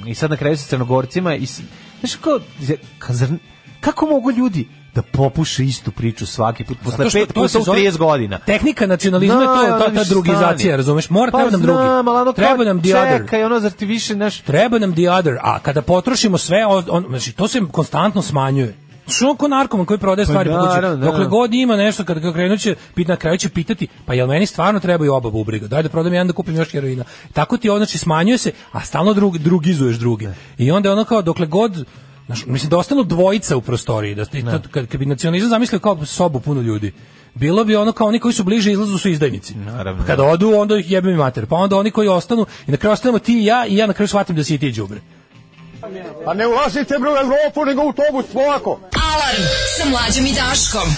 i sad na kraju sa Crnogorcima i s- znaš kao ja- ka- zar- kako mogu ljudi da popuše istu priču svaki put posle Zato što pet to puta u se zove- 30 godina. Tehnika nacionalizma je to, Da, ta, ono, ta više drugizacija, stani. razumeš? Mora, Pa treba nam drugi. znam, ali ono kao, Treba nam the other. Čekaj, ono, zar ti više, znaš, Treba nam the other, a kada potrošimo sve, on, on- znači, to se konstantno smanjuje. Što on ko narkoman koji prodaje stvari po kući? naravno, Dokle naravno. god ima nešto, kad ga krenut će, pit- na kraju će pitati, pa jel meni stvarno trebaju oba bubriga? Daj da prodam jedan da kupim još heroina. Tako ti ono, znači, smanjuje se, a stalno drug, drugizuješ druge. I onda je ono kao, dokle god, znaš, mislim da ostanu dvojica u prostoriji, da, i to, kad, kad bi nacionalizam zamislio kao sobu puno ljudi, bilo bi ono kao oni koji su bliže izlazu su izdajnici. Naravno. Kad odu, onda ih jebem i mater. Pa onda oni koji ostanu, i na kraju ostanemo ti i ja, i ja na kraju shvatim da si i ti đubre. Pa ne ulazite bre u Evropu, nego u autobus, polako. Alarm sa mlađom i Daškom.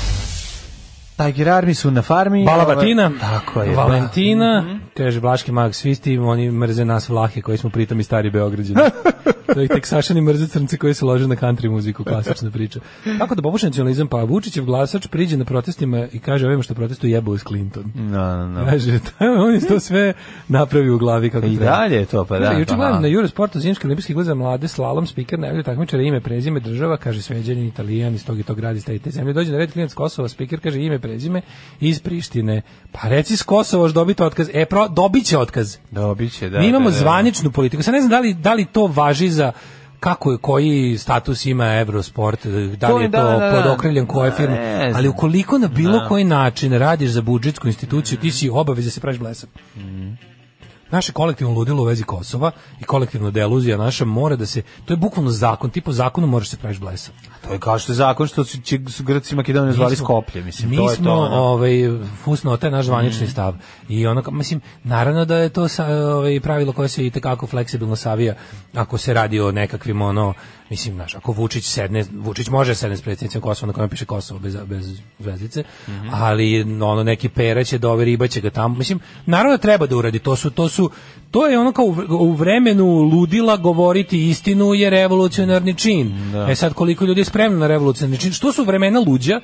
Tiger Army su na farmi. Balabatina, ovaj, Tako je. Mhm. Valentina, kaže Blaški mag, svi ste im, oni mrze nas vlahe koji smo pritom i stari Beograđani. to je teksašani mrze crnce koji se lože na country muziku, klasična priča. Kako da popuši nacionalizam? Pa Vučićev glasač priđe na protestima i kaže ovima što protestuju jebao iz Clinton. No, no, no. Kaže, on je to sve napravio u glavi kako I treba. dalje je to, pa da. Da, juče aha. gledam na Eurosportu zimski olimpijski igre za mlade slalom speaker najavljuje takmičara ime, prezime, država, kaže sveđanin, italijan iz tog i tog grada iz te i te zemlje. Dođe na red klinac s Kosova, speaker kaže ime, prezime iz Prištine. Pa reci s Kosova, još dobiti otkaz. E, pro, dobit će otkaz. Dobit će, da. Mi imamo da, da. zvaničnu politiku. Sad ne znam da li, da li to važi za kako je koji status ima Eurosport, da To li je, je da, to da, da. pod okriljem koje Ne firme, znam. ali ukoliko na bilo koji način radiš za budžetsku instituciju, ti si obaveza da se praviš blesav. Mhm. Naše kolektivno ludilo u vezi Kosova i kolektivna deluzija naša mora da se, to je bukvalno zakon, ti po zakonu moraš da se praviš blesav. To je kao što je zakon što su, će, su Grci i Makedoniju zvali Mi smo- Skoplje, mislim, mi to je smo, to. ono. Mhm. ovaj, fusnota je naš zvanični stav. I ono, ka- mislim, naravno da je to sa, ovaj, pravilo koje se i tekako fleksibilno savija ako se radi o nekakvim, ono, mislim, znaš, ako Vučić sedne, Vučić može sedne s predsjednicom Kosova, na kojem piše Kosovo bez, bez zvezdice, Mhm. ali ono, neki pera će dove, riba će ga tamo, mislim, naravno da treba da uradi, to su, to su, to je ono kao u, vr- u vremenu ludila govoriti istinu je revolucionarni čin. E sad, koliko ljudi je spremno na revolucionarni čin, što su vremena luđa,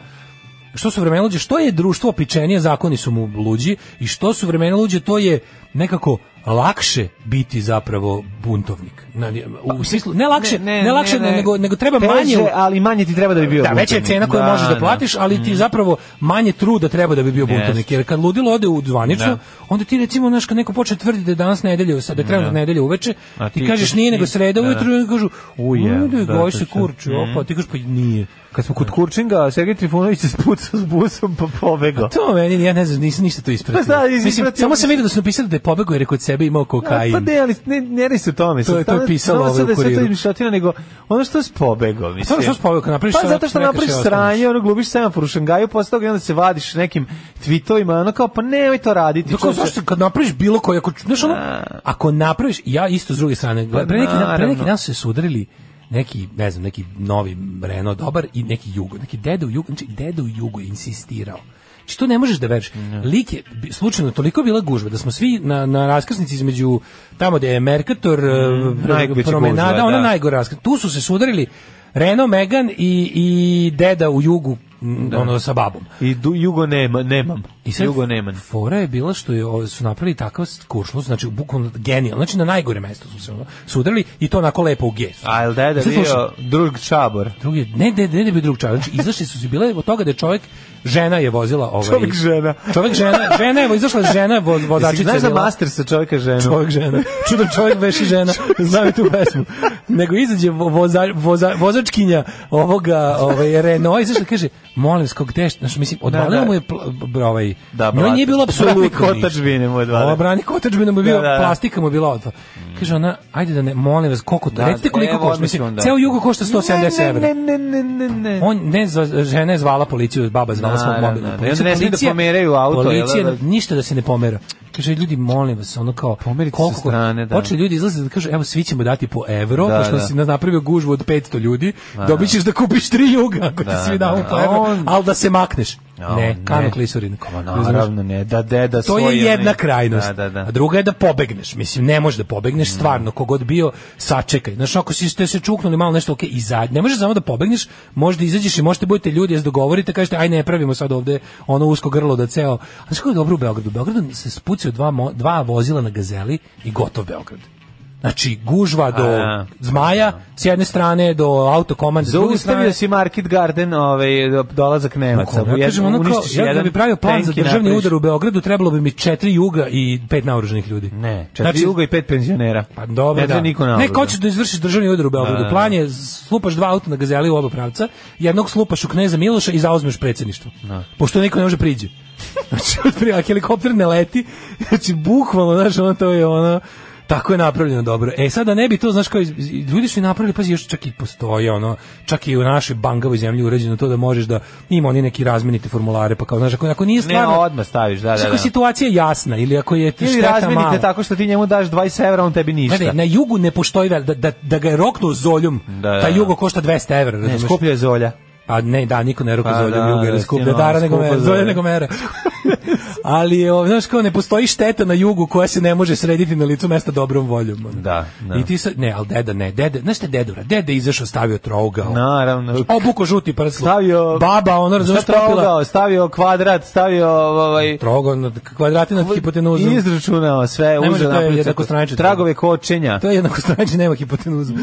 što su vremena luđe, što je društvo opičenije, zakoni su mu luđi i što su vremena luđe, to je nekako lakše biti zapravo buntovnik. Na, u smislu, ne lakše, Pa, ne, lakše, nego, nego treba Teže, manje... u- ali manje ti treba da bi bio. Da, veća je buntovnik. cena koju možeš da Mm. platiš, ali ti zapravo manje truda treba da bi bio buntovnik. Jeste. Jer kad ludilo ode u zvanično, Da. onda ti recimo, znaš, kad neko počne tvrditi da je danas nedelje, sad da je trenutno nedelja uveče, A ti, ti kažeš kažeš, nije, nego i- da, sreda da. ujutru, i oni kažu, Uje, ujde, da, goj to se što- kurči, opa, ti kažeš, pa nije. Kad smo kod Kurčinga, Sergej Trifunović se spucao s busom pa pobegao. To meni, ja ne znam, nisam ništa to ispratio. Pa šta, nisi Mislim, ispratio? samo sam vidio da su napisali da je pobegao jer je kod sebe imao kokain. Pa ne, ali ne, ne radi se o tome. To je- to je Sad- pisalo sad- ovaj sad u da je sve to Kuriru. izmišljotina, nego ono što si pobegao, mislim. stvarno što si pobegao, kad napraviš Pa sve, zato što nekaš napraviš je ostaneš. sranje, ono glubiš semafor u Šangaju, posle toga i onda se vadiš nekim tweetovima, ono kao, pa nemoj to raditi. Tako čoveče. zašto kad napraviš bilo koje ako znaš ono, ako napraviš ja isto s druge strane gle- pre neki dan, pre neki Pa naravno. dan su se sudarili neki ne znam neki novi Renault dobar i neki Jugo neki deda u Jugo znači deda u Jugo je insistirao Znači, to ne možeš da veriš. Lik je, bi- slučajno, toliko je bila gužva da smo svi na, na raskrsnici između tamo gde je Mercator, e, Mm, najveća promenada, gužva, ona da. najgora raskrsnica. Tu su se sudarili Renault, Megan i, i deda u jugu, m, ono, sa babom. I du, jugo nema, nemam. I sad jugo neman. Fora je bila što je o, su napravili takav kuršlus, znači bukvalno genijalno. Znači na najgore mesto su se ono, sudarili i to onako lepo u G. A jel deda I sad slušaj, bio drug čabor? Drugi, ne, ne, ne, ne bi drug čovjek. Znači, izašli su se bile od toga da je čovjek, žena je vozila ovaj... Čovjek žena. Čovjek žena, žena je, izašla žena je voz, Jesi, vozačica. znaš da bila. master sa čovjeka ženu? Čovjek žena. Čudo čovjek veši žena. Znam i tu pesmu. Nego izađe vo- voza, voza, vozačkinja ovoga ovaj, Renault i zašto kaže, molim vas, kog teš, znaš, mislim, odvalilo da. mu je pl- b- ovaj, Da, njoj blate. nije bilo apsolutno Brani ništa. kotačbine mu je odvalio. Ova brani kotačbina mu je Da, bio, da, da. plastika mu je bila odva. Kaže ona, ajde da ne, molim vas, koliko to, Da, recite koliko evo, košta, odmah ću mislim, vam ceo dati. jugo košta 170 evra. Ne, ne, ne, ne, ne. On ne za- žena je zvala policiju, baba je zvala svog Naravno, mobilnog. da. policiju. I onda ne smiju da Policija- pomeraju auto, Policija jel da? ništa da se ne pomera. Kaže ljudi molim vas, ono kao Pomerite sa strane, da. Počeli ljudi izlaze da kažu evo svi ćemo dati po evro, Da, pošto da. si nas napravio gužvu od 500 ljudi, dobit ćeš da kupiš tri juga ako ti Da, svi damo da, po da. evro, On- ali da se makneš. A on ne, ne. kano klisorin. Pa naravno ne, da deda To svoj je jedna onaj- krajnost. Da, da, Mm. da. A druga je da pobegneš. Mislim, ne možeš da pobegneš stvarno, kogod bio, sačekaj. Znaš, ako si ste se čuknuli malo nešto, ok, izađi. Ne možeš samo da pobegneš, možda izađeš i možete budete ljudi, jes dogovorite, kažete, aj ne pravimo sad ovde ono usko grlo da ceo. A znaš kako je dobro u Beogradu? U Beogradu se spucaju dva, mo- dva vozila na gazeli i gotov Beograd. Znači, gužva do A, zmaja, s jedne strane do autokomand, s druge strane. Zaustavio si Market Garden, ovaj, do- dolazak Nemaca. Kako, ja kažem, ono kao, uništiš ja da jedan, bi pravio plan za tenki državni napraviš- udar u Beogradu, trebalo bi mi četiri juga i pet naoružanih ljudi. Znači, Ne, četiri juga i pet penzionera. Pa dobro, ne da. treba Niko na ne, obradu. ko će da izvrši državni udar u Beogradu? Da, da, da. Plan je, slupaš dva auta na gazeli u oba pravca, jednog slupaš u kneza Miloša i zauzmeš predsjedništvo. Pošto niko ne može priđe. Znači, otprilike, helikopter ne leti, znači, bukvalno, znaš, ono to je ono, tako je napravljeno dobro. E sada ne bi to, znaš, kao, iz- iz- ljudi su i napravili, pazi, još čak i postoje, ono, čak i u našoj bangavoj zemlji uređeno to da možeš da ima oni neki razmenite formulare, pa kao, znaš, ako, ako nije Ne, stvarno... odmah staviš, da, da, znaš, da. ako je situacija jasna ili ako je Ili šteta razmenite mala. tako što ti njemu daš 20 evra, on tebi ništa. Gledaj, na jugu ne postoji vel, da, da, da ga je roknuo zoljom, Da, da, taj da. jugo košta 200 evra, ne, razumeš? skuplja je zolja. A ne, da, niko ne roka Pa zoljom da, juga, jer da, je skuplja stino, dara nego skupo mera, zolje. zolja nego mera. Ali, o, znaš, kao ne postoji šteta na jugu koja se ne može srediti na licu mesta dobrom voljom. ono. Da, da. I ti sad, ne, ali deda ne, deda, znaš te dedura, deda je izašao, stavio trougao, Naravno. obuko žuti prsluk, Stavio... baba, ono, razumeš, Šta popila, trogao? Stavio kvadrat, stavio ovaj... trogao, nad- ono, kvadrati nad hipotenuzom. Izračunao sve, Ne može, uzeo to je napravio jednakostranično. Tragove kočenja. To je jednako stranče, nema hipotenuzu.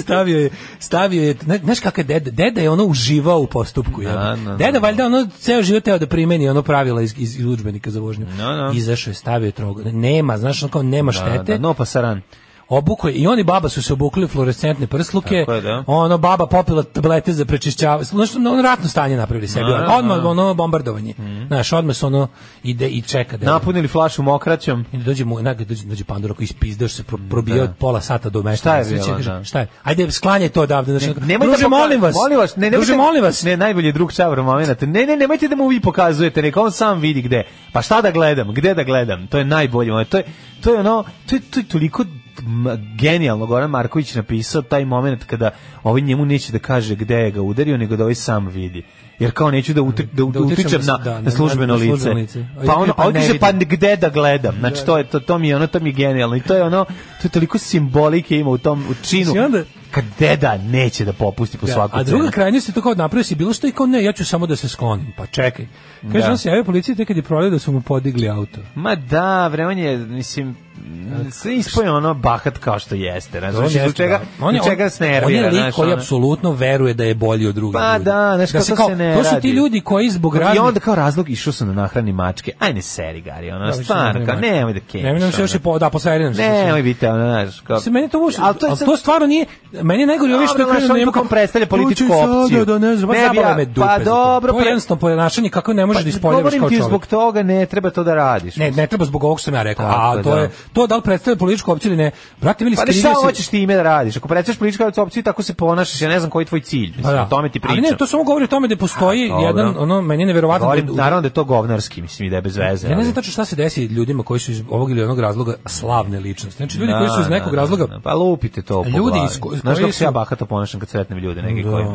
stavio je, stavio je, ne- znaš kako je deda, deda je ono uživao ispisivao u postupku. jebote. Da, da, da. Deda valjda ono ceo život teo da primeni ono pravila iz, iz, iz udžbenika za vožnju. Da, da. Izašao je, stavio je trogo. Nema, znaš, ono kao nema štete. Da, da, no pa pasaran. Obuko je, i oni baba su se obukli u fluorescentne prsluke. Tako je, da. Ono baba popila tablete za prečišćavanje. Znaš, ono ratno stanje napravili sebi. Da, da, Mhm. Odmah ono bombardovanje. Znaš, odmah su ono ide i čeka da Napunili flašu mokraćom. I dođe mu, nagad dođe, dođe pandur ako ispizdeo što se pro, probio od pola sata do mesta. Šta je Sve će, bilo, kaže, da. Šta je? Ajde, sklanjaj to odavde. Znači, ne, Nemojte druže, da pokaz- molim vas. Molim vas, ne, nemojte- druže, molim vas. Ne, najbolji je drug čavr momenat. Ne, ne, nemojte da mu vi pokazujete, neka on sam vidi gde. Pa šta da gledam, gde da gledam? To je najbolji moment. To je, to je ono, to je, to je toliko m, genijalno Goran Marković napisao taj moment kada ovaj njemu neće da kaže gde je ga udario, nego da ovaj sam vidi. Jer kao neću da, utri, da, Da da utičem utičem na- na, da, na- na službeno na službeno lice. lice. A Pa ja ono, pa a on ne kaže, pa vidim. gde da gledam? Znači, to, je, to, to mi je ono, to mi je genijalno. I to je ono, to je toliko simbolike ima u tom u činu. I onda- Kad deda neće da popusti po Da, svaku A cenu. druga krajnjost je to kao napravio si bilo što i kao ne, ja ću samo da se sklonim. Pa čekaj. Kaže, Da. on se javio policiji tek kad je provjerio da su mu podigli auto. Ma da, vremen je, mislim, sve ispoje ono bahat kao što jeste. Ne? Znači, Jeste, zbog čega, da. on je, zbog čega on- se nervira. On je lik znaš, koji ono. apsolutno veruje da je bolji od drugih Pa ljudi. da, znaš, kao se to se ne To su ti radi. ljudi koji zbog I raznih onda kao razlog išao sam da nahrani mačke. Aj ne seri, Gari, ono, Da, više stvarno, kao nema mačke. nemoj da kemiš. Ne, nam se još i po, da, posajeriram se. Ne, nemoj biti, ono, znaš, kao... Mislim, meni to uopšte, Ali to je ali sad- to stvarno nije, meni je najgore ovo što Dobro, je znaš, krenuo on njemu ipak predstavlja političku opciju. Da, da, ne znam, Ne ne, bi ja- zabole me dupe. pa za to. dobro, to pre- je jednostavno ponašanje kako ne možeš da ispoljavaš Pa Govorim kao ti čovjek. zbog toga ne treba to da radiš. Ne, ne treba zbog ovog što sam ja rekao, Tako je, a to da. je, to da li predstavlja političku opciju ili ne, brate, meni Pa ne, skrivio šta se- hoćeš time da radiš? Ako predstavljaš političku opciju, tako se ponašaš, ja ne znam koji je tvoj cilj. Mislim, Pa da. o tome ti pričam. Ali ne, to samo govori o tome da postoji A, dobro. jedan, ono, meni je neverovatno Govorim, da- naravno da je to govnarski, mislim i da je bez veze. Ja ne ali- znam tačno šta se desi ljudima koji su iz ovog ili onog razloga slavne ličnosti. Znači ljudi koji su iz Da, nekog da, razloga da, pa lupite to po Ljudi glavi. iz ko- iz Znaš koji kako se ja su- bahato ponašam kad sretnem ljude, neke Da. koji me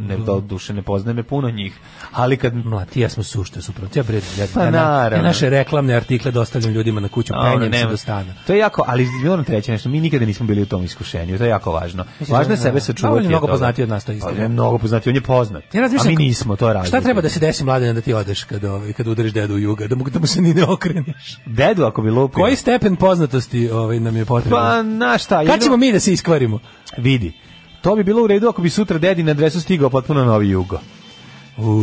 ne, ne, do duše ne poznajem me puno njih, ali kad... Mla, ti i ja smo sušte suprot. Ja bre, ja, Pa ja na- naravno. ja naše reklamne artikle dostavljam ljudima na kuću, A, ono, penjem se nema- do stana. To je jako, ali moram ti reći nešto, mi nikada nismo bili u tom iskušenju, to je jako važno. Važno je da- sebe da. sačuvati. Ali je mnogo toga. poznatiji od nas, to je istina. Ali je mnogo poznatiji, on je poznat. Ja A razmišljam mi ka- nismo, to je razlika. Šta treba da se desi mladene da ti odeš kad ovaj kad udariš dedu u juga, da mu da mu se ni ne okreneš. Dedu ako bi lupio. Koji stepen poznatosti ovaj nam je Pa, potreban? na šta, Kad jedno- ćemo mi da se iskvarimo? vidi. To bi bilo u redu ako bi sutra dedi na adresu stigao potpuno novi jugo.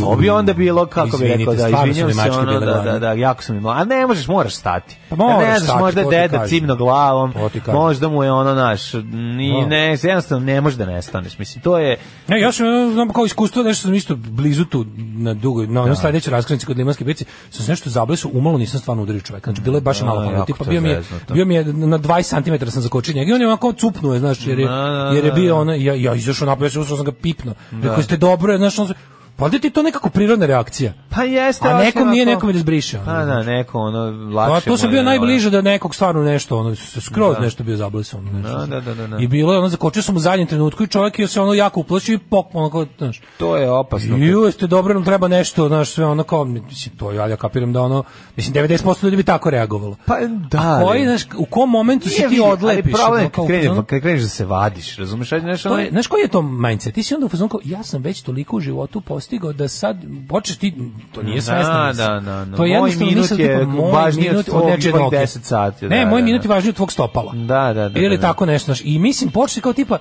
To bi onda bilo kako bi Mm. Izvinite, rekao da stvarno su izvinjavam mi se mačke ono bile da da glavne. da jako sam imao. A ne možeš, moraš stati. Pa moraš ne znaš, stati, možda to ti deda kažem. cimno glavom, To ti kažem. možda mu je ono naš ni Da. ne, jednostavno ne možeš da nestaneš. Mislim to je Ne, ja sam ono, znam kao iskustvo nešto sam isto blizu tu na dugo, na onoj sledećoj raskrsnici kod Limanske pijace, sam se nešto zablesu, umalo nisam stvarno udario čoveka. Znači bilo je baš Da, malo jako pamet, pa to bio mi je zezno to. bio mi je na 20 cm sam zakočio njega i on je onako cupnuo, je, znaš, jer je Da, da, jer je da, bio ono ja ja izašao napolje, ja se uzeo sam ga pipno. Rekao ste dobro, je, znaš, on se- Pa da ti je to nekako prirodna reakcija. pa jeste. A ali nekom nije onako- nekom je da zbriše. ono. Pa da, neko ono Pa lakše. to sam mu bio je, ono. najbliže da nekog stvarno nešto, ono se skroz nešto bio zablesan, ono, nešto. Da, da, da, da, da. I bilo je ono zakočio sam u zadnjem trenutku i čovjek je se ono jako uplašio i pok, ono kao, znaš. To je opasno. Ju, jeste dobro, nam treba nešto, znaš, sve ono kao, mislim, to ja, ja kapiram da ono, mislim, 90% ljudi bi tako reagovalo. Pa da. A koji, ali- znaš, u kom momentu se Nije, ti vidi, Ali odlepiš? problem je ono, kao, kad kreneš, ono, kad kreneš da se vadiš, razumeš? Ajde, znaš, to ono- je, znaš koji je to mindset? Ti si onda u fazonu kao, ja sam već toliko u životu postigao da sad počeš ti, to nije Da, svesno. mislim. da, da, da. To je Moj jednostavno minut misao je tipa, moj važniji od minut tvog nečije ipak noge. 10 sati, Ne, da, moj da, minut da. je važniji od tvog stopala. Da, da, da, Ili da, da. tako nešto, znaš. I mislim, počeš kao tipa,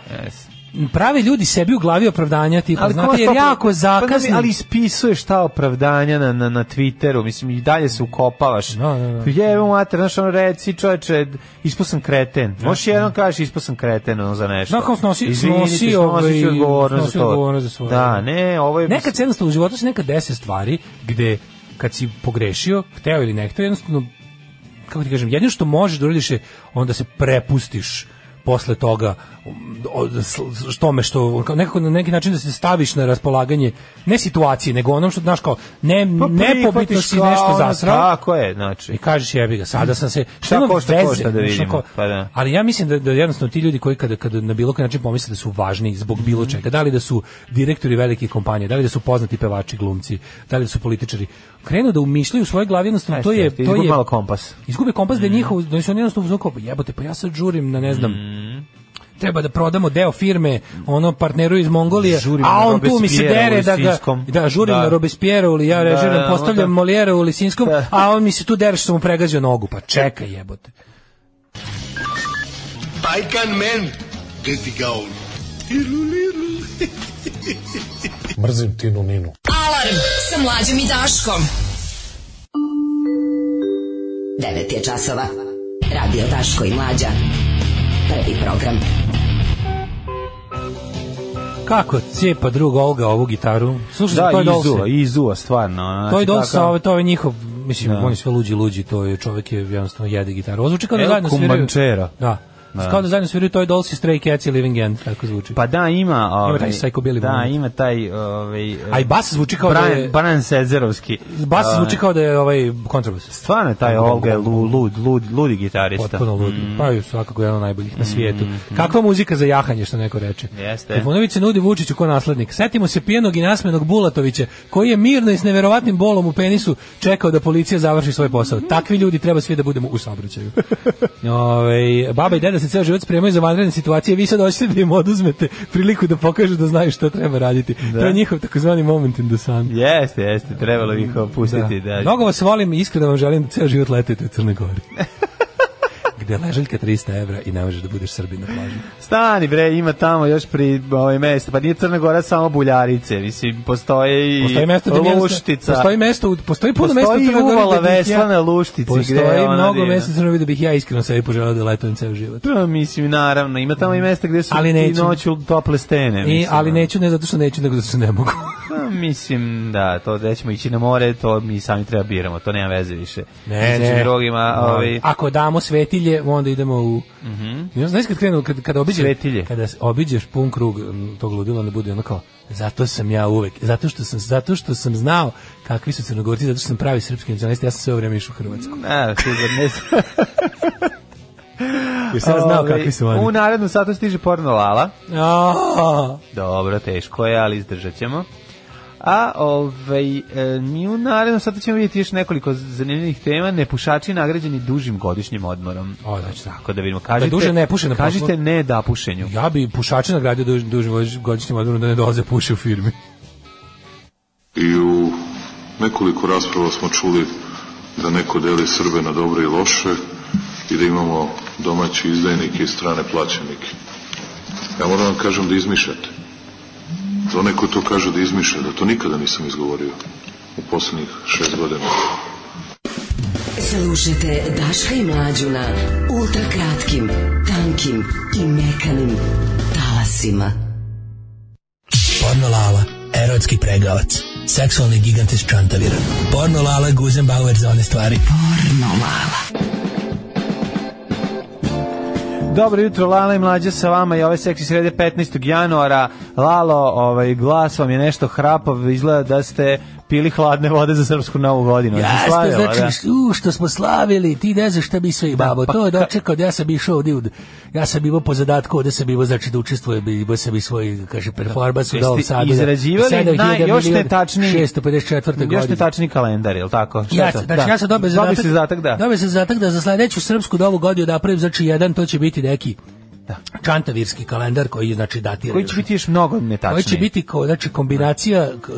prave ljudi sebi u glavi opravdanja, tipa, Ali znate, ko vas jer to- jako zakasnim. Pa, ali ispisuješ ta opravdanja na, na, na Twitteru, mislim, i dalje se ukopavaš. Da, da, da. Jebo mater, znaš, ono, reci, čoveče, ispao sam kreten. Možeš jednom kažeš, ispao sam kreten, ono, za nešto. Da, kao snosi- Izvinite, snosi, snosit ću ovaj, odgovornost snosi za to. odgovornost za svoje. Da, ne, ovaj- ovo je... Nekad se jednostavno u životu se nekad dese stvari gde kad si pogrešio, hteo ili ne hteo, jednostavno kako ti kažem, jedino što možeš da uradiš je onda se prepustiš posle toga um, o- s- s- tome što kao nekako na neki način da se staviš na raspolaganje ne situaciji nego onom što znaš kao ne Pa nepobitno prihvatiš si kao nešto ono, zasrao Tako je, znači. i kažeš jebi ga sada sam se Šta ima košta, veze, košta da znaš, vidimo, onako, pa da. ali ja mislim da, da jednostavno ti ljudi koji kada, kada na bilo koji način pomisle da su važni zbog Mhm. bilo čega, da li da su direktori velikih kompanija, da li da su poznati pevači, glumci, da li da su političari, krenu da umišljaju u svojoj glavi jednostavno E, to je Jeste, to izgubi je malo kompas. izgube kompas Mm. da je njihov da su oni jednostavno uzmano kao "Pa jebote pa ja sad žurim na ne znam treba da prodamo deo firme ono partneru iz Mongolije Žurim na a on tu mi se Robespierre dere u da ga Lisinskom. da žurim Da. na Robespierre ili ja režiram da, postavljam onda- Molière u Lisinskom Da. a on mi se tu dere što sam mu pregazio nogu pa čekaj jebote Bajkan men, gdje ti ga on? Mrzim Tinu Ninu. Alarm sa mlađom i Daškom. 9 je časova. Radio Daško i Mlađa. Prvi program. Kako cepa druga Olga ovu gitaru? Slušaj, Da, to je Dolce. izuva, izuva, stvarno. ono, To je znači, Dolce, takav- ovo, to je njihov, mislim, oni sve luđi, luđi, to je čovjek je jednostavno jede gitaru. Ovo zvuči kao da El zajedno sviraju. Comanchero. Da. Kao da zajedno sviraju, to je Dolce, Stray Cats i Living End, tako zvuči. Pa da, ima... Ovaj, taj psychobilly Da, moment. ima taj... Ovaj, A i bas zvuči kao da je... Brian, Brian Sezerovski. Bas A, zvuči kao da je ovaj kontrabas. Stvarno je taj Olga je lu- lud, lud, ludi gitarista. Potpuno ludi. Pa je svakako jedan od najboljih na svijetu. Kakva muzika za jahanje, što neko reče. Jeste. Trifunović se nudi Vučiću ko naslednik. Setimo se pijenog i nasmenog Bulatovića, koji je mirno i s neverovatnim bolom u penisu čekao da policija završi svoj posao. Takvi ljudi treba svi da budemo u saobraćaju. Ove, baba i deda se ceo život spremaju za vanredne situacije, vi sad hoćete da im oduzmete priliku da pokažu da znaju šta treba raditi. To je njihov takozvani moment in the sun. Jeste, jeste, trebalo bi ih opustiti. Da. Mnogo vas volim i iskreno vam želim da ceo život letite u Crnoj Gori. Gde ležaljka 300 evra i ne možeš da budeš Srbin na plaži. Stani bre, ima tamo još pri ovaj mesta, pa nije Crna Gora samo buljarice, mislim, postoje i Postoji mesto gde mi jednostavno- luštica. Postoji mesto, u- postoji puno Postoji mesta u Crnoj i Gori. uvala gde bih ja- vesla na luštici, gde Postoji je ona mnogo divna. mesta u Crnoj Gori da bih ja iskreno sebi poželao da letujem ceo život. Pa, mislim, naravno, ima tamo i mesta gde su Ali i neću. noću tople stene. I, mislim, ali ono. neću ne zato što neću, nego zato što ne mogu. Pa, mislim, da, to da ćemo ići na more, to mi sami treba biramo, to nema veze više. Ne, Mislim, ne. Rogima, Znači, ovi, Ako damo svetilje, onda idemo u... Mhm. Znaš kad krenu, kad, kada obiđe, Svetilje. kada s- obiđeš pun krug m, tog ludila, onda bude ono kao, zato sam ja uvek, zato što sam, zato što sam znao kakvi su crnogorci, zato što sam pravi srpski nacionalist, ja sam sve ovo vreme išao u Hrvatsku. a, sigurno, ne znam. Jer sam ja znao Ovi, kakvi su oni. U narednom satu stiže porno lala. A, Dobro, teško je, ali izdržat ćemo. A ovaj, e, mi u narednom sada ćemo vidjeti još nekoliko zanimljivih tema. Nepušači nagrađeni dužim godišnjim odmorom. O, znači tako. Tako da vidimo. Kažite, duže ne puše na poslu. kažite ne da pušenju. Ja bi pušače nagradio duž, dužim godiš- godišnjim odmorom da ne dolaze puše u firmi. I u nekoliko rasprava smo čuli da neko deli Srbe na dobre i loše i da imamo domaći izdajnike i strane plaćenike. Ja moram vam kažem da izmišljate. To neko to kaže da izmišlja, da to nikada nisam izgovorio u posljednjih šest godina. Slušajte Daška i Mlađu na ultra kratkim, tankim i mekanim talasima. Porno Lala, erotski pregavac. Seksualni gigant iz Čantavira. Porno Lala, Guzenbauer za one stvari. Dobro jutro, Lala i mlađe sa vama i ove seksi srede 15. januara. Lalo, ovaj, glas vam je nešto hrapav, izgleda da ste pili hladne vode za srpsku novu godinu. Jeste, Slavila, znači, da? u, što smo slavili, ti ne znaš šta bi sve i babo, pa to je ka- dočekao, da ja sam išao ovdje, u- ja sam imao po zadatku, ovdje sam imao, znači da učestvujem, imao sam i svoj, kaže, performans u Jeste Novom Sadu. izrađivali naj- još netačniji- 654. Još godine. te tačni kalendar, je li tako? Šta Ja, je to? sam- znači, Da. ja sam dobio zadatak, Dobio si zadatak, da. Dobio sam zadatak da za sledeću srpsku novu godinu napravim, znači jedan, to će biti neki čantavirski kalendar koji znači datira. Koji će biti još mnogo netačniji. Koji će biti ko, znači kombinacija k- e,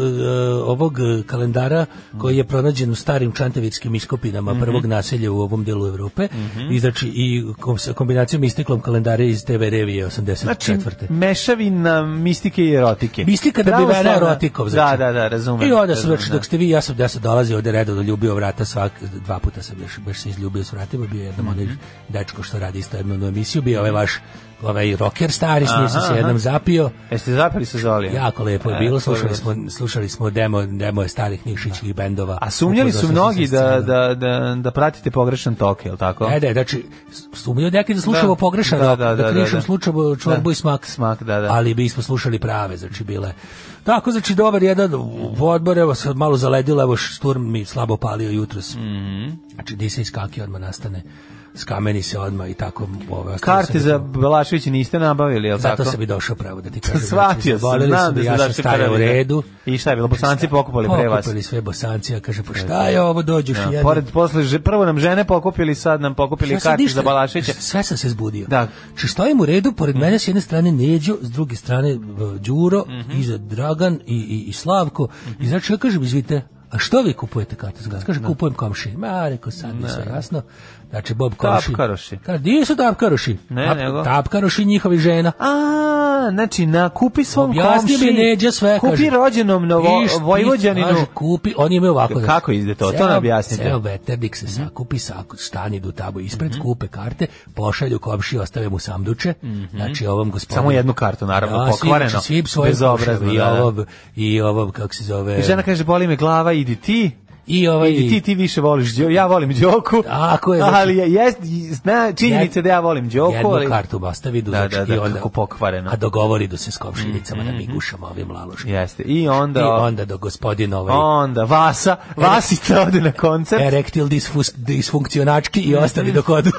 ovog e, kalendara koji je pronađen u starim čantavitskim iskopinama Mhm. prvog naselja u ovom delu Evrope i znači i kom- sa kombinacijom isteklom kalendara iz TV revije 84. Znači, mešavina mistike i erotike. Mislika da bi Pravoslavna- Vera Rotikov. Da, da, da, razumem. znači. I onda sam, razumem, znači, da. dok ste vi, ja sam, ja sam dolazio ovde redovno, ljubio vrata svak, dva puta sam još, baš se izljubio s vratima, bio je jednom onaj Mhm. dečko što radi isto jednu emisiju, bio je ovaj vaš, ovaj rocker stari, s njim sam Aha, se jednom aha. zapio, Jeste zapeli se Zolija? Jako lepo je bilo, E, slušali to je- smo, slušali smo demo, demo je starih nišićkih bendova. A sumnjali su Upoznao sam mnogi se sa da, scenom. da, da, da pratite pogrešan tok, je li tako? Ne, ne, znači, sumnjao neki da slušamo Da. pogrešan, Da, da, da, da, da, da, da. krišom slučamo čorbu Da. i smak. Smak, da, da. Ali bismo slušali prave, znači bile. Tako, znači, dobar jedan odbor, evo sad malo zaledilo, evo šturm mi slabo palio jutros. Mhm. Znači, gdje se iskakio, odmah nastane, skameni se odmah i tako. Ove, ostalo Karte sam- za Belaševića niste nabavili, je li tako? Zato sam i došao pravo da ti kažem. Shvatio sam, Zaboravili znam su da me, ste ja sam došli stajao u prvi, da. redu. I šta je bilo, bosanci pokupali pre vas? Pokupili sve bosanci, ja kaže, pa šta je ovo, dođeš Ja, jedan. pored, posle, že- prvo nam žene pokupili, sad nam pokupili Ja sam karte ništa- za Balaševića. Sve sam se zbudio. Da. Mhm. Či stojim u redu, pored mene s jedne strane Neđo, s Mhm. druge strane e, Đuro, iza Dragan i, i, i Slavko. I znači ja kažem, izvite, A što vi kupujete karte za glas? Kaže, kupujem komši. Ma, rekao, sad mi sve jasno. Znači, Bob komši. Tapkaroši. Kaže, di su tapkaroši? Ne, nego- Tapkaroši njihovi žena. A, znači, na, kupi svom Objasni mi komši, neđe sve. kupi kaže. rođenom novo, Niš, niš, Vojvođaninu. kaže, kupi, oni imaju ovako. znači, Kako ide to? To ceo- nam objasnite. Mhm. Ceo veternik se sakupi, saku, stani do tabo ispred, kupe karte, pošalju komši, ostave mu samduče. Znači, ovom gospodinu. Mhm. Samo jednu kartu, naravno, Da, svi- pokvareno, znači, Svi svoje bezobrazno, komšije, I da, da. ovog, i ovog, kako se zove... I žena kaže, boli me glava, idi ti. I ovaj... I ti, ti više voliš Đo- ja volim Đoku. Tako je, znači- Ali je, jest, zna, činjenica Jed- da ja volim Đoku, jednu ali... kartu bastavi do Da, da, da, i onda kako pokvareno. Mhm. A dogovori do se s komšinicama da mi gušamo ovim lalošima. Jeste, i onda... I onda do gospodina ovaj onda Vasa, Vasica ode na koncert. erektil disfus, disfunkcionački i ostali dok odu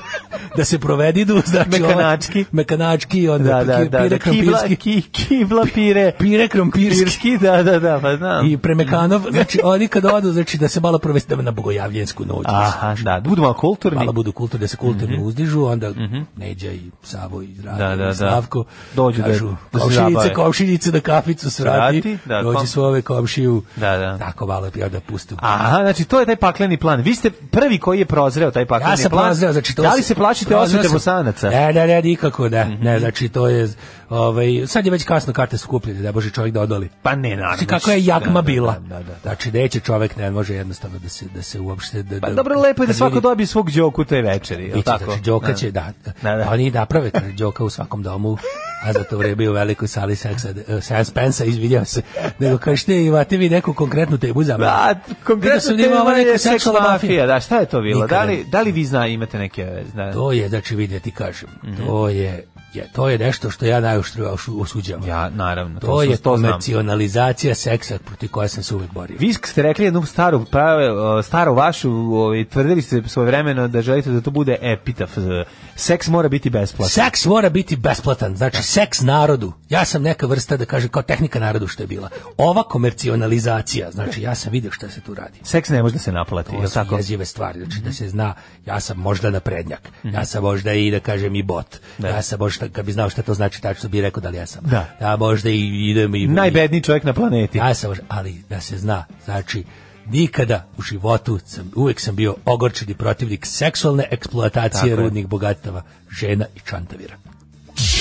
da se provedidu, znači ovaj- Mekanački. mekanački i onda da, da, pire, da, da, kibla, krompirski, ki, kibla pire, pire krompirski pirski, da, da, da, pa znam. i premekanov, znači oni kad odu, znači da se malo provesti da na bogojavljensku noć. Aha, da, budemo malo kulturni. Malo budu kulturni, da se kulturno uzdižu, onda Neđa i Savo i Rade Mhm. Da, da, da. i Slavko Dođu da- kažu, da se komšinice, zabave." komšinice da kaficu svrati, Svrati, da, dođi kom- svove komšiju, Da, da. tako malo i onda pustu. Aha, znači to je taj pakleni plan. Vi ste prvi koji je prozreo taj pakleni Ja sam plan. prozreo, znači to Da li se- se plašite prozreo osvete sam. E, bosanaca? Mhm. Ne, ne, ne, nikako ne. Ne, znači to je ovaj sad je već kasno karte su kupljene, da bože čovjek da odoli. Pa ne, naravno. Znači kako je jakma Da, da, bila. Da, da, da. Znači neće čovjek ne može jednostavno da se da se uopšte da, Pa da- dobro, lepo je da kad svako vidi- dobije svog đoku te večeri, je li Biće, tako? Znači, Đoka Da. će, da. Da, da. Oni i naprave kaže, Đoka u svakom domu, a za to vreme je u velikoj sali seksa, eh, Sam Spensa, izvinjam se. Nego kaže, te imate vi neku konkretnu temu za mene? Da, Vidio konkretno sam da ima ovaj tema ova neka je seks seksualna mafija. mafija. Da, šta je to bilo? Nikada. Da li, da li vi zna, imate neke... Zna, To je, znači, vidi, ja ti kažem, Mhm. to je, je, to je nešto što ja najoštrije osu- osuđavam. Ja, naravno. to, To, je su- to znam. komercionalizacija seksa protiv koja sam se uvek borio. Vi ste rekli jednu staru, prave, o, staru vašu, ovaj, tvrdili ste svoje vremeno da želite da to bude epitaf. e, Seks mora biti besplatan. Seks mora biti besplatan, znači seks narodu. Ja sam neka vrsta, da kažem, kao tehnika narodu što je bila. Ova komercionalizacija, znači ja sam vidio šta se tu radi. Seks ne može da se naplati, je To li su tako? Mhm. jezive stvari, znači da se zna, ja sam možda naprednjak, ja sam možda i da kažem i bot, ja sam možda, kad bi znao šta to znači, tačno bi rekao da li ja sam, Da. ja možda i idem i... Najbedniji čovjek na planeti. Ja sam, možda- ali da se zna, znači nikada u životu sam, uvek sam bio ogorčeni protivnik seksualne eksploatacije Tako je. rudnih bogatstava žena i čantavira.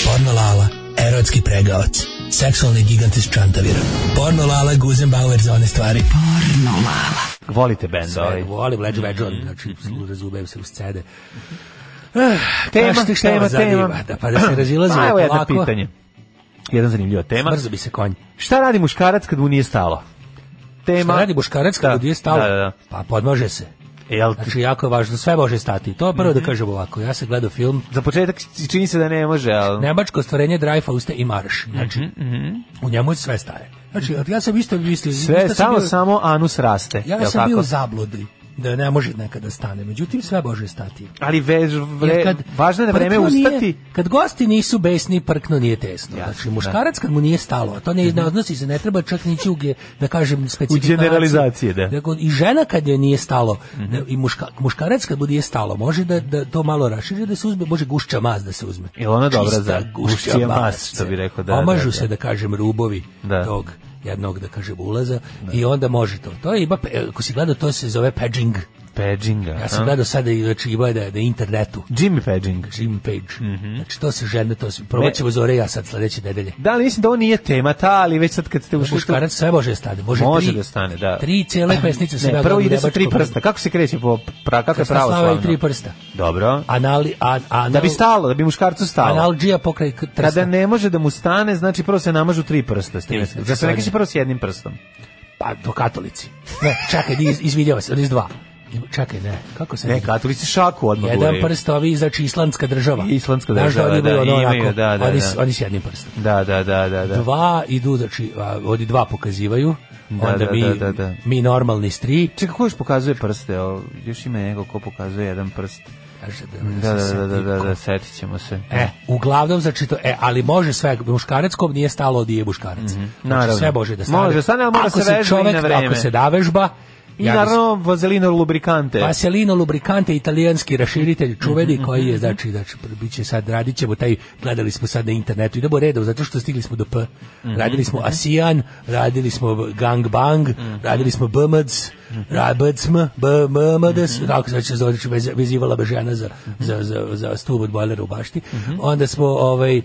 Pornolala, erotski pregavac. Seksualni gigant iz Čantavira. Pornolala Guzenbauer za one stvari. Volite bend ovaj. Sve, volim Led Zeppelin, znači razumijem se u scene. Tema, Kažete šta tema, vas zanima, tema. Da, pa da se razilazimo Pa evo jedno polako. pitanje. Jedan zanimljiva tema. Brzo bi se konj. Šta radi muškarac kad mu nije stalo? Tema. Šta radi muškarac Da, kad je stalo? Da, da, da. Pa podmaže se. Jel, Znači, jako je važno, sve može stati. To prvo Mhm. da kažem ovako, ja sam gledao film za početak čini se da ne može, ali... Nemačko stvorenje Dreyfausta i Marš. Znači, u njemu sve staje. Znači, ja sam isto mislio... isto Mhm, sve, sam samo, bio- samo anus raste. Ja jel sam bio tako? u zabludi da ne može nekada stane. Međutim, sve može stati. Ali vež, Jer vre, važno je na vreme prkno nije- ustati. kad gosti nisu besni, prkno nije tesno. Jasno, Mhm. znači, muškarac kad mu nije stalo, a to ne, ne odnosi se, ne treba čak ni čuge, da kažem, specifikacije. generalizacije, da. Mhm. Nego i žena kad je nije stalo, ne, i muška, muškarac kad mu nije stalo, može da, da to malo raširi, da se uzme, može gušća maz da se uzme. Jel ona dobra Čista za gušćija mast, što bi rekao, da, Omažu da, da. se, da kažem, rubovi Da. tog jednog, da kažem, ulaza i onda može to. To je ima, pe- ako si gledao, to se zove pedging. Pedžinga. Ja sam a? gledao sada i znači, ima da, da internetu. Jimmy Pedžing. Jim Page. Mhm. Znači to se žene, to se probaćemo zore ja sad sledeće nedelje. Da, ali mislim da ovo nije tema ta, ali već sad kad ste ušli... Muškarac sve može da stane, može, Može tri, da stane, da. Tri cijele pesnice sam Ne, ja prvo gledao ide u sa tri nemačkom. prsta. Kako se kreće po pra, kako je Krsta slava pravoslavno? i tri prsta. Dobro. Anali, a, anal, Da bi stalo, da bi muškarcu stalo. Analgija pokraj k- trsta. Kada ne može da mu stane, znači prvo se namažu tri prsta. s time Tri, se- Zar znači, se ne stvarno. kaže prvo s jednim prstom? Pa to katolici. Ne, čekaj, nije iz, izvinjavam se, iz dva. I- Čekaj, ne, kako se... Ne, katolici šaku odmah Jedan guraju. prst, ovi, znači, islandska država. Islandska Znaš država, oni imaju da, ono imaju, onako, da, da, oni, da. s- oni s jednim prstom. Da, da, da, da, da. Dva idu, znači, a, oni dva pokazivaju, Da, onda da, mi, da, da, da. mi normalni s tri, Čekaj, ko još pokazuje prste? O, još ima neko ko pokazuje jedan prst. Kaže Da, da, se da, da, setim da, ko- da, setit ćemo se. E, uglavnom znači to, e, ali može sve, muškarac kom nije stalo od je muškarac. Znači, Mhm, Naravno. sve može da stane. Može da stane, ali mora Ako se vežba i na vreme. Ako se da vežba, I Ja Pa mislim- naravno vazelino lubrikante. Vaselino lubrikante Mhm, italijanski raširitelj čuveni koji je znači znači biće sad radit ćemo taj gledali smo sad na internetu idemo redom zato što stigli smo do P. Mhm, Radili smo ASEAN, radili smo Gang Bang, Mhm. radili smo BMDS, RABCM, BMDS, Mhm. tako znači se zove, znači, vez- vezivala me žena za, za, za, za stup od bojlera u bašti. Mhm. Onda smo ovaj, uh,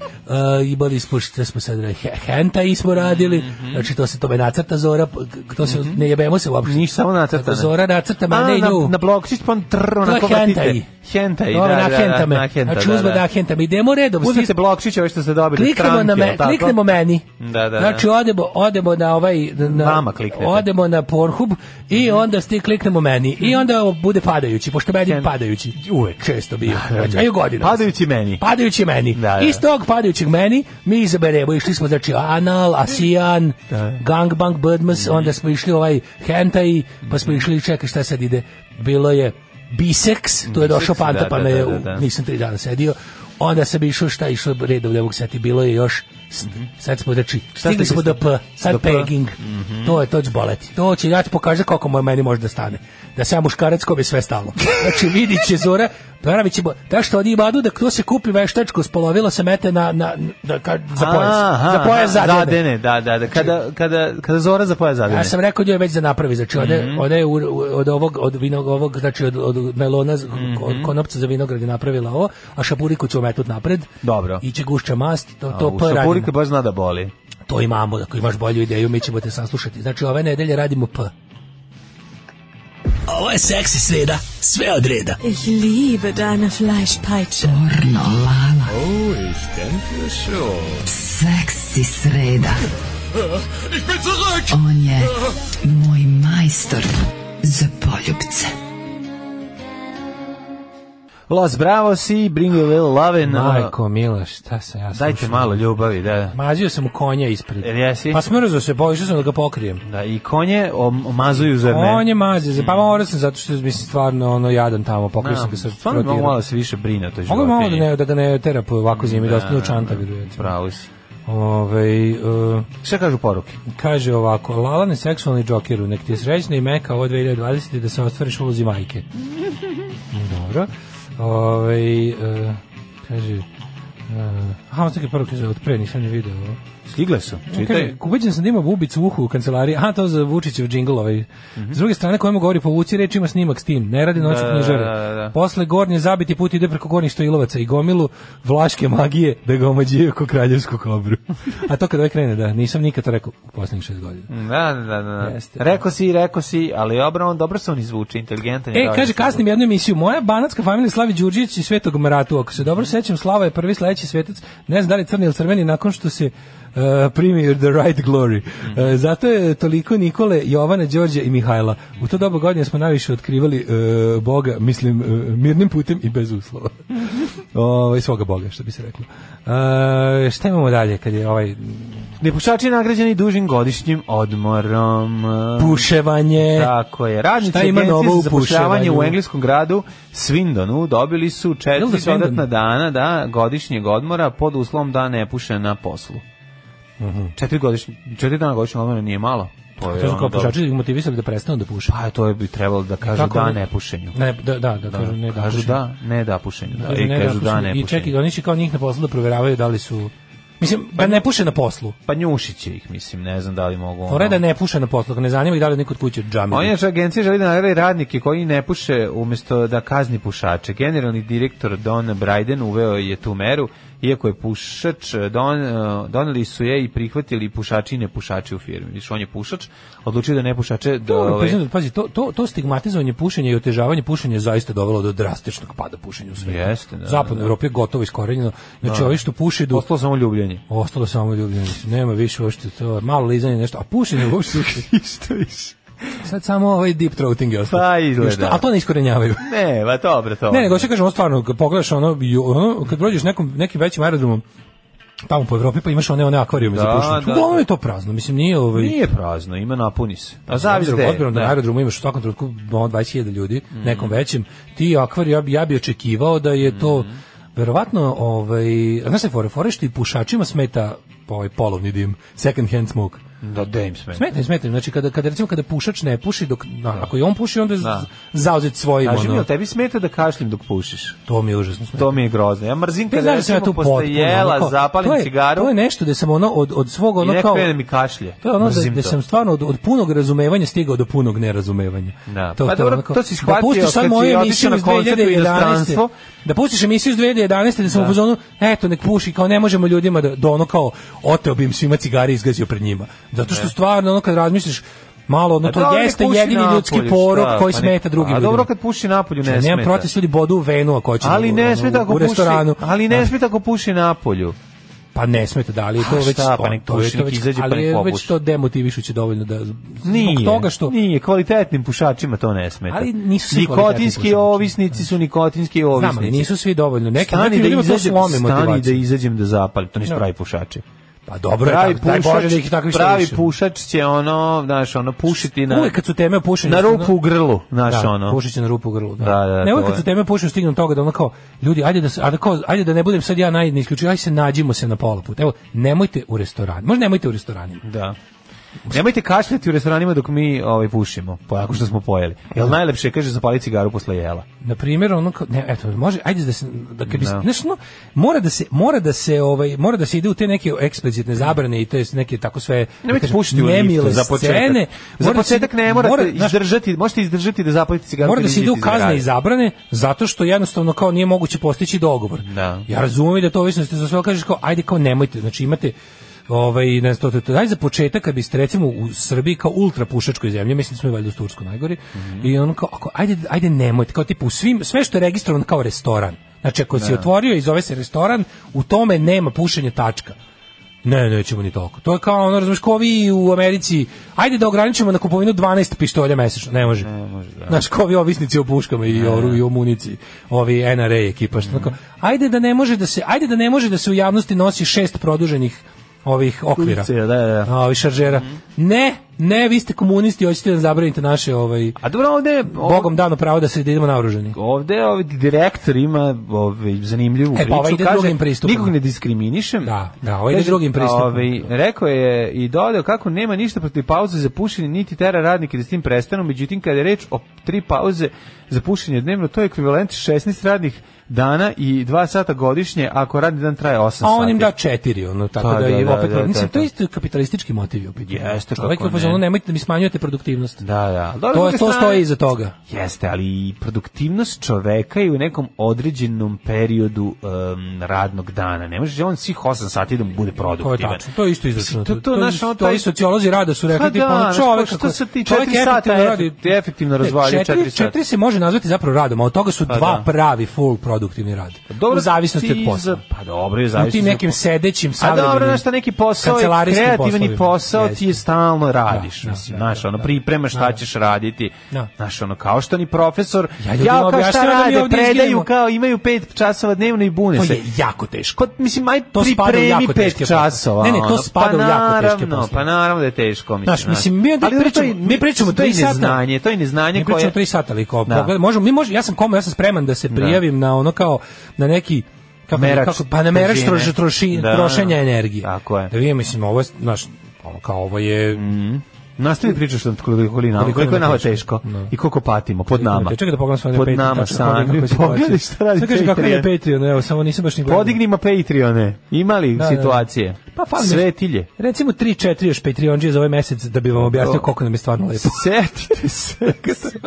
imali smo, šta smo sad radili, He- hentai smo Mhm, radili, znači to se tome nacrta zora, p- to se, ne jebemo se uopšte. Niš Mhm. samo nacrtane. Zora nacrta, ma A, ne na, nju. na blokčić, pa on trr, onako To je vatite. hentai. Hentai, Dobro, da, da, na da, hentame. na henta, znači, da, uzme da. na hentame. Idemo redom. Uzmite stisnemo- blokčiće, ove što ste dobili, Kliknemo stranke, na, me, jel tako? kliknemo meni. Da, da, da. Znači odemo, odemo na ovaj na, na- Vama kliknete. Mhm. Odemo na Pornhub i onda sti kliknemo meni i onda ovo bude padajući, pošto meni padajući. Uvek često bio. Znači, a i godina. Padajući meni. Padajući meni. Da, da. Iz tog padajućeg meni mi izaberemo, išli smo znači anal, asijan, gangbang, budmas, onda smo išli ovaj hentai, pa smo išli, čekaj šta sad ide, bilo je biseks, tu je došao Biseks, panta, da, pa da, me je da, da, u- da. nisam tri dana sedio. Onda sam išao šta je išlo redom ljevog seti, bilo je još s- sad smo znači stigli Mhm. ste smo do biste? P, sad Do P. Mhm. pegging. To je to će boleti. To će ja ti pokaže koliko moj meni može da stane. Da sam muškarac kome je sve stalo. Znači vidit će Zora, Pravić će bo- da što oni imadu da ko se kupi veštačko spolovilo se mete na na da ka, za pojas. Aha, za pojas aha, zadene. zadene, da, da, da. Kada, kada, kada Zora za pojas zadene. Ja sam rekao njoj već za napravi, znači ona Mhm. je- ona je u- u- od ovog od vinog ovog znači od, od melona z- od Mhm. konopca za vinograd je napravila ovo, a šapuriku ćemo metut napred. Dobro. I će gušća mast, to to A, u P radimo. šapurika baš zna da boli. To imamo, ako imaš bolju ideju, mi ćemo te saslušati. Znači, ove nedelje radimo P. Ovo je seksi sreda, sve od reda. Ich liebe deine Fleischpeitsche. Pornolala. Oh, ich denke schon. Seksi sreda. Ich bin zurück! On je moj majstor za poljubce. Los Bravos i Bring You a Little Love in. Majko, mila, šta sam ja Dajte slušao? malo ljubavi, da. Mazio sam konja ispred. Jel jesi? Pa smrzo se, povišao sam da ga pokrijem. Da, i konje om- omazuju zar ne? On je mazio, se, pa morao sam zato što mislim stvarno ono jadan tamo, pokrio sam ga sa Stvarno mogu malo Mm. da se više brine o toj ono- Mogu životinji. malo da, ne, da ga ne tera po ovako zimi, da, Da, ostane u da, čantavi. recimo. Pravo si. Ovaj, e, Šta kažu poruke? Kaže ovako, Lalane seksualni džokeru, nek ti je srećna i meka ovo 2020 da se ostvariš u ulozi majke. Dobro. Ove, kaže, e, aha, on prvo kaže, od pre nisam ni video ovo. Stigle su. Kaže, Čitaj. ubeđen sam da ima bubicu u uhu u kancelariji, aha, to za Vučićev džingl ovaj. S druge strane, kojemu govori povuci reč, ima snimak s tim, ne radi noću Mhm. Da, knjižare. da, da, da. Posle gornje zabiti put ide preko gornjih stojilovaca i gomilu vlaške magije da ga omađuje ko kraljevsku kobru. A to kad ovaj krene, da, nisam nikad to rekao u posljednjih šest godina. Da, da, da. da. Jeste. Rekao si, rekao si, ali obrano, dobro se on izvuče, inteligentan je. E, dobar. kaže, kasnim jednu emisiju, moja banatska familija slavi Đurđević i Svetog Maratu, ako se dobro sećam, Slava je prvi sledeći svetac, ne znam da li crni ili crveni, nakon što se uh, primi The Right Glory. Mhm. Uh, zato je toliko Nikole, Jovana, Đorđe i Mihajla. U to doba godine smo najviše otkrivali uh, Boga, mislim, uh, mirnim putem i bez uslova. Ovaj, svoga Boga, što bi se reklo. Uh, šta imamo dalje kad je ovaj... Mm. Nepušači nagrađeni dužim godišnjim odmorom. Puševanje. Tako je. Radnici Šta ima agencije novo za u zapošljavanje u puševanju? engleskom gradu Swindonu dobili su Jel da četiri Swindon? dodatna dana da, godišnjeg odmora pod uslovom da ne puše na poslu. Četiri, godišnj, četiri dana godišnjeg odmora nije malo. To je Mhm. To su ono kao dobro. pušači motivisali da prestanu da puše. Pa to bi trebalo da kažu Kako da ono? ne pušenju. Ne, da, da, da, kažu ne da kažu puše. da, ne da pušenju. Da, I ne, kažu da pušenje. ne I čekaj, pušenju. oni će kao njih na poslu da proveravaju da li su... Mislim, da ne puše na poslu. Pa njušit će ih, mislim, ne znam da li mogu. Fora je ono- da ne puše na poslu, ako ne zanima i da li neko od kuće džami. On je što agencija želi da nagradi radnike koji ne puše umjesto da kazni pušače. Generalni direktor Don Bryden uveo je tu meru, iako je pušač, don, eh, doneli su je i prihvatili pušači i nepušači u firmi. Viš, on je pušač, odlučio da ne pušače do... To, ove- priznam, pazi, to, to, to stigmatizovanje pušenja i otežavanje pušenja je zaista dovelo do drastičnog pada pušenja u svijetu. Jeste, da, Zapadna da. Evropa je gotovo iskorenjeno. Znači, ovi što puše idu... Ostalo samo ljubljenje. Ostalo samo ljubljenje. Nema više uopšte to. Malo lizanje nešto. A pušenje uopšte... Isto više. Sad samo ovaj deep throating je ostalo. Pa, izgleda. Što- A to ne iskorenjavaju. Ne, ba dobro to. Ne, nego se kažem, ono stvarno, kad pogledaš ono, ju- ono kad prođeš nekom, nekim većim aerodromom, tamo po Evropi, pa imaš one, one akvarijume Da, za pušenje. da, Uglavnom da. je to prazno, mislim, nije ovaj... Nije prazno, ima napuni se. A Pa zavis Obzirom- gde je, obzirom da da. Mhm. na aerodromu imaš u svakom trenutku ono, 20.000 ljudi, nekom većem, ti akvar, ja bi, ja bi očekivao da je to Mhm. verovatno, ovaj, a znaš se fore, fore što i pušačima smeta ovaj polovni dim, second hand smoke. Da, da im smeta. Smeta, im, smeta. im. Znači, kada, kada, recimo, kada pušač ne puši, dok, na, ako i on puši, onda je da. zauzet svojim. Kaži mi, ono. jel tebi smeta da kašljem dok pušiš? To mi je užasno smeta. To mi je grozno. Ja mrzim Ti kada znaš da sam ja tu recimo potpuno. posle jela ono kao- zapalim to je, cigaru To je nešto da sam ono od, od svog i ono nek kao... krene mi kašlje. To je ono da, Mrzim da to. sam stvarno od, od punog razumevanja stigao do punog nerazumevanja. Da. Pa dobro, onako- to si da shvatio pustiš kad sad si moju otišao emisiju na iz koncert u 2011. inostranstvo. Da pustiš emisiju iz 2011. da sam u fazonu, eto, nek puši, kao ne možemo ljudima da, da ono kao oteo bi im svima cigare i izgazio pred njima. Zato što stvarno ono kad razmisliš malo, ono A to Pa dobro, nek jeste puši jedini napolju, ljudski šta, porok pa koji nek- smeta drugim A ljudima. dobro kad puši napolju ne Znači, smeta. Nemam protiv su ljudi bodu u venu ako hoće ali u- ne ono, smeta ako u restoranu. Puši, ali ne smeta ako puši napolju. Pa ne smeta, da li je to A već šta, pa to- nek to je puši, to nek već- izađe, pa ali nek je već popuši. to demotivišuće dovoljno da zbog Nije, toga što nije, kvalitetnim pušačima to ne smeta. Ali nisu svi kvalitetni Nikotinski pušači. Znači, ovisnici su nikotinski ovisnici. Znam, ali nisu svi dovoljno. Neki stani neki da ljudima to izađem, slome stani da motivaciju. izađem da zapalim, to nisu No. pravi pušači. Pa dobro je, pravi tako- daj Bože da ih je takvih što pravi više. pušač će ono, znaš, ono pušiti na Uvek kad su teme o pušenju... na su- rupu u grlu, znaš da, ono. pušit će na rupu u grlu. Da. Da, da, ne, to uvek kad je. su teme pušenju stignem do toga da ono kao, ljudi, ajde da, se, ajde, kao, ajde da ne budem sad ja naj, ne isključujem, ajde se nađimo se na pola puta. Evo, nemojte u restoran. Možda nemojte u restoranima. Da. Nemojte kašljati u restoranima dok mi ovaj pušimo, po ako što smo pojeli. Jel najlepše kaže zapali cigaru posle jela. na primjer ono kao, ne, eto može ajde da se da kad bi znaš, ono, mora da se mora da se ovaj mora da se ide u te neke eksplicitne zabrane i to jest neke tako sve da Nemojte kažem, pušiti u liftu nemile za početak. scene. za Mora da se- početak ne morate mora, znaš, izdržati, možete izdržati da zapalite cigaru. mora da kad se ide u izađete iz kazne zgrade. i zabrane zato što jednostavno kao nije moguće postići dogovor. Da. Ja razumem i da to ovisno ste za sve ali kažeš kao ajde kao nemojte, znači imate ovaj ne znam, to, to, to. Ajde za početak kad biste recimo u Srbiji kao ultra pušačkoj zemlji, mislim da smo i valjda u Tursku najgori i ono kao ako, ajde ajde nemojte, kao tipu u svim sve što je registrovano kao restoran. Znači ako si otvorio i zove se restoran, u tome nema pušenja tačka. Ne, nećemo ni toliko. To je kao ono, razumiješ, ko vi u Americi, ajde da ograničimo na kupovinu 12 pištolja mesečno, ne može. Ne može, da. Znaš, ko ovi ovisnici o puškama i o, i o municiji, ovi NRA ekipa, što tako, ajde da ne može da se, ajde da ne može da se u javnosti nosi šest produženih ovih okvira. Ulice, da, da. Mhm. A, ovih šaržera. Ne, ne, vi ste komunisti, hoćete da zabranite naše, ovaj, A dobro, ovde, Bogom dano pravo da se da idemo naoruženi. ovde ovaj direktor ima ovaj, zanimljivu E, pa priču. ovaj ide Kaže, drugim pristupom. Nikog ne diskriminišem. Da, da, ovaj ide Kaže, drugim pristupom. Ovaj, rekao je i dodao kako nema ništa protiv pauze za pušenje, niti tera radnike da s tim prestanu. Međutim, kada je reč o tri pauze za pušenje dnevno, to je ekvivalent 16 radnih dana i 2 sata godišnje, ako radni dan traje 8 sati. A on im da četiri, ono, tako Pa, da, da, je da, opet, da, mislim, da, to je da. isto kapitalistički motiv. Opet. Jeste, Čovjek kako je u fazonu, ne. nemojte da mi smanjujete produktivnost. Da, da. Dobro, To, s druge to strane- stoji iza toga. Jeste, ali i produktivnost čoveka je u nekom određenom periodu em, radnog dana. Ne može on svih 8 sati da mu bude To je produktivan. tačno, to je isto izračunato. To- to naš, ono, to taj- i sociolozi rada su Pa rekli tipa da, ono znaš, čovjek što kako se ti čovjek četiri sata efektivno efe- radi ti efektivno Ne, razvalio četiri sata. Četiri se može nazvati zapravo radom, a od toga su Pa da. dva Pa pravi full produktivni rad. u zavisnosti od ti posla. za- Pa dobro, je U zavisnosti tim od nekim posla. sedećim A savremenim. dobro, znaš šta, neki posao je kancelarijskim kreativni poslovima. posao, ti je Jeste. stalno radiš, Da, mislim, da, da, znaš, ono, da. pripremaš šta ćeš raditi, Da. znaš, ono, kao što ni profesor, Ja ja, ljudima kao šta objašnjavam da mi rade, ovdje izginemo. predaju kao, imaju pet časova dnevno i bune To se. je jako teško. Pa, mislim, aj To spada u pripremi jako teške pet poslove. časova. Ne, ne, to ono. spada pa, u jako teške naravno, poslove. Pa naravno da je teško, mislim. Znaš, mislim, mi, ovdje Ali dobro, to je- pričamo, mi pričamo to je tri sata. neznanje, to je neznanje Mi pričamo koje... tri sata, ali kao Da. pogled- možemo, mi može, ja sam komo, ja sam spreman da se prijavim na ono kao, na neki, kako, Merač kako pa na merač težine. troš, troši, Da. trošenja energije. Tako je. Da vidim, mislim, ovo je, znaš, ono kao ovo je, Nastavi pričaš što koliko je nama, Koliko koliko je nam je nama teško. teško No. i koliko patimo pod nama. Te, čekaj da pogledam svoje Pod Patreon, nama tačno pogledam sami. kako je situacija. Pogledaj šta radi Sad kažeš kako je Patreon. Patreon, evo, samo nisam baš ni gledao. Podignimo Patreone. Imali Da, da, da. situacije? Pa fali mi- Svetilje. Recimo 3-4 još Patreonđije za ovaj mesec da bi vam objasnio To. koliko nam je stvarno lepo. Setite se.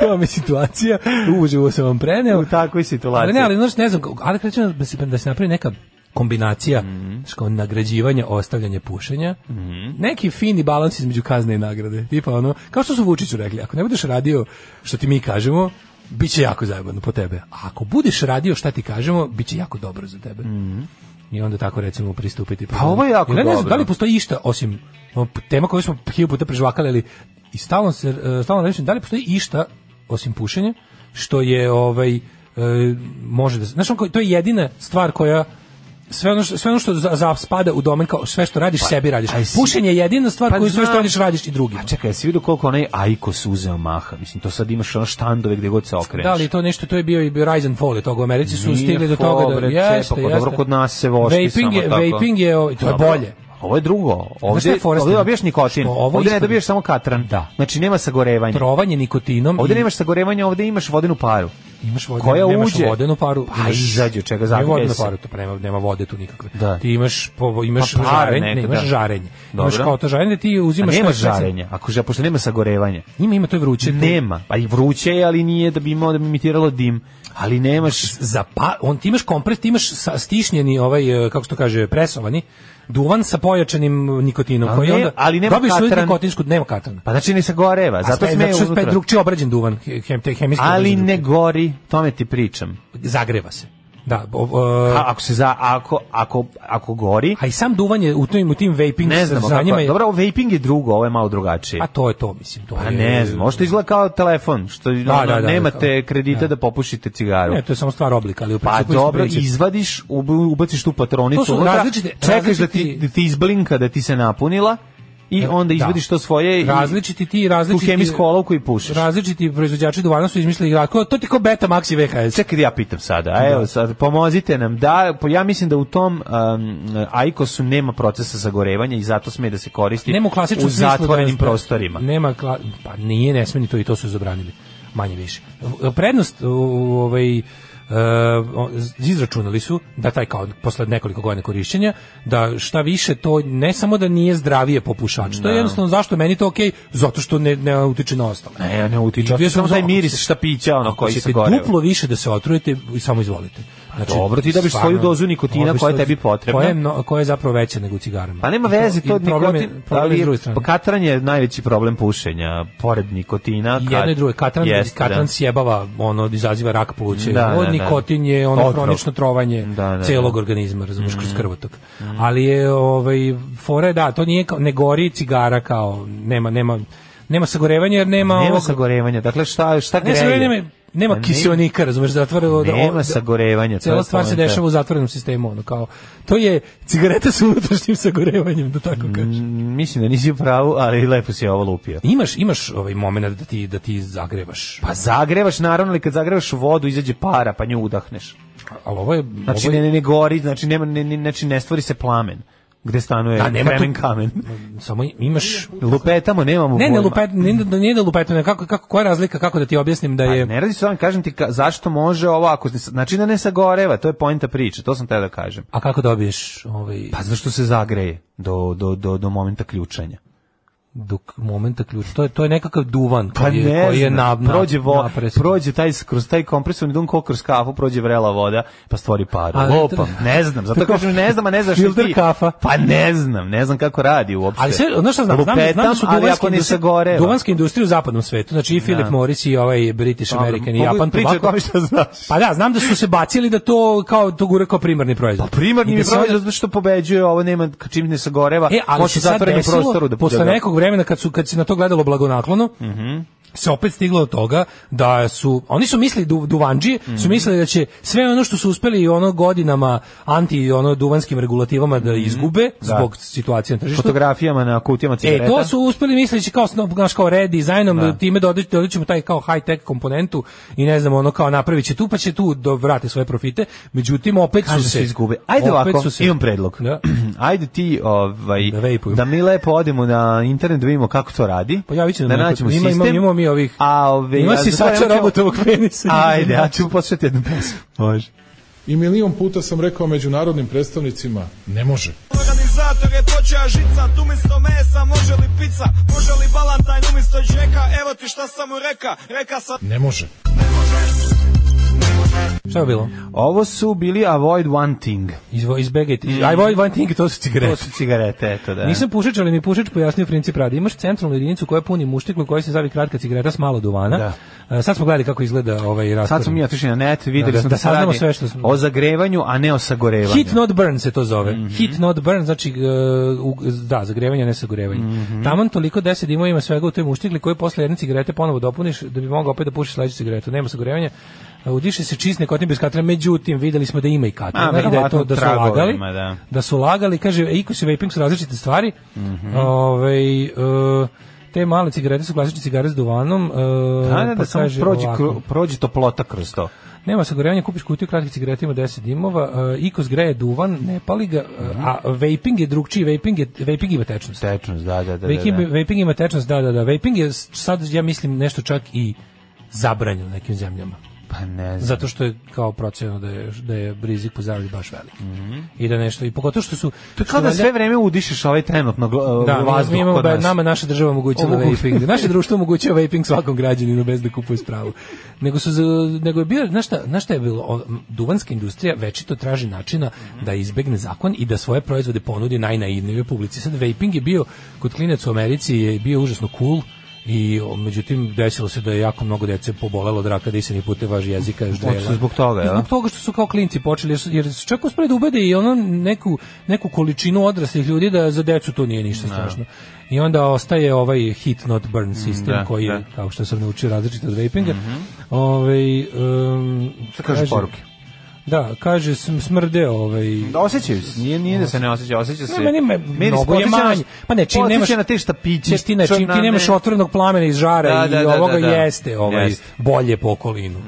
to vam je situacija, uživo sam vam preneo. U takvoj situaciji. Ali ne, ali znaš, ne znam, ali krećem da se, da se napravi neka kombinacija Mhm. mm nagrađivanja, ostavljanje pušenja, neki fini balans između kazne i nagrade. Tipa ono, kao što su Vučiću rekli, ako ne budeš radio što ti mi kažemo, bit će jako zajebano po tebe. A ako budeš radio šta ti kažemo, bit će jako dobro za tebe. I onda tako recimo pristupiti. Mhm. Pa ovo je jako Jer ja ne znam, dobro. da li postoji išta osim o, p- tema koju smo hiljadu puta prežvakali, ali i stalno se e, stalno rečem, da li postoji išta osim pušenja što je ovaj e, može da se- znaš, on kao- to je jedina stvar koja sve ono što, sve ono što za, za spada u domen kao sve što radiš sebi radiš. a jesi- Pušenje je jedina stvar Pa koju sve što znam. radiš radiš i drugima. A Pa čekaj, jesi vidio koliko onaj Aikos uzeo maha? Mislim, to sad imaš ono štandove gdje god se okreneš. Da li je to nešto, to je bio i Rise and Fall, je toga u Americi su Nije stigli do toga da fobre, cepa, jeste, pa jeste. dobro, kod nas se vošti vaping samo je, tako. Vaping je, o- to je Dobro. bolje. Ovo je drugo. šta Ovde, je fora s ovde tim? dobiješ nikotin. Što ovo Ovde ne ispod- dobiješ samo katran. Da. Znači nema sagorevanja. Trovanje nikotinom Ovde i- nemaš sagorevanja, ovde imaš vodenu paru. Imaš vodenu, Koja nemaš uđe. vodenu paru. Pa izađe, čega Nema zakljuje vodenu se. paru, to nema, nema vode tu nikakve. Da. Ti imaš, po, imaš Pa par žarenje, ne, neka, imaš da. žarenje. Imaš Dobro. kao to žarenje, da ti A uzimaš... nema sve- žarenja, ako ža, pošto nema sagorevanja. Ima, ima, to je vruće. to- Nema, pa i vruće je, ali nije da bi imao da bi imitiralo dim, ali nemaš za pa, on ti imaš kompres, ti imaš sa- stišnjeni ovaj e, kako se to kaže presovani duvan sa pojačanim nikotinom Ali koji ne- onda ali nema dobiš svoju katran. nikotinsku nema katana. pa znači ne sagoreva, zato A sve- sme zato što je unutra. drugčije obrađen duvan, he- hem, te hemijski Ali obrađen ne gori, tome ti pričam. duvan. zagreva se. Da, o- o- A ako se za ako ako ako gori, a i sam duvan je u tim u tim vaping ne znamo srzanjima kako. je- Dobro, ovo vaping je drugo, ovo je malo drugačije. a to je to mislim, to Pa je. ne znam, možda izgleda kao telefon, što ono, da, da, da, nemate kao- kredita da. da popušite cigaru. Ne, to je samo stvar oblika, ali u Pa principu dobro, isti princip. izvadiš, ub- ubaciš tu patronicu, To su unutra, različite- čekaš da ti, različiti- E, da ti izblinka da ti se napunila i onda izvadiš to svoje i različiti ti različiti tu hemijsku olovku i pušiš. Različiti proizvođači duvana su izmislili igraku, to ti kao Beta Maxi VHS. Čekaj da ja pitam sada, a evo sad, pomozite nam, da, po, ja mislim da u tom um, Aikosu nema procesa sagorevanja i zato sme da se koristi nema u klasičnom u smislu da- zatvorenim prostorima. Nema kla- pa nije ne sme ni to i to su zabranili. Manje više. Prednost u- u- ovaj e, o- izračunali su da taj kao posle nekoliko godina korišćenja da šta više to ne samo da nije zdravije popušač to je jednostavno zašto je meni to okej zato što ne ne utiče na ostalo Pa Ne, ne utiče, Bio ostaje sam samo taj za- ako miris se- šta pića, ono, koji se Hoćete gore. Pa duplo više da se otrujete i samo izvolite. Znači, dobro, ti dobiš svoju dozu nikotina dobiš koja je svoju- tebi potrebna. Koja je, mno- koja je zapravo veća nego u cigarama. Pa nema I to- veze, i to problem je- nikotin, problem je ali s druge strane. katran je pa najveći problem pušenja, pored nikotina. I jedno i drugo, katran, Jeste, katran da. sjebava, ono, izaziva rak pluća. Da, Ovo da, da. nikotin je ono Otrov. hronično trovanje Da, Mm. da, celog da. organizma, razumiješ, kroz krvotok. Ali je, ovaj, fora je da, to nije kao, ne gori cigara kao, nema, nema, nema sagorevanja jer nema, Nema ovog- sagorevanja, dakle šta, šta ne, greje? sagorevanja, nema, nema Pa ne- kisionika, razumeš, zatvore, Nema sagorevanja. E, to Cela je stvar se poenta. dešava u zatvorenom sistemu, ono kao, to je cigareta sa unutrašnjim sagorevanjem, da tako kažem. Mm, Mislim da nisi u pravu, ali lepo si ovo lupio. Imaš, imaš ovaj moment da ti, da ti zagrebaš. Pa zagrevaš naravno, ali kad zagrevaš vodu izađe para, pa nju udahneš. ali ovo je... Znači ovo ne, je, ne, ne gori, znači nema ne, ne, znači ne stvori se plamen gde stanuje Da, nema kremen tu- kamen. samo imaš... Lupetamo, nemamo Ne, ne, pojma. lupet, ne, da nije da lupetno, kako, kako, koja je razlika, kako da ti objasnim da Pa je... ne radi se o ovom, kažem ti ka- zašto može ovo, ako, se- znači da ne sagoreva, to je poenta priče, to sam te da kažem. A kako dobiješ ovaj, Pa zašto se zagreje do, do, do, do momenta ključanja? dok momenta ključ? To je, to je nekakav duvan Pa koji je, ne koji je znam, na, na, prođe, vo, napresan. prođe taj, kroz taj kompresorni dum ko kroz kafu prođe vrela voda pa stvori paru. Ali to- Lopam, ne znam, zato Tako- kažem ne znam, a ne znaš i Filter ti. kafa. Pa ne znam, ne znam kako radi uopšte. Ali sve, ono što znam, znam, Lupetam, znam da su ali duvanske ako ne industrije, sagoreva. duvanske industrije u zapadnom svetu, znači i Philip Morris i ovaj British Dobro, American i Pa, mogu Japan pričati o Tobacco. tome što znaš. Pa da, znam da su se bacili da to kao to gure kao primarni proizvod. Pa primarni I je da se proizvod onda- zato što pobeđuje, ovo nema ka- čim ne sagoreva, E, ali može se sad zatvorenom desilo, prostoru da posle da Mhm. ga- nekog vremena kad su kad se na to gledalo blagonaklono, se opet stiglo do toga da su oni su mislili du, duvanđi Mhm. su mislili da će sve ono što su uspeli ono godinama anti ono duvanskim regulativama Mhm. da izgube zbog situacije na tržištu fotografijama na kutijama cigareta. E, to su uspeli misleći kao, sno- naš, kao red dizajnom, da. time dodat- dodat ćemo taj kao high-tech komponentu i ne znam, ono kao napravit će tu, pa će tu do, vrati svoje profite. Međutim, opet Kaže su se... se izgube. Ajde opet ovako, su se- imam predlog. Da. Ajde ti ovaj Da vejpujem. Pa da mi lepo odemo na internet da vidimo kako to radi. Pojavit će nam da neko- nađemo ima- ima- sistem. imamo mi ovih- A ove Ima a si za to sača nemamo- robotovog penisa. Ajde, ja ću posvetiti jednu pesmu. Može. I milion puta sam rekao međunarodnim predstavnicima, ne može. Organizator je počeo žicat Umjesto mesa može li pizza Može li balantajn umjesto džeka Evo ti šta sam mu reka Reka sam Ne može. Šta je bilo? Ovo su bili Avoid One Thing. Izvo, izbegajte. I want one thing, to su cigarete. Mm. To su cigarete, eto da. Nisam pušač, ali mi je pušač pojasnio princip rada. Imaš centralnu jedinicu koja puni muštik na kojoj se zavi kratka cigareta s malo duvana. Da. E, sad smo gledali kako izgleda ovaj raspored. Sad smo mi otišli na net, videli Da, da- smo da se saznamo radi sve što smo- O zagrevanju, a ne o sagorevanju. Hit not burn se to zove. Mhm. Hit not burn, znači e, u- da, zagrevanje, a ne sagorevanje. Mhm. Taman toliko 10 dimova ima svega u toj muštikli koju posle jedne cigarete ponovo dopuniš da bi mogao opet da pušiš sledeću cigaretu. Nema sagorevanja. E, Udiše se čist nikotin bez katrana, međutim, videli smo da ima i A, katrana i da, je verovatno to, da su tragovima, lagali. da. da su lagali, kaže, e, ikos i vaping su različite stvari. Mhm. Ovaj, e, te male cigarete su klasične cigare s duvanom. e, Da, da, pa da, samo kaže prođe, ovako. kru- prođe toplota kroz to. Nema sagorevanja, kupiš kutiju kratkih cigareta ima 10 dimova, uh, ikos greje duvan, ne pali ga, uh, a vaping je drugčiji, vaping, je, vaping ima tečnost. Tečnost, Mhm. da, da, da. Vaping, da, da. vaping ima tečnost, da, da, da. Vaping je s- sad, ja mislim, nešto čak i zabranjeno u nekim zemljama. Pa ne znam. Zato što je kao procjeno da je, da je rizik po zdravlje baš velik. I da nešto, i pogotovo što su... Mhm. To je kao da sve vreme udišeš ovaj trenutno gl- Da, vazduh mi imamo, kod da, nas. nama naša država omogućila Omogu- vaping. Naše društvo omogućava vaping svakom građaninu bez da kupuje spravu. Nego, su, za- nego je bio, znaš šta, znaš šta je bilo, O, m, duvanska industrija večito traži načina da izbegne zakon i da svoje proizvode ponudi najnaivnijoj publici. Sad vaping je bio, kod klinaca u Americi je bio užasno cool, i o, međutim desilo se da je jako mnogo dece pobolelo od raka disanih puteva jezika ždrela. Hoće zbog toga, jel? Zbog toga što su kao klinci počeli, jer su, jer su čak uspeli da ubede i ono neku, neku količinu odraslih ljudi da za decu to nije ništa strašno. I onda ostaje ovaj hit not burn sistem Mm, da, koji je, da. Mhm. kao što sam naučio, različit od vapinga. ovaj, um, Šta kažu poruke? Da, kaže sm- smrde ovaj... Da osjećaju se, nije, nije da se ne osjeća, osjeća se. Ne, meni me- mnogo je podsjeća na- manje. Pa ne, čim podsjeća nemaš- na te štapiće. Istina, čim ti črnane. nemaš otvorenog plamena iz žara Da, da, i da, da, ovoga da. jeste ovaj, Jeste. bolje po okolinu.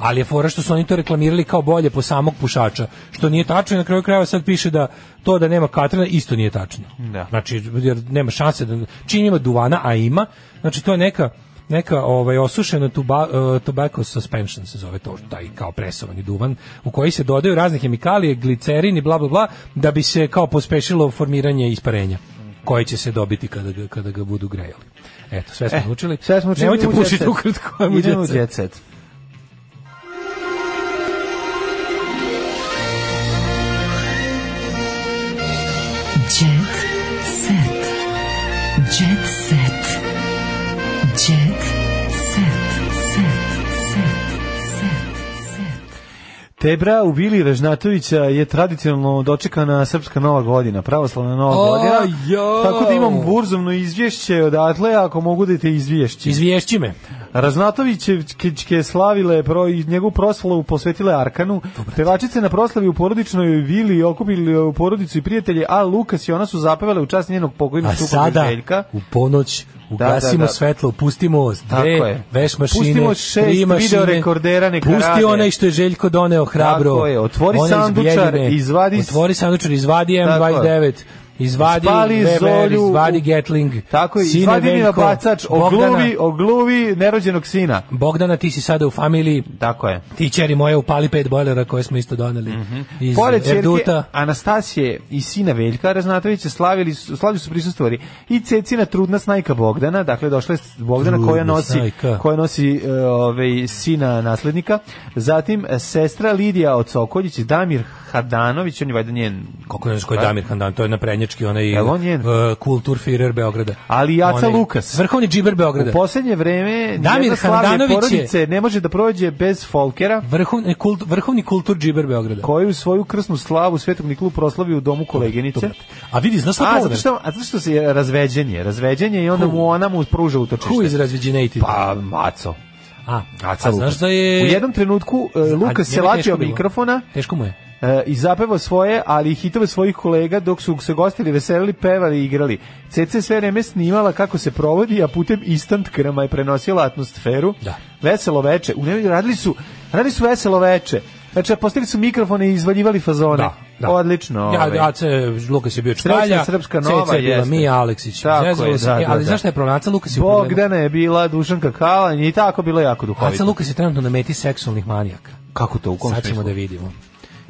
Ali je fora što su oni to reklamirali kao bolje po samog pušača, što nije tačno i na kraju krajeva sad piše da to da nema katrana isto nije tačno. Da. Znači, jer nema šanse da čim ima duvana, a ima, znači to je neka neka ovaj osušena tuba, uh, tobacco suspension se zove to taj kao presovani duvan u koji se dodaju razne hemikalije, glicerin i bla bla bla da bi se kao pospešilo formiranje isparenja koje će se dobiti kada ga, kada ga budu grejali. Eto, sve smo E, naučili. Sve smo učili. Nemojte idemo u Jet pušiti Set. ukratko. ajmo u Idemo u Jet Set. Jet Set. Jet set. Jet set. Jet set. Set. Set. Set. Set. Tebra u Bili Ražnatovića je tradicionalno dočekana srpska nova godina, pravoslavna nova A, godina. jao. Tako da Oh. imam burzovno izvješće odatle, ako mogu da te izvješći. Izvješći me. Raznatovićevke slavile pro, i njegovu proslavu posvetile Arkanu. Pevačice na proslavi u porodičnoj vili okupili e, u porodicu i prijatelje, a Lukas i ona su zapevale u čast njenog pokojnog A supruga sada, Željka. u ponoć, ugasimo da, da. svetlo, pustimo Tako dve je. veš mašine, Pustimo šest tri mašine, videorekordera neka pusti rade. onaj što je Željko doneo hrabro. Tako je, otvori onaj iz sandučar, Bjeljine, izvadi s- Otvori sandučar, izvadi Tako je. M29, izvadi Spali Weber, Zolju izvadi u- Gatling, Tako je, sine izvadi mi Veljko, bacač, ogluvi, Bogdana, ogluvi nerođenog sina. Bogdana, ti si sada u familiji, Tako je. ti čeri moje upali pet bojlera koje smo isto doneli iz Mhm. Pored Erduta. čerke Anastasije i sina Veljka Raznatovića slavili su, slavlju su prisustvovali i cecina trudna snajka Bogdana, dakle došla je Bogdana Trudna koja nosi snajka. koja nosi e, ovaj sina naslednika. Zatim e, sestra Lidija od Sokoljić, Damir Hadanović, on je valjda njen Kako je koji Damir Handan, to je na prednjački onaj Jel Pa- on njen? uh, kulturfirer Beograda. Ali i Aca Onaj Lukas. Vrhovni džiber U Beograda. poslednje vreme Damir Damir Handanović je- porodice ne može da prođe bez Folkera Vrhovni, e, kult, vrhovni kultur džiber Beograda. koji u svoju krsnu slavu Svetog Nikolu proslavi u domu kolegenice. A vidi, znaš šta A, problem? zato što, a zato što se je razveđen je, razveđen je i onda mu ona mu pruža utočište. Who is razviđenejti? Pa, maco. a, Aca a znaš Lukas. da je... U jednom trenutku e, A, njemu Lukas se teško lačio bilo. mikrofona Teško mu je. e, i zapevao svoje, ali i hitove svojih kolega dok su se gostili, veselili, pevali i igrali. CC sve vreme snimala kako se provodi, a putem instant krema je prenosila atmosferu. Da. Veselo veče. U njemu radili su, radili su veselo veče. Znači, postavili su mikrofone i izvaljivali fazone. Odlično. ovaj. Ja, Aca Lukas je bio Srećna čkalja, srpska nova, Ceca je bila jeste. Mija Aleksić. Tako je, Zezalo se, E, da, da, ali da. znaš šta je problem? Aca Lukas je u problemu. Bogdana je bila, Dušanka Kalan i tako bilo je jako duhovito. Aca Lukas je trenutno na meti seksualnih manijaka. Kako to, u kom Sad ćemo smislu? da vidimo.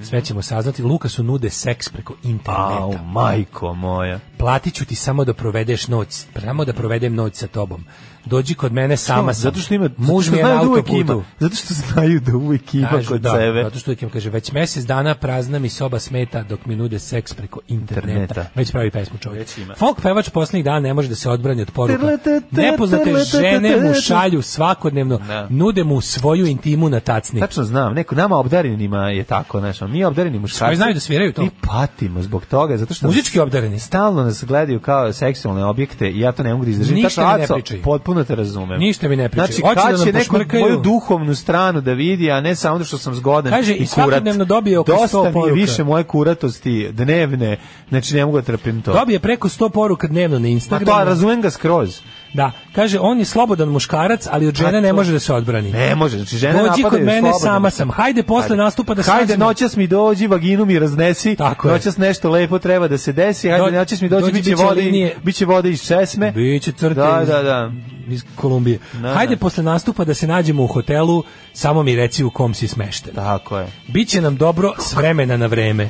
Sve ćemo saznati. Lukasu nude seks preko interneta. Au, majko moja. platit ću ti samo da provedeš noć, samo da provedem noć sa tobom. Dođi kod mene sama sam. Zato što ima, muž mi je na znaju da uvek autoputu. ima. Zato što znaju da uvek ima Kažu, kod da, sebe. Zato što uvijek im kaže, već mjesec dana prazna mi soba smeta dok mi nude seks preko interneta. Interneta. Već pravi pesmu čovjek. Već ima. Folk pevač posljednjih dana ne može da se odbrani od poruka. Terletete, Nepoznate terletete, žene mu terletete. šalju svakodnevno, Da. nude mu svoju intimu na tacni. Tačno znam, neko nama obdarenima je tako, znaš, a mi obdareni muškarci. Koji znaju da sviraju to. Mi patimo zbog toga, zato što Muzički obdareni. stalno nas gledaju kao seksualne objekte i ja to ne mogu da izdržim. Ništa Tako, mi ne Aco, pričaj. Potpuno te razumem. Ništa mi ne pričaj. Znači, Hoće da kad nam će neko pošmrkaju. moju duhovnu stranu da vidi, a ne samo da što sam zgodan Kaže, i i kurat. svakodnevno dobije oko 100 Dosta mi je poruka. više moje kuratosti dnevne, znači ne mogu da trpim to. Dobije preko 100 poruka dnevno na Pa Instagramu. to, razumem ga skroz. Da, kaže on je slobodan muškarac, ali od žene A ne to- može da se odbrani. Ne može, znači žene Dođi kod napadaju mene slobodno. sama sam. Hajde posle Hajde. nastupa da Hajde, srazim- noćas mi dođi, vaginu mi raznesi, Tako je. noćas nešto lepo treba da se desi, hajde, Do- noćas mi dođi, dođi, bit će bit će vode, linije. bit će vode iz česme. Biće crte Da, iz- da, da. iz Kolumbije. Da, Hajde da. posle nastupa da se nađemo u hotelu, samo mi reci u kom si smešten. Tako je. Biće nam dobro s vremena na vreme.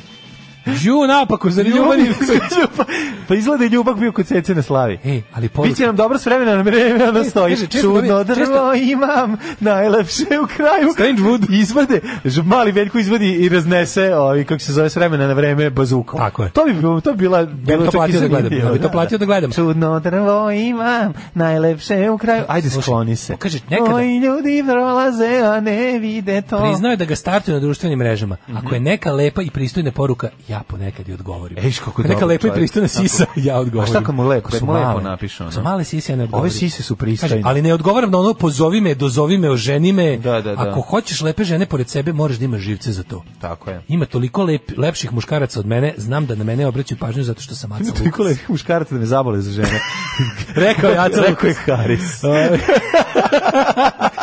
Ju napako, zar ljubavi... Ljubav- pa izgleda je ljubak bio kod Cece na slavi. Ej, E, ali poruka- Biće nam dobro s vremena na vreme, ona E, stoji. kaže, često Čudno dobije- drvo često- imam, najlepše u kraju. Strangewood. Izvade, ž- mali Veljko izvadi i raznese, ovi, kako se zove, s vremena na vreme bazukom. Tako je. To bi, bilo- to bi bila... Ja bilo bih to čak i platio da gledam. zanimljivo, Ja bih to da, platio da gledam. Čudno drvo imam, najlepše u kraju. Ajde, skloni se. kaže, nekada- Moji ljudi prolaze, a ne vide to. Priznao je da ga startuje na društvenim mrežama. Mhm. Ako je neka lepa i pristojna poruka, ja ponekad i odgovorim. Eš, kako Ako je dobro, Neka lepa i čovjek. pristojna Tako. sisa, ja odgovorim. A šta kad mu lepo- Ako su mu lepo male- napiše, ono? ako su male sise, ja ne odgovorim. Ove sise su pristojne. Kaže, ali ne odgovaram na ono pozovi me, dozovi me, oženi me. Da, da, da. Ako hoćeš lepe žene pored sebe, moraš da imaš živce za to. Tako je. Ima toliko lep, lepših muškaraca od mene, znam da na mene obraćaju pažnju zato što sam Aca Ima Lukas. toliko lepih muškaraca da me zabole za žene. Rekao je Aca Rekao je Lukas. Haris.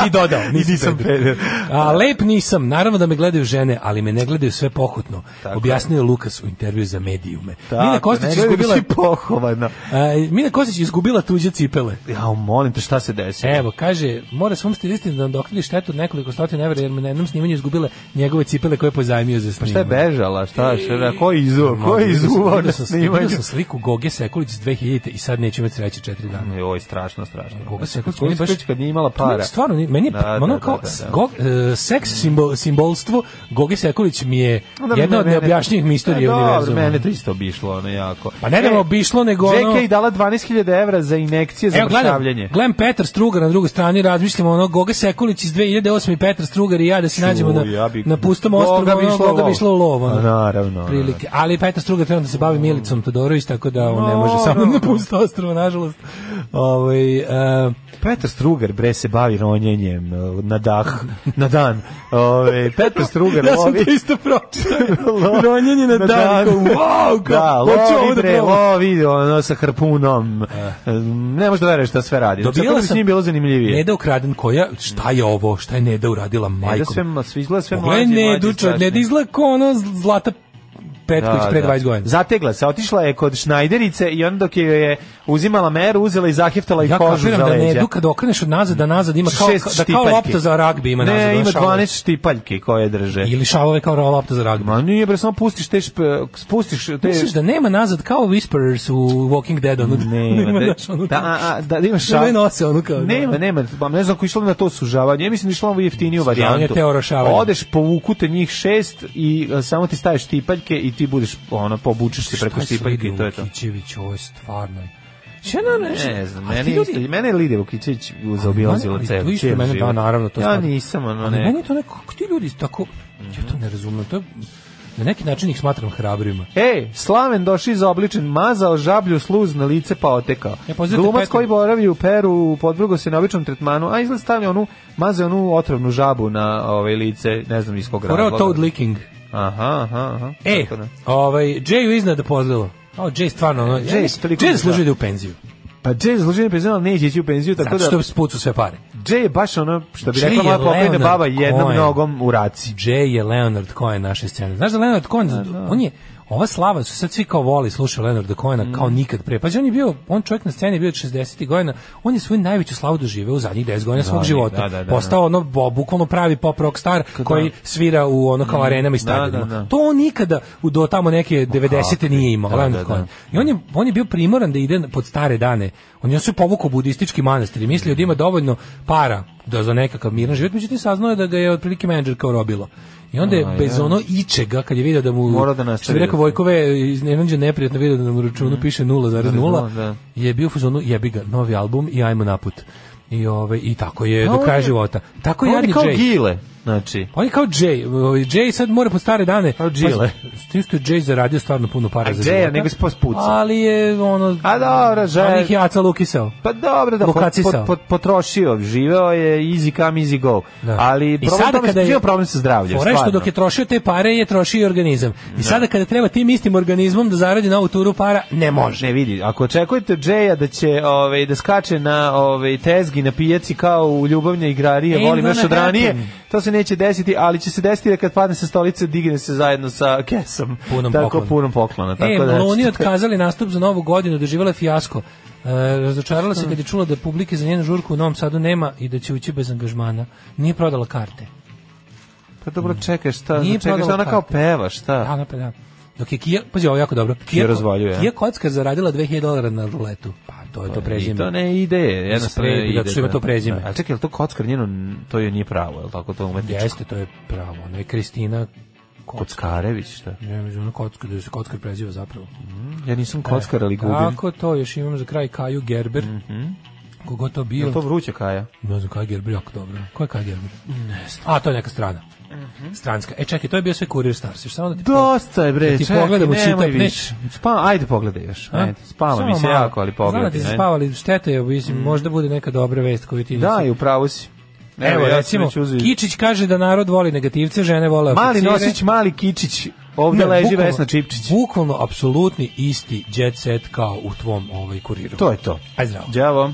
I dodao, nisam, Nisam peder. A, lep nisam, naravno da me gledaju žene, ali me ne gledaju sve pohotno. Tako Objasnio je Lukas u intervju za medijume. Mina Tako, Kostić nego je izgubila... si pohovana. A, Mina Kostić izgubila tuđe cipele. Ja, molim te, šta se desi? Evo, kaže, mora svom stilisti da nadoknadi štetu od nekoliko stotina evra, jer mu na jednom snimanju izgubile njegove cipele koje je pozajmio za Pa šta snimanje. je bežala? E, Šta je? Šta, ko je izuvao? Ma, Ko je vidio sam- izuvao vidio na sam- vidio snimanju? sam sliku Goge Sekulić iz 2000 i sad neću imati sreće četiri dana. Joj, strašno, strašno. Goga Sekulić, Koga meni se baš... kući kad nije imala para? Stvarno, ni- meni je Da, da, ono da, kao da, da. Gog, e, seks simbol, simbolstvo Goge Sekulić mi je Onda bi jedna od mene- neobjašnjivih misterija E, univerzuma. Dobro, mene to isto obišlo, ono jako. Pa ne da me E, obišlo, nego ono- JK dala 12.000 evra za inekcije za Evo, gledam, mršavljenje. Glenn Petar Strugar na drugoj strani, razmišljamo ono, Goga Sekulić iz 2008 i Petar Strugar i ja da se nađemo na, Čuj, ja bi- na pustom Goga ostrovu, bi ono, išla u Goga bi lov. išla u lov. Ono, A, naravno, Prilike. Ali Petar Strugar treba da se Mm. bavi Milicom Todorović, tako da on ne može samo Naravno. na pustom ostrovu, nažalost. Ovaj, e, Petar Strugar bre se bavi ronjenjem e, na dah, na dan. Ove, Petar Strugar ja sam lovi... to isto pročitao. Lo- Ronjenje na dan. kao, Wow, kao, da, hoću ovo lovi da bre, probam. lovi ono sa harpunom. Ne možeš da veruješ šta sve radi. Dobila Dobila sam... s njim bilo zanimljivije. E, Neda ukraden koja, šta je ovo, šta je Neda uradila Neda majkom? sve, ma- svi izgleda sve Ovo je mlađi, mlađi, Nedu, čo- strašni. Neda izgleda kao ono Zlata Petković pre 20 godina. Zategla se, otišla je kod Šnajderice i onda dok joj je uzimala meru, uzela i zaheftala i Ja kožu za kapiram da leđa. Nedu kad okreneš od nazad da nazad ima kao, Šest da kao štipaljki. lopta za ragbi ima nazad. Ne, ono ima šalove. 12 štipaljke koje drže. Ili šalove kao lopta za ragbi. Ma nije, bre, samo pustiš te, šp- spustiš te... Misliš da nema nazad kao Whisperers u Walking Dead ono? Ne, da ima da, naš ono da, kao- a, a, da, da imaš šal. Sve nose ono kao, da. Nema, nema, pa ne znam ko je išlo na to sužavanje. Ja mislim da je išlo na ovu jeftiniju Sužavanje varijantu. te orošavanje. Odeš povuku te njih šest i a, samo ti staješ tipaljke i ti budeš ono pobučeš se preko Šta su tipaljke i videli to je to. Vukićević, ovo je stvarno. Šta ono, na Ne znam, mene je isto, mene je Lidija Vukićević zaobilazila Ali ceo to isto cijel mene, da, život. naravno, to Ja smatram. nisam, ono Ali meni ne. je to neko, kako ti ljudi tako, ja to ne razumem, to je, na neki način ih smatram hrabrima. Ej, Slaven došli za obličen, mazao žablju sluz na lice pa otekao. E, pozdravite Glumac Petra. koji boravi u Peru podvrgo se na običnom tretmanu, a izgled stavlja onu, maze onu otrovnu žabu na ove lice, ne znam iz kog Koreo razloga. Toad Licking. Aha, aha, aha. E, Tako da. ovaj, Jay iznad pozlilo. O, Jay stvarno, ono, Jay, Jay, toliko Jay da. zaslužuje da ide u penziju. Pa Jay zaslužuje penziju, ali neće ići u penziju, tako Zato da... što spucu sve pare. Jay je baš ono, što bi Jay rekla je moja pokojna Leonard baba, jednom Cohen. nogom u raci. Jay je Leonard Cohen naše scene. Znaš da Leonard Cohen, on je, ova slava, su sad svi kao voli, slušaju Leonarda Cohena Mm. kao nikad pre. Pazi, on je bio, on čovjek na sceni je bio od 60. godina, on je svoju najveću slavu doživeo u zadnjih 10 godina svog Da, života. da, da, da. Postao ono, bo, bukvalno pravi pop rock star koji svira u ono kao arenama i Mm. Da, stadionima. da, da. To on nikada u- do tamo neke 90. nije imao, Da, da, Leonard Cohen. da. I on je, on je bio primoran da ide pod stare dane. On je se povukao u budistički manastir i mislio da ima dovoljno para da za nekakav miran život, međutim saznao je da ga je otprilike menadžer kao robilo. I onda je bez ono ičega, kad je vidio da mu, Morao da nastavi što bi rekao da- Mhm. Vojkove, iznenađe neprijatno vidio da mu u računu piše 0,0, Da. je bio u fazonu jebi ga, novi album i ajmo naput. I, ove, i tako je do on kraja je- života. Tako je On je jadni kao Jay. Gile. Znači, On je kao Jay. ovaj, Jay sad mora po stare dane. Kao Gile. Pa, što je Jay zaradio stvarno puno para e. A za Jay, života. nego se pospucao. Ali je ono... A dobro, Jay- On ih je Aca Lukisao. pa dobro da pot, Lokacisao. pot, pot, potrošio, živeo je easy come easy go. Da. Ali I problem sada tome kada je bio je problem sa zdravljem. Fora je što stvarno. dok je trošio te pare je trošio i organizam. I sada kada treba tim istim organizmom da zaradi novu turu para, ne može. Ne vidi, ako očekujete od Jaya da će ovaj da skače na ovaj tezgi na pijaci kao u ljubavne igrarije, Ain't volim još gonna od ranije, happen. to se neće desiti, ali će se desiti da kad padne sa stolice digne se zajedno sa kesom. Punom tako poklona. punom poklona, tako da. e, Meloni otkazali nastup za novu godinu, doživjela je fijasko. E, razočarala Mm. se kad je čula da publike za njenu žurku u Novom Sadu nema i da će ući bez angažmana. Nije prodala karte. Pa dobro, čekaj, šta? Nije čekaj, šta prodala ona kao karte. peva, šta? Da, da, pa da. Dok je Kija, pazi ovo je jako dobro. Kija, razvaljuje, a? Kija Kockar zaradila 2000 dolara na ruletu. Pa to je to prezime. I to ne ide, jednostavno Spredi, ne ide. zato što ima da. to prezime. Da, Ali čekaj, je li to kockar njeno, to je nije pravo, je li tako to umetničko? Jeste, to je pravo. Ona je Kristina Kockarević, šta? Ne, mislim, ono kockar, da se kockar preziva zapravo. Ja nisam kockar, ali gubim. Tako to, još imam za kraj Kaju Gerber. Kogo to bio? Mhm. Je li to vruće kaja? Ne znam, Kaj Gerber, jako dobro. Ko je Kaj Gerber? Ne znam. A, to je neka strana. Mhm. Stranska. E, čekaj, to je bio sve Kurir Stars. Još samo da ti Dosta je bre, Da ti čekaj, pogledamo nemoj čitav, više. nećeš? Spa, ajde pogledaj još. A? Ajde, spava mi Samo se malo. jako, ali Znam da pogledaj. ti se ajde. spava, ali šteta je, mislim, možda bude neka dobra vest koju ti Da, nisi- i upravo si. Evo, ja sam recimo, već uzeo- Kičić kaže da narod voli negativce, žene vole Mali oficire. Nosić, mali Kičić. Ovde Ne, leži bukvalno- Vesna Čipčić. Bukvalno, apsolutni isti jet set kao u tvom ovaj kuriru. To je to. Aj zdravo. Đavo.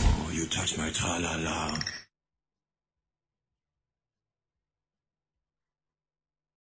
You touch my tra-la-la.